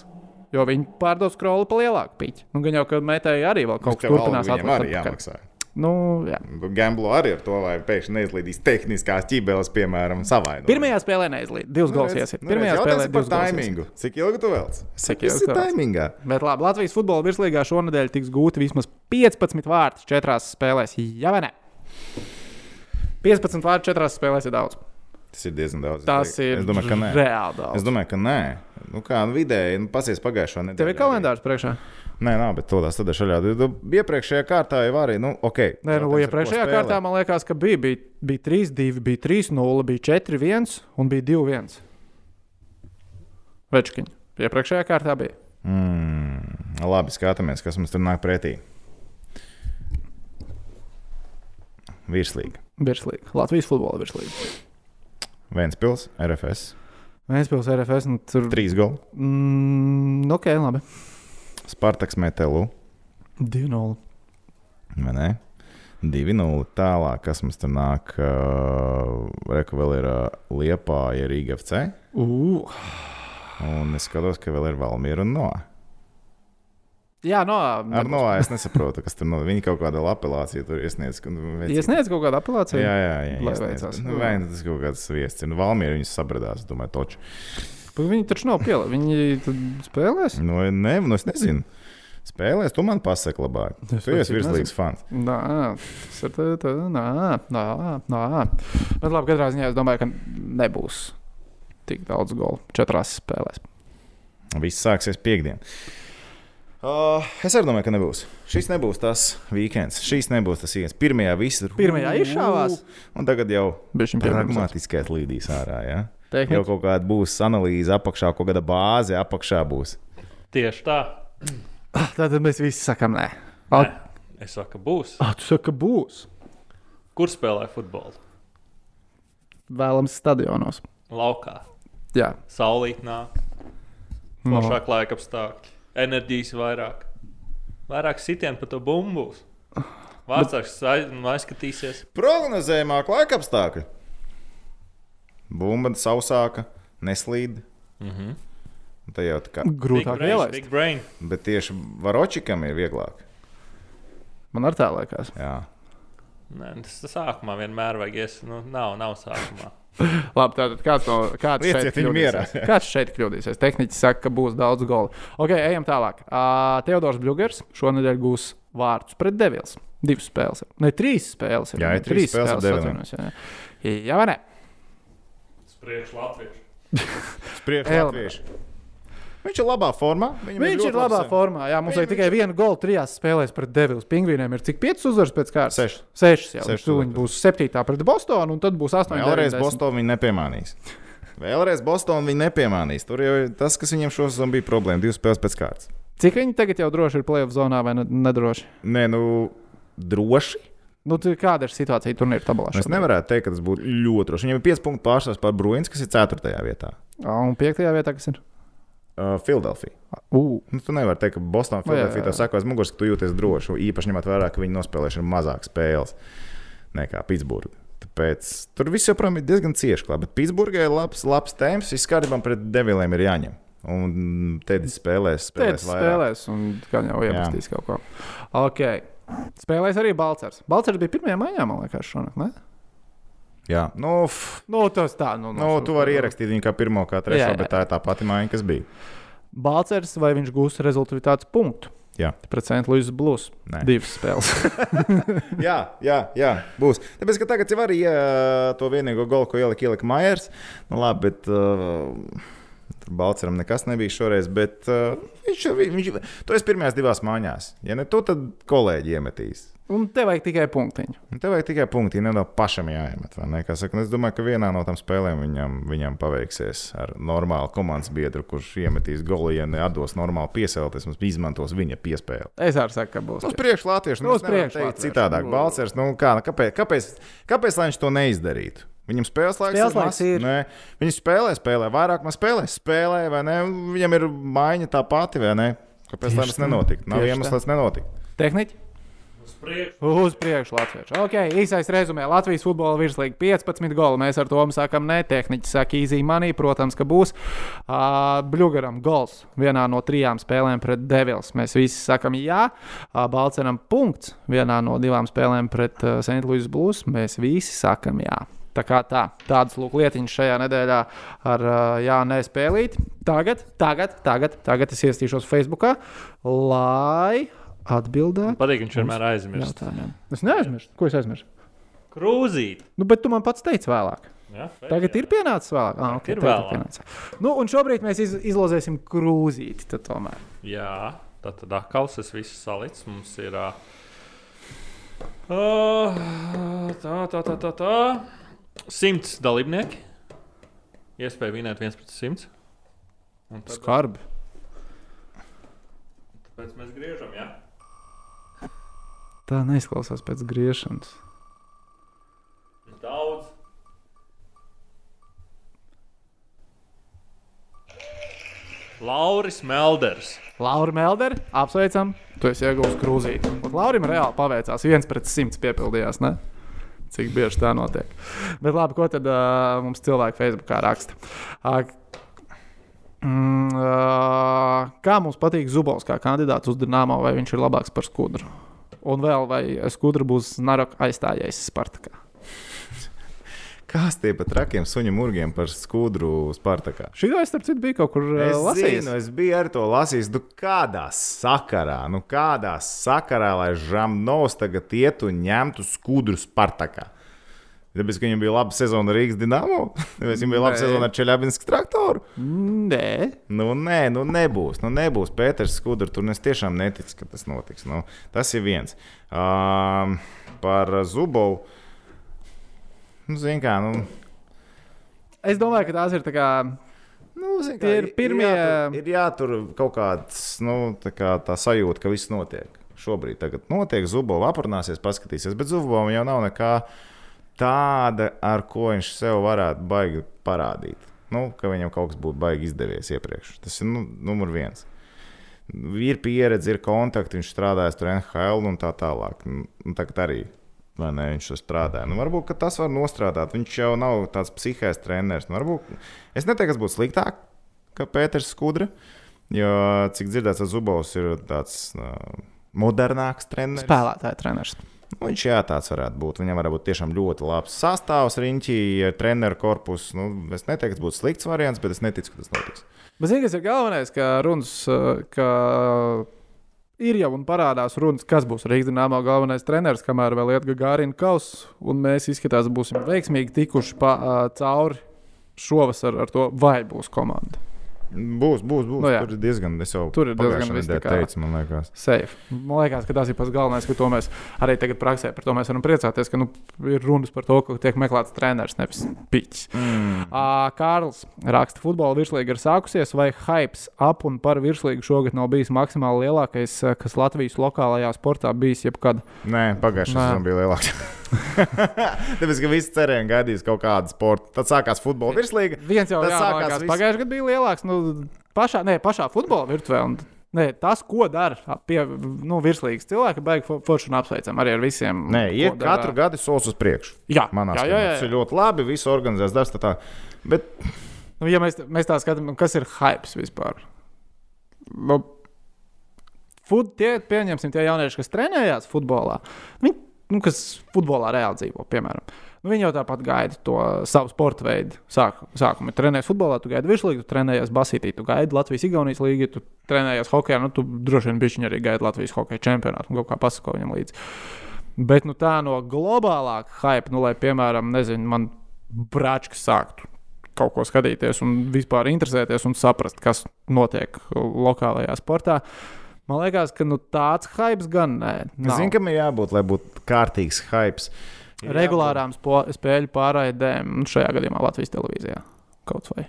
Speaker 1: Jo viņi pārdos kroli pa lielāku pīķi. Nu, gan jau, ka metai arī vēl kaut kas
Speaker 3: Tev
Speaker 1: turpinās
Speaker 3: alga viņam
Speaker 1: atlikt
Speaker 3: arī
Speaker 1: atpakaļ.
Speaker 3: jāmaksā.
Speaker 1: Nu, jā.
Speaker 3: Gamblo arī ar to, vai pēkšņi neizlīdīs tehniskās ķībeles, piemēram, savainojumā.
Speaker 1: Pirmajā spēlē neizlīd. Divas
Speaker 3: Nu,
Speaker 1: gulas
Speaker 3: redz,
Speaker 1: iesiet.
Speaker 3: nu,
Speaker 1: Pirmajā
Speaker 3: redz,
Speaker 1: spēlē
Speaker 3: jautājums
Speaker 1: divas
Speaker 3: par
Speaker 1: gols iesiet.
Speaker 3: taimingu. Cik ilgi tu vēl?
Speaker 1: Cik
Speaker 3: Cik
Speaker 1: ilgi
Speaker 3: ilgi
Speaker 1: tu
Speaker 3: tu
Speaker 1: velc?
Speaker 3: vēl?
Speaker 1: Bet labi, Latvijas futbola virslīgā šonadēļ tiks gūti vismaz 15 vārti četrās spēlēs. Jā, vai ne? 15 vārti četrās spēlēs ir daudz.
Speaker 3: Tas ir diezgan daudz. es
Speaker 1: Tas
Speaker 3: teiktu.
Speaker 1: ir
Speaker 3: Es domāju, ka nē.
Speaker 1: reāli
Speaker 3: Es
Speaker 1: daudz.
Speaker 3: domāju, ka nē. Nu, kā nu, vidēji, nu, pasies pagājušā nedēļā.
Speaker 1: Tev ir kalendārs priekšā.
Speaker 3: Arī. Nē, nē, bet tādā tādā šaļā. Tu- tu Iepriekšējā kārtā jau arī, nu, ok.
Speaker 1: Nē, nu,
Speaker 3: Jautājums, ar ko
Speaker 1: iepriekšējā
Speaker 3: spēlē.
Speaker 1: kārtā man liekas, ka bija, bija, bija 3, 2, bija 3, 0, bija 4, 1 un bija 2, 1. Večkiņi. Iepriekšējā kārtā bija.
Speaker 3: Mm, labi, skatāmies, kas mums tur nāk pretī. Virslīga.
Speaker 1: Virslīga. Latvijas futbola virslīga.
Speaker 3: Vēnspils, RFS,
Speaker 1: Vēstpils RFS. Nu, tur...
Speaker 3: 3 goli.
Speaker 1: Mm, ok, labi.
Speaker 3: Spartaks Metelu,
Speaker 1: 2-0.
Speaker 3: vai ne? 2-0. Tālāk, kas mums tur nāk, uh, reku vēl ir uh, Liepā, ir Rīga FC.
Speaker 1: Uh.
Speaker 3: Un es skatos, ka vēl ir Valmiera un Noa.
Speaker 1: Jā, no.
Speaker 3: Ar Noa es nesaprotu, kas tur notiek. Viņi kaut kādu apelāciju tur iesniedz. ka, nu, vecīt.
Speaker 1: Iesniedz kaut kādu
Speaker 3: Jā,
Speaker 1: apelāciju.
Speaker 3: jā, jā.
Speaker 1: Lai
Speaker 3: iesniedz.
Speaker 1: veicās.
Speaker 3: Nu, Vai nu tas kaut kāds viesis. Nu, Valmiera viņus sabradās, es domāju, toču.
Speaker 1: Bet Viņi taču nav pielāgojušies. Viņi tad spēlēs.
Speaker 3: Nu, ne, nu es nezinu. Spēlēs, tu man pasaki, labāk.
Speaker 1: Es
Speaker 3: Tu esi
Speaker 1: pats
Speaker 3: virslīgs fans.
Speaker 1: Nā, tas ir tā, tā, nā, nā, nā. Bet labi, katrā ziņā es domāju, ka nebūs tik daudz golu četrās spēlēs.
Speaker 3: Viss sāksies piekdien. Uh, es arī domāju, ka nebūs. Šis nebūs tas weekends. Šis nebūs tas īens. Pirmajā viss ir.
Speaker 1: Pirmajā izšāvās?
Speaker 3: Un tagad jau
Speaker 1: Bieži vien pieņemts.
Speaker 3: pragmatiskais līdīs ārā. Ja?
Speaker 1: Tehniski.
Speaker 3: Jau kaut kāda būs analīze apakšā, kaut kāda bāze apakšā būs.
Speaker 2: Tieši tā.
Speaker 1: Tad mēs visi sakām, nē.
Speaker 2: Nē,
Speaker 1: Ak,
Speaker 2: es saku, būs.
Speaker 1: tu saki, ka būs.
Speaker 2: Kur spēlē futbolu?
Speaker 1: Vēlams stadionos.
Speaker 2: Laukā.
Speaker 1: Jā,
Speaker 2: Saulīt nāk,
Speaker 1: No.
Speaker 2: plašāk laika apstākļi, enerģijas vairāk. Vairāk sitienu pa to bumbu. Vārtsāks aizskatīsies.
Speaker 3: Prognozējumāk laika apstākļi. Bumba sausāka, neslīd.
Speaker 2: Mhm.
Speaker 3: Un Tā jau tā kā.
Speaker 2: Big
Speaker 1: grūtāk
Speaker 2: brains,
Speaker 1: ielaist.
Speaker 2: big brain.
Speaker 3: Bet tieši varočikam ir vieglāk.
Speaker 1: Man ar tā liekas.
Speaker 3: Jā.
Speaker 2: Nē, tas tas sākumā vienmēr vajag ies. Nu, nav, nav sākumā.
Speaker 1: Labi, tātad kāds no kāds
Speaker 3: Lieciet
Speaker 1: šeit
Speaker 3: viņu
Speaker 1: kļūdīsies? (laughs) Kāds šeit kļūdīsies? Tehniķis saka, ka būs daudz golu. Ok, ejam tālāk. Uh, Teodors Bļūgers šonadēļ gūs vārdus pret Devils. Divas spēles. ir. Ne, trīs spēles.
Speaker 3: Jā, ir
Speaker 1: Ne,
Speaker 3: trīs spēles ar Deviliem.
Speaker 1: atvainojos, jā, jā. jā, vai ne?
Speaker 2: Spriež Latvijas.
Speaker 1: Elna.
Speaker 3: Spriežs. Viņš ir labā formā. Viņam
Speaker 1: Viņš ir labā formā. Jā, mums
Speaker 3: Viņ-
Speaker 1: vajag tikai vienu golu trijās spēlēs pret Devils. Pingvīniem ir cik piecas uzvaras pēc kārtas?
Speaker 3: Sešas.
Speaker 1: Sešas jau. Viņš
Speaker 3: Sešas
Speaker 1: tūlīt būs septītā pret Bostonu, un tad būs astoņi.
Speaker 3: Vēlreiz
Speaker 1: deviņi, desmit.
Speaker 3: Bostonā viņa nepiemānīs. Vēlreiz Bostonā viņa nepiemānīs. Tur jau ir tas, kas viņam šosezon bija problēma. Divas spēles pēc kārtas.
Speaker 1: Cik viņi tagad jau droši ir playoff zonā vai ne- nedroši?
Speaker 3: Nē, nu, droši.
Speaker 1: Nu, tu- kāda ir situācija turnīra tabulā?
Speaker 3: Es
Speaker 1: šobrīd?
Speaker 3: nevarētu teikt, ka tas būtu ļoti droši. Viņam ir 5 punktu pārsvars par Bruins, kas ir 4. vietā.
Speaker 1: Un piektajā vietā, kas ir?
Speaker 3: Uh, Filadelfija.
Speaker 1: Uh,
Speaker 3: Nu, tu nevari teikt, ka Bostonā
Speaker 1: Nu, jā,
Speaker 3: Filadelfija
Speaker 1: jā.
Speaker 3: tev saka, aiz muguras, ka tu jūties droši. un Īpaši ņemot vērā, ka viņi nospēlējuši mazāk spēles nekā Pitsburgā. Tāpēc tur viss joprojām ir diezgan cieši klāts. Bet Pitsburgā ir labs, labs temps, viss kārtībā pret deviliem ir jāņem. Un Tedis spēlēs, spēlēs
Speaker 1: Tēdz
Speaker 3: vairāk.
Speaker 1: spēlēs, un gan jau iepazīs kaut ko. Ok. Spēlēs arī Balčers. Balčers bija pirmajā maijā, man liekas, šonakt. Ne?
Speaker 3: Jā, nu, f,
Speaker 1: Nu, tas tā, nu,
Speaker 3: nu tu vari ierakstīt viņu kā pirmo, kā trešo,
Speaker 1: Jā,
Speaker 3: jā,
Speaker 1: jā.
Speaker 3: jā. bet tā ir tā pati māja, kas bija.
Speaker 1: Balčers vai viņš gūs rezultātu punktu?
Speaker 3: Jā.
Speaker 1: Pret St. Louis Blues.
Speaker 3: Nē.
Speaker 1: Divas spēles. (laughs)
Speaker 3: Jā, jā, jā, būs. Tāpēc, ka tagad jau arī uh, to vienīgo golu, ko ielika, ielika Maijers. Nu, labi, bet uh, tur Balčūskam nekas nebija šoreiz. Bet uh, viņš jau bija. Tu esi pirmajās divās mājās. Ja ne tu, tad kolēģi iemetīs.
Speaker 1: un te vajag tikai punktiņu.
Speaker 3: Un Tev vajag tikai punkti, ja nedaudz pašam jāiemet. vai Ne? Kā Saka, un es domāju, ka vienā no tām spēlēm viņam, viņam paveiksies ar normālu komandas biedru, kurš iemetīs golu, ja nedos normālu piesaistīties, mums izmantos viņa piespēju.
Speaker 1: Es arī saku, ka būs.
Speaker 3: Uz priekšu Latviešu nu,
Speaker 1: Uz
Speaker 3: es nevaru
Speaker 1: priekšu
Speaker 3: teikt
Speaker 1: latviešu.
Speaker 3: Citādāk, Balčers, nu, kā, kāpēc, kāpēc, kāpēc lai viņš to neizdarītu? Viņam spēles laiks
Speaker 1: Spēles
Speaker 3: ir.
Speaker 1: laiks
Speaker 3: mazs,
Speaker 1: ir.
Speaker 3: nē. Viņš spēlē, spēlē, vairāk man spēlē, spēlē, vai ne? Viņam ir maiņa tā pati, vai ne? Kāpēc tā
Speaker 1: Tieši
Speaker 3: tas
Speaker 1: tā,
Speaker 3: nenotika? Nav
Speaker 1: tieši
Speaker 3: iemesls,
Speaker 1: tā.
Speaker 3: lai tas nenotika.
Speaker 1: Tehniķi? Uz priekšu Latvijas. Ok, īsais rezumē. Latvijas futbola virslīga 15 goli. Mēs ar to sākam ne tehniķi. Saka, easy money, protams, ka būs. Uh, Blugaram gols vienā no trijām spēlēm pret Devils. Mēs visi sakam jā. Uh, Balcenam punkts vienā no divām spēlēm pret uh, St. Louis Blues. Mēs visi sakam jā. Tā kā tā, tādas lūk lietiņas šajā nedēļā ar uh, Jānu Spēlīti. Tagad, tagad, tagad, tagad es iestīšos Facebook, lai atbildētu
Speaker 2: Patīk, viņš vienmēr aizmirst.
Speaker 1: jautājumiem. Es neaizmirsu, ko es aizmirsu.
Speaker 2: Krūzīt.
Speaker 1: Nu, bet tu man pats teici vēlāk.
Speaker 2: Ja?
Speaker 1: Tagad ir pienācis vēlāk. Ah, okay,
Speaker 2: Ir
Speaker 1: tagad
Speaker 2: vēlāk.
Speaker 1: pienācis. Nu, un šobrīd mēs iz, izlozēsim krūzīti. tad Tomēr.
Speaker 2: Jā, tā tad akals, es visu salicu. Mums ir. ā, ā, Tā, tā, tā, tā. tā. Simts dalībnieki. Iespēja vinēt viens pret simts. Un tad-
Speaker 1: Skarbi.
Speaker 2: Tāpēc mēs griežam, jā.
Speaker 1: Tā neizklausās pēc griešanas.
Speaker 2: Daudz. Lauris Melders.
Speaker 1: Laura Meldere, apsveicam, tu esi iegūmis krūzīti. Un Laurim reāli paveicās. viens pret simts piepildījās. Ne? Cik bieži tā notiek. Bet labi, ko tad uh, mums cilvēki Facebookā raksta? Uh, mm, uh, kā mums patīk Zubovs kā kandidāts uz Dienāmo, vai viņš ir labāks par skudru? Un vēl vai skudra būs Naroka aizstājējis Spartakā?
Speaker 3: Kas tie par trakiem suņu murgiem par skudru Spartakā?
Speaker 1: Šī gala, starp citu, bija kaut kur
Speaker 3: Es,
Speaker 1: uh, lasījis.
Speaker 3: zinu, es biju ar to lasījis. Nu, kādā sakarā, nu, kādā sakarā, lai Žamnovs tagad iet un ņemtu skudru Spartakā? Tāpēc, ka viņam bija laba sezona ar Rīgas dīnāmo, (laughs) tāpēc viņam bija laba
Speaker 1: Nē.
Speaker 3: sezona ar Čeļabinskas traktoru.
Speaker 1: Nē,
Speaker 3: Nu, nē, nu nebūs. Nu, nebūs Pēters Skudra. Tur nu, es tiešām neticu, ka tas notiks. Nu, tas ir viens. Um, par Zubovu. Nu, zin kā, nu,
Speaker 1: es domāju, ka tās ir tā kā.
Speaker 3: nu, zin kā,
Speaker 1: Tie ir
Speaker 3: ir
Speaker 1: pirmie-
Speaker 3: Jātur, ir jātur kaut kāds, nu, tā, kā tā sajūta, ka viss notiek. Šobrīd tagad notiek. Zubovs aprunāsies, paskatīsies. Bet Zubovam jau nav nekā tāda, ar ko viņš sev varētu baigi parādīt. Nu, ka viņam kaut kas būtu baigi izdevies iepriekš. Tas ir nu, numur viens. ir pieredze, ir kontakti, viņš strādājas tur NHL un tā tālāk. Nu, un Tagad arī vai ne, viņš tur strādāja. Nu, varbūt ka tas var nostrādāt. Viņš jau nav tāds psihēs treneris. Nu, varbūt es neteiktu, kas būtu sliktāk, ka Pēters Skudra. Jo, cik dzirdēts, tas Zubovs ir tāds uh, modernāks treneris.
Speaker 1: Spēlētāja treneris.
Speaker 3: Nu, viņš jā, tāds varētu būt. Viņam varētu būt tiešām ļoti labs sastāvs, riņķī, ar treneru korpusu. Nu, es neteiktu, ka būtu slikts variants, bet es neticu, ka tas notiks.
Speaker 1: Bet zini, kas ir galvenais, ka runas, uh, ka ir jau un parādās runas, kas būs Rīgas dīnāmā galvenais treneris, kamēr vēl iet Gārina Kausa, un mēs izskatās, būsim veiksmīgi tikuši pa, uh, cauri šovasar ar to, vai būs komanda.
Speaker 3: Būs, būs, būs.
Speaker 1: Nu,
Speaker 3: Nu,
Speaker 1: jā.
Speaker 3: tur ir diezgan, es jau
Speaker 1: Tur ir diezgan
Speaker 3: pagājušajā
Speaker 1: viss tā
Speaker 3: nedēļā
Speaker 1: kā-
Speaker 3: teicu, man liekas.
Speaker 1: Safe. Man liekas, ka tas ir pats galvenais, ka to mēs arī tagad praksē par to mēs varam priecāties, ka nu, ir runas par to, ka tiek meklēts treneris, nevis piķis. Mm. Uh, Kārls raksta, ka futbola virslīga ir sākusies, vai hypes ap un par virslīgu šogad nav bijis maksimāli lielākais, ā, kas Latvijas lokālajā sportā bijis jebkad.
Speaker 3: Nē, pagājušā
Speaker 1: Nē.
Speaker 3: sezona bija lielāka. (laughs) Tāpēc, ka visi cerēja un gaidīja kaut kādu sportu. Tad sākās futbola virslīga.
Speaker 1: Viens jau
Speaker 3: Tas
Speaker 1: jā,
Speaker 3: sākās
Speaker 1: man liekas,
Speaker 3: viss-
Speaker 1: pagājušajā gadā bija lielāks. Nu, pašā, nē, pašā futbola virtuvē. Un, nē, tas, ko dara pie nu, virslīgas cilvēki, baigs forši un apsveicam arī ar visiem.
Speaker 3: Nē,
Speaker 1: ko
Speaker 3: iet
Speaker 1: dara.
Speaker 3: katru gadu solis uz priekšu.
Speaker 1: Jā,
Speaker 3: Manā
Speaker 1: jā, jā,
Speaker 3: skatījumā
Speaker 1: jā.
Speaker 3: tas ir ļoti labi. Visu organizēs darbs. tā tā. Bet
Speaker 1: Nu, ja mēs, mēs tā skatāmies, nu, kas ir hypes vispār? Nu, fut, tie, pieņemsim, tie jaunieši, kas trenējās futbolā, viņi, nu, kas futbolā reāli dzīvo, piemēram. Nu, viņi jau tāpat gaida to savu sporta veidu. Sāk, sākumā ja trenējies futbolā, tu gaidi virslīgu, tu trenējies basītī, tu gaidi Latvijas-Igaunijas līniju, tu trenējies hokeja, nu, tu droši vien bišķiņā arī gaidi Latvijas hokeja čempionātu un kaut kā pasako viņam līdzi. Bet nu, tā no globālāka hype, nu, lai, piemēram, nezinu, man brāčkas sāktu kaut ko skatīties un vispār interesēties un saprast, kas notiek lokālajā sportā. Man liekas, ka nu, tāds hype gan nē.
Speaker 3: es zinu, kam ir jābūt, lai būtu kārtīgs hype.
Speaker 1: Regulārām spo- spēļu pārraidēm, nu, šajā gadījumā Latvijas televīzijā kaut vai.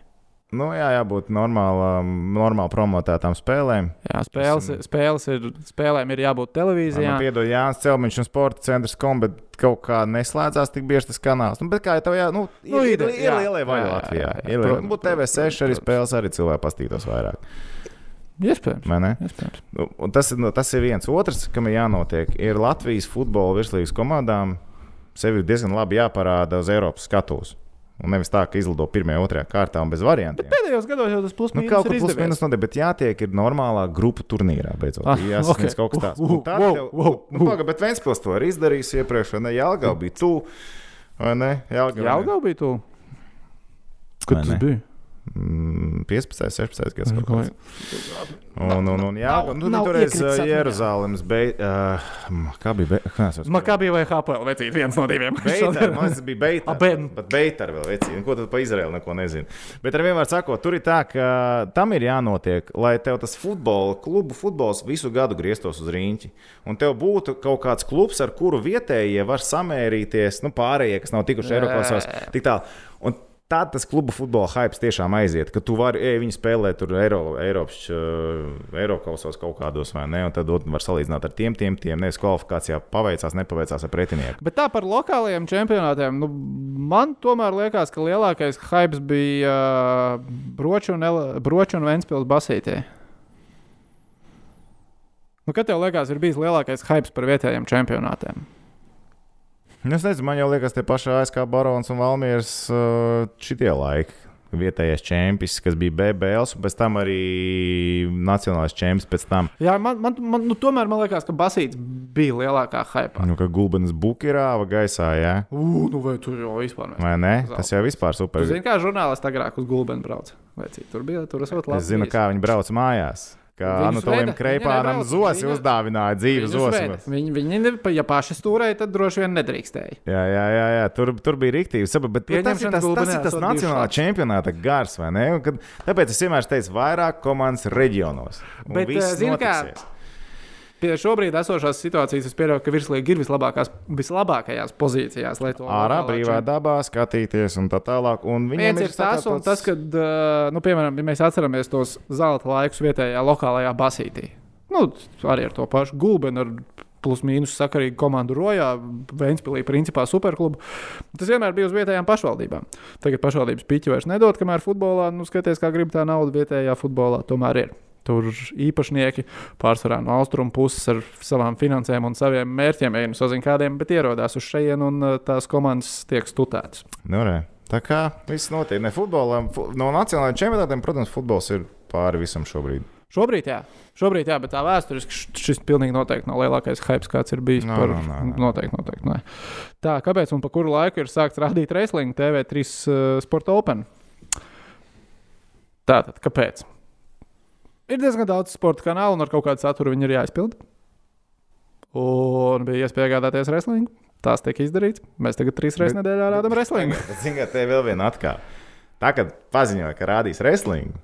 Speaker 3: Nu, jā, jābūt normālām, normāli promotētām spēlēm.
Speaker 1: Jā, spēles,
Speaker 3: Esam-
Speaker 1: spēles ir, spēlēm ir jābūt televīzijā.
Speaker 3: Man nu, piedod, Jānis Celmiņš un Sports centrs kom, bet kaut kā neslēdzās tik bieži tas kanāls. Nu, bet kā jau tev jā, nu, ir,
Speaker 1: Nu,
Speaker 3: ir,
Speaker 1: ir,
Speaker 3: ir, ir
Speaker 1: jā.
Speaker 3: lielie vaļi
Speaker 1: Jā, jā,
Speaker 3: Latvijā.
Speaker 1: jā,
Speaker 3: Ir lielie- nu,
Speaker 1: protams,
Speaker 3: Būtu TV6 arī spēles, arī cilvēki pastītos vairāk.
Speaker 1: Iespējams.
Speaker 3: vai ne?
Speaker 1: Iespējams.
Speaker 3: Nu, un Tas ir, nu, tas ir viens. Otrs, kam ir jānotiek, ir Latvijas futbola virslīgas komandām sevi diezgan labi jāparāda uz Eiropas skatuves. Un nevis tā, ka izlido pirmajā, otrajā kārtā un bez variantiem.
Speaker 1: Pēdējos gados jau tas plus
Speaker 3: Nu,
Speaker 1: mīnus
Speaker 3: kaut kur
Speaker 1: ir
Speaker 3: plus
Speaker 1: izdevies.
Speaker 3: mīnus notiek, bet jātiek ir normālā grupu turnīrā. Beidzot,
Speaker 1: Ah,
Speaker 3: ah,
Speaker 1: ok.
Speaker 3: jāsasniedz okay. kaut kas tāds.
Speaker 1: Uh,
Speaker 3: Nu,
Speaker 1: uh,
Speaker 3: tā
Speaker 1: wow,
Speaker 3: tev,
Speaker 1: wow,
Speaker 3: nu,
Speaker 1: wow. Mm.
Speaker 3: paga, bet Vēnspils to ir izdarījis iepriekš, vai ne? Jālgau bija tu. Vai ne? Jālgau.
Speaker 1: Jā, Gau bija tu.
Speaker 3: Vai
Speaker 1: Kad
Speaker 3: ne?
Speaker 1: tas bija?
Speaker 3: Mm, 15, 16 gadsimta
Speaker 1: Es
Speaker 3: gadsimta.
Speaker 1: domāju,
Speaker 3: Un, un, un jā,
Speaker 1: Nav-
Speaker 3: nu,
Speaker 1: nav
Speaker 3: toreiz
Speaker 1: iekritis atmiņā.
Speaker 3: Jeruzalemes beigās. Kā bija? Be... kā sauc?
Speaker 1: Makabija vai HPL vecīt, viens no diviem.
Speaker 3: Beitar, man liekas, tas bija
Speaker 1: Ah,
Speaker 3: Beitar.
Speaker 1: bet-
Speaker 3: Bet Beitar vēl vecīja. Ko tad pa Izraēlu neko nezinu. Bet ar vienmēr sakot, tur ir tā, ka uh, tam ir jānotiek, lai tev tas futbola, klubu futbols visu gadu grieztos uz rīņķi. Un tev būtu kaut kāds klubs, ar kuru vietējie var samērīties, nu pārējie, kas nav tikuši Eiropasos, tik tālu. Un Tad tas kluba futbola hype tiešām aiziet, ka tu vari, ej, viņi spēlē tur Eiro, Eiropas, ā, Eiropasos kaut kādos, vai ne? Un tad var salīdzināt ar tiem, tiem, tiem. Nevis kvalifikācijā paveicās, nepaveicās ar pretinieku.
Speaker 1: Bet tā par lokālajiem čempionātiem. Nu, man tomēr liekas, ka lielākais hype bija uh, Broča un, Ele- Broču un Vēnspils basītē. Nu, kad tev liekas, ir bijis lielākais hype par vietējiem čempionātiem?
Speaker 3: Nu, Es nezinu, man jau liekas, tie paši ASK barons un valmieris uh, eh, šitie laiki. vietējais čempions, kas bija BBLs, un pēc tam arī nacionālais čempions. Pēc tam
Speaker 1: Jā, man, man, man, nu, tomēr man liekas, ka Basīts bija lielākā hype.
Speaker 3: nu, kā gulbenis bukirāva gaisā, jā.
Speaker 1: Ugh, nu vai tur jau vispār ne?
Speaker 3: vai ne? Tas jau vispār super.
Speaker 1: Jūs zināt, kā žurnālisti agrāk uz gulbeni brauca? Vai cik tur bija? Tur esot labi.
Speaker 3: Es zinu, kā viņi brauc mājās. Kā
Speaker 1: Viņus
Speaker 3: Anatoliem
Speaker 1: veda- viņi
Speaker 3: Kreipānam
Speaker 1: nebrauc,
Speaker 3: zosi
Speaker 1: viņi-
Speaker 3: uzdāvināja dzīvi zosim.
Speaker 1: Viņi, viņi, ne- pa- ja paši stūrēja, tad droši vien nedrīkstēja.
Speaker 3: Jā, jā, jā, jā. Tur, tur bija rīktīvi. Saba, bet, bet tas ir
Speaker 1: Pieņemšana
Speaker 3: tas, tas,
Speaker 1: gulbenē
Speaker 3: ir tas
Speaker 1: esot
Speaker 3: nacionālā
Speaker 1: bijušās.
Speaker 3: čempionāta gars, vai ne? Un Kad, tāpēc es vienmēr teicu, vairāk komandas reģionos. Un
Speaker 1: Bet,
Speaker 3: viss
Speaker 1: eh, zini kā,
Speaker 3: notiksies.
Speaker 1: Pie šobrīd esošās situācijas es pieļauju, ka virslija ir vislabākās, vislabākajās pozīcijās, lai to
Speaker 3: Ārā,
Speaker 1: lokālā
Speaker 3: brīvā dabā, skatīties un tā tālāk. Un viņiem
Speaker 1: Viens ir tas, un tas, ka, nu, piemēram, ja mēs atceramies tos zelta laikus vietējā lokālajā basītī, nu, arī ar to pašu gulbenu, ar plus-mínus sakarīgu komandu rojā, Vēnspīlī, principā superklubu. Tas vienmēr bija uz vietējām pašvaldībām. Tagad pašvaldības piķi vairs nedod, kamēr futbolā, nu, skaties, kā grib tā nauda vietējā futbolā, tomēr ir. Tur īpašnieki pārsvarā no austrumu puses ar savām finansēm un saviem mērķiem, ja nu sazina kādiem, bet ierodās uz šejienes un uh, tās komandas tiek stutētas.
Speaker 3: Nu, re. tā kā viss notiek. Ne, futbolam, fu no nacionālajiem čempionātiem, protams, futbols ir pāri visam šobrīd.
Speaker 1: Šobrīd jā. Šobrīd jā, bet tā vēsturiski š- šis pilnīgi noteikti nav lielākais hype, kāds ir bijis.
Speaker 3: Nā,
Speaker 1: No, par... no,
Speaker 3: nā, nā,
Speaker 1: no,
Speaker 3: nā.
Speaker 1: no. Noteikti, noteikti. Nē. Tā, kāpēc un pa kuru laiku ir sākts rādīt wrestling TV3 uh, Sport Open? Tātad, kāpēc? Ir diezgan daudz sporta kanālu, un ar kaut kādu saturu viņi ir jāizpild. Un bija iespēja iegādāties wrestling. Tās tiek izdarīts. Mēs tagad trīs reizes nedēļā rādām wrestling.
Speaker 3: Ziniet, te ir vēl viena atkāpe. Tā kā paziņoja, ka rādīs wrestlingu,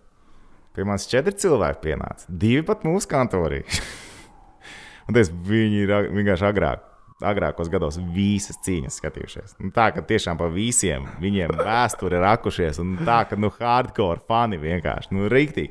Speaker 3: pie manis četri cilvēki pienāca. Divi pat mūsu kantorī. (laughs) Un tas viņi ir ag- vienkārši agrāk. Agrākos gados visas cīņas skatījušies. Nu, tā kā tiešām pa visiem viņiem vēsture ir akušies. Un tā kā nu, hardcore fani vienkārši nu, rīktī.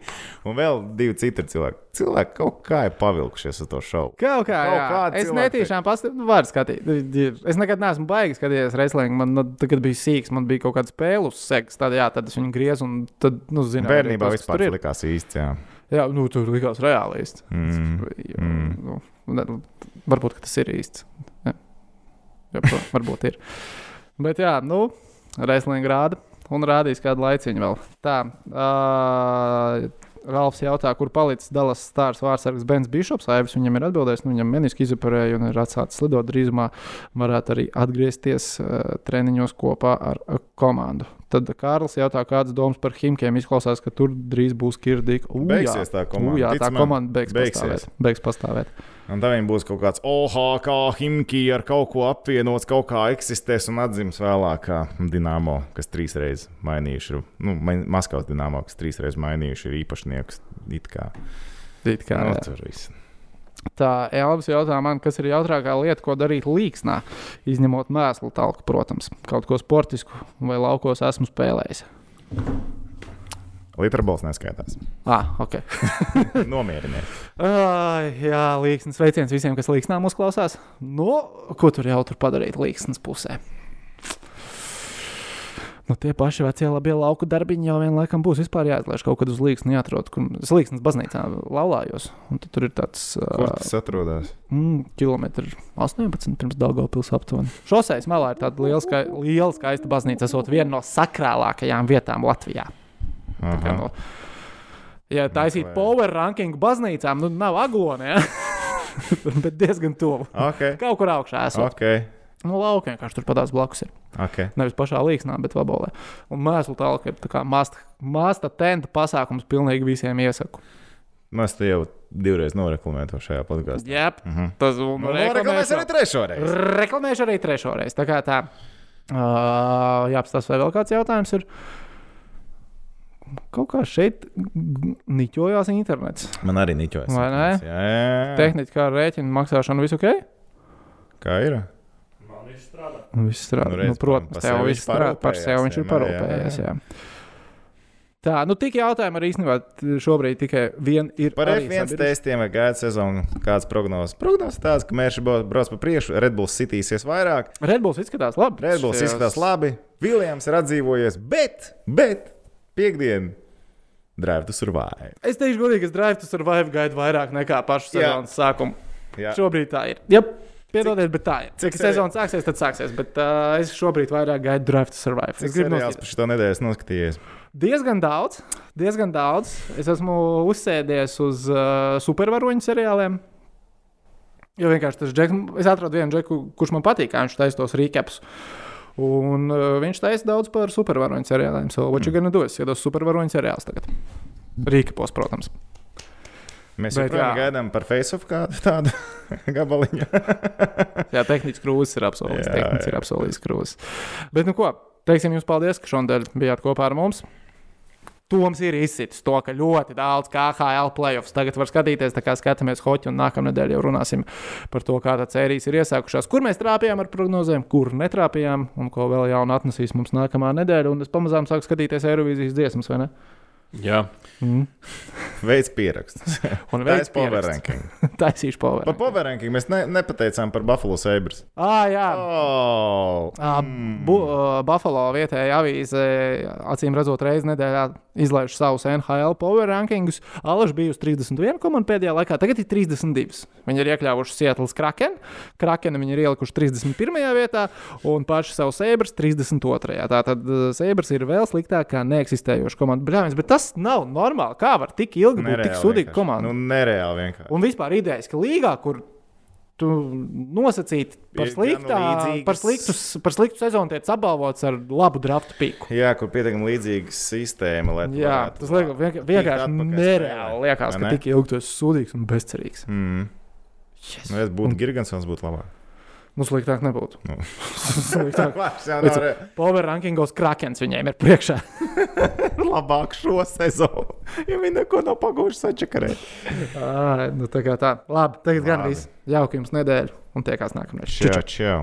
Speaker 3: Un vēl divi citi cilvēki. Cilvēki kaut kā ir pavilkušies uz to šovu.
Speaker 1: Kaut kā,
Speaker 3: Kaut
Speaker 1: jā.
Speaker 3: kādi
Speaker 1: es
Speaker 3: cilvēki.
Speaker 1: netīšām pastāvu, varu skatīt. nu, Es nekad neesmu baigts skatīties wrestling. Man, nu, tad, kad bija sīgs, man bija kaut kāds spēles seks, tad, jā, tad es viņu griezu un tad, nu, zinu,
Speaker 3: Bērnībā
Speaker 1: tur
Speaker 3: vispār tas
Speaker 1: ir.
Speaker 3: likās īsti. Jā.
Speaker 1: Jā, nu, tur likās reālisti.
Speaker 3: Mm. Mm.
Speaker 1: Nu, ne- varbūt ka tas ir īsts. Jā, Jā, pro- (laughs) varbūt ir. Bet, jā, nu, wrestling rāda un rādīs kādu laiciņu vēl. Tā, uh, Ralfs jautā, kur palicis Dallas stāsts vārsargs Bens Bišops. Aivis viņam ir atbildējis, nu, viņam meniski izoperēja un ir atsācis lidot. Drīzumā varētu arī atgriezties uh, treniņos kopā ar uh, komandu. Tad Kārlis jautā, kādas domas par Himkiem izklausās, ka tur drīz būs Kirdīka. Ū, jā.
Speaker 3: Beigsies tā
Speaker 1: Nu,
Speaker 3: komanda.
Speaker 1: jā,
Speaker 3: Tic
Speaker 1: tā
Speaker 3: man.
Speaker 1: komanda beigs,
Speaker 3: beigsies.
Speaker 1: Pastāvēt, beigs pastāvēt.
Speaker 3: Un tad viņam būs kaut kāds OHK, Himki ar kaut ko apvienots, kaut kā eksistēs un atzīmēs vēlāk, kā Dienāmo, kas trīs reizes mainījuši, ir- nu, main- Maskavas Dienāmo, kas trīs reizes mainījuši ir īpašnieks. It kā
Speaker 1: It Kā,
Speaker 3: nu,
Speaker 1: jā.
Speaker 3: tur viss.
Speaker 1: tā Elvis jautā man, kas ir jautrākā lieta, ko darīt līksnā, izņemot mēslu talku, protams, kaut ko sportisku vai laukos esmu spēlējis.
Speaker 3: Litrabols
Speaker 1: (laughs)
Speaker 3: neskaitās.
Speaker 1: Ah, ok.
Speaker 3: Nomierinies.
Speaker 1: Ai, jā, līksnes sveiciens visiem, kas līksnā mūs klausās. Nu, ko tur jau tur padarīt līksnes pusē? Nu, tie paši vecie labie lauku darbiņi jau vienlaikus būs. Vispār jāizlaiž kaut kad uz līksni, jāatrod, kur es līksnes baznīcā laulājos. Un tad tur ir tāds.
Speaker 3: Kur tas atrodas?
Speaker 1: Mm, kilometri 18 pirms Dārgopils aptuveni. Šoseis malā ir tāda liela, ska liela skaista baznīca, esot viena no sakrālākajām vietām Latvijā. Tā kā No, ja taisīt
Speaker 3: Meklējam.
Speaker 1: power rankingu baznīcām, nu nav aglonē, (laughs) bet diezgan tuvu.
Speaker 3: Ok,
Speaker 1: Kaut kur augšā esmu.
Speaker 3: ok.
Speaker 1: Nu, lauka vienkārši tur padās blakus. Ir.
Speaker 3: okay.
Speaker 1: Nevis pašā līksnā, bet vabolē. Un mēslu tālāk ir tā kā masta, masta tenta pasākums pilnīgi visiem iesaku.
Speaker 3: Mēs Nu, te jau divreiz noreklamējām to šajā podkāstā.
Speaker 1: Jā, tas un
Speaker 3: Nu, Noreklamēsim arī trešo reizi.
Speaker 1: Reklamēšu arī trešo reizi. Tā kā tā. Uh, jā, apstāsta, vai vēl kāds jautājums ir. Kaut kā šeit g- niķojās internets.
Speaker 3: Man arī niķojas.
Speaker 1: Vai ne?
Speaker 3: Jā, jā, jā.
Speaker 1: Tehniski kā rēķina maksāšana, viss ok?
Speaker 3: Kā ir?
Speaker 1: Viss strādā.
Speaker 3: Nu,
Speaker 1: Nu,
Speaker 3: reiz
Speaker 1: nu, protams, tev
Speaker 3: par- par sevi
Speaker 1: viss
Speaker 3: viņš
Speaker 1: strādā. Par
Speaker 3: parūpējās,
Speaker 1: sevi viņš ir
Speaker 3: vienmēr, jā,
Speaker 1: parūpējies.
Speaker 3: jā.
Speaker 1: Jā. Tā, nu tik jautājumi arī īstenībā t- šobrīd tikai vien ir.
Speaker 3: Par
Speaker 1: arī
Speaker 3: F1
Speaker 1: sabiedris-
Speaker 3: testiem vai gada sezonu kādas prognozes? Prognozes tādas, ka mērķis brauc pa priekšu, Red Bulls sitīsies vairāk,
Speaker 1: Red Bulls izskatās labi.
Speaker 3: Red Bulls
Speaker 1: Šajās-
Speaker 3: izskatās labi, Viljams ir atdzīvojies, bet, bet piekdienu drive to survive.
Speaker 1: Es teikšu, godīgi, es drive to survive gaidu vairāk nekā pašu
Speaker 3: Jā.
Speaker 1: sezonas sākumu.
Speaker 3: Jā.
Speaker 1: Šobrīd tā ir. Jā, piedodiet, bet tā ir.
Speaker 3: cik
Speaker 1: Cik
Speaker 3: seri-
Speaker 1: sezona sāksies, tad sāksies. Bet uh, es šobrīd vairāk gaidu Drive to Survive.
Speaker 3: Cik
Speaker 1: es gribu
Speaker 3: seriāls
Speaker 1: nosīt.
Speaker 3: par šo nedēļu esmu noskatījies?
Speaker 1: Diezgan daudz, diezgan daudz. Es esmu uzsēdies uz uh, supervaroņu seriāliem. Jo vienkārši tas džeks, es atradu vienu džeku, kurš man patīk, kā viņš taisa tos rīkepus. Un uh, viņš taisa daudz par supervaroņu seriāliem. So,
Speaker 3: Mm.
Speaker 1: what you gonna do? Es skatos supervaroņu seriālus tagad. Rīkepos, protams.
Speaker 3: Mēs
Speaker 1: Bet jā.
Speaker 3: joprojām gaidām par face-off kādu tādu (laughs) gabaliņu.
Speaker 1: Jā, tehniski krūzis ir apsolījis.
Speaker 3: Jā,
Speaker 1: Tehniski
Speaker 3: jā.
Speaker 1: ir apsolījis krūzis. Bet, nu ko, teiksim jums paldies, ka šodien bijāt kopā ar mums. Toms ir izsitis to, ka ļoti daudz KHL playoffs tagad var skatīties, tā kā skatāmies hoci, un nākamā nedēļa jau runāsim par to, kāda sērijas ir iesākušās, kur mēs trāpījām ar prognozēm, kur netrāpījām, un ko vēl jaunu atnesīs mums nākamā nedēļa. Un es pamazām sāku skatīties Eirovīzijas dziesmas, vai ne?
Speaker 2: Jā,
Speaker 1: Mm.
Speaker 3: Veids pierakstus.
Speaker 1: Un
Speaker 3: Tā
Speaker 1: vēl
Speaker 3: ir power ranking.
Speaker 1: (laughs) Taisīšu
Speaker 3: Par
Speaker 1: poveru.
Speaker 3: power ranking mēs ne, nepateicām par Buffalo Sabres.
Speaker 1: Ah, jā.
Speaker 3: Oh.
Speaker 1: Uh, bu, uh, Buffalo vietējā avīze, acīm redzot, reizes nedēļā izlaiž savus NHL power rankingus. Alaž bija uz 31 komandu pēdējā laikā, tagad ir 32. Viņi ir iekļāvuši Sietlas Kraken, Kraken viņi ir ielikuši 31. vietā un paši savu Sēbras 32. Tātad Sēbras ir vēl sliktāk kā neeksistējoša komanda. Bļāviens, bet tas nav normāli. Kā var tik ilgi būt tik
Speaker 3: Nereāli
Speaker 1: sudīga
Speaker 3: vienkārši.
Speaker 1: komanda?
Speaker 3: Nu, nereāli vienkārši.
Speaker 1: Un vispār idejas, ka līgā, kur tu nosacīti par
Speaker 3: Ir gan
Speaker 1: sliktu,
Speaker 3: līdzīgas-
Speaker 1: par, sliktus- par sliktu sezonu tiek apbalvots ar labu draftu piku.
Speaker 3: Jā, kur pietiekami līdzīga sistēma. Lai tu
Speaker 1: Jā,
Speaker 3: varētu
Speaker 1: tas liekas, vienkārši,
Speaker 3: tikt
Speaker 1: vienkārši
Speaker 3: atpakaļ
Speaker 1: nereāli.
Speaker 3: spēlē,
Speaker 1: Liekas,
Speaker 3: vai
Speaker 1: ka
Speaker 3: ne?
Speaker 1: tik ilgi tu esi sūdīgs un bezcerīgs.
Speaker 3: Mm.
Speaker 1: Yes.
Speaker 3: Nu, ja es būtu Gigantsons, būtu (laughs) labāk.
Speaker 1: Nu, sliktāk nebūtu.
Speaker 3: Nu.
Speaker 1: (laughs) Sliktāk.
Speaker 3: Labāk, jau
Speaker 1: Bet-
Speaker 3: nav re...
Speaker 1: Power rankingos krakens viņiem ir priekšā.
Speaker 3: (laughs) labāk šo sezonu. Ja viņi neko nav pagūguši sačakarēt.
Speaker 1: Ā, nu, tā kā tā. Labi, tagad gan
Speaker 3: Labi.
Speaker 1: viss. Jauka jums nedēļa un tiekās nākamreiz. Čau, čau.
Speaker 3: Čau, čau.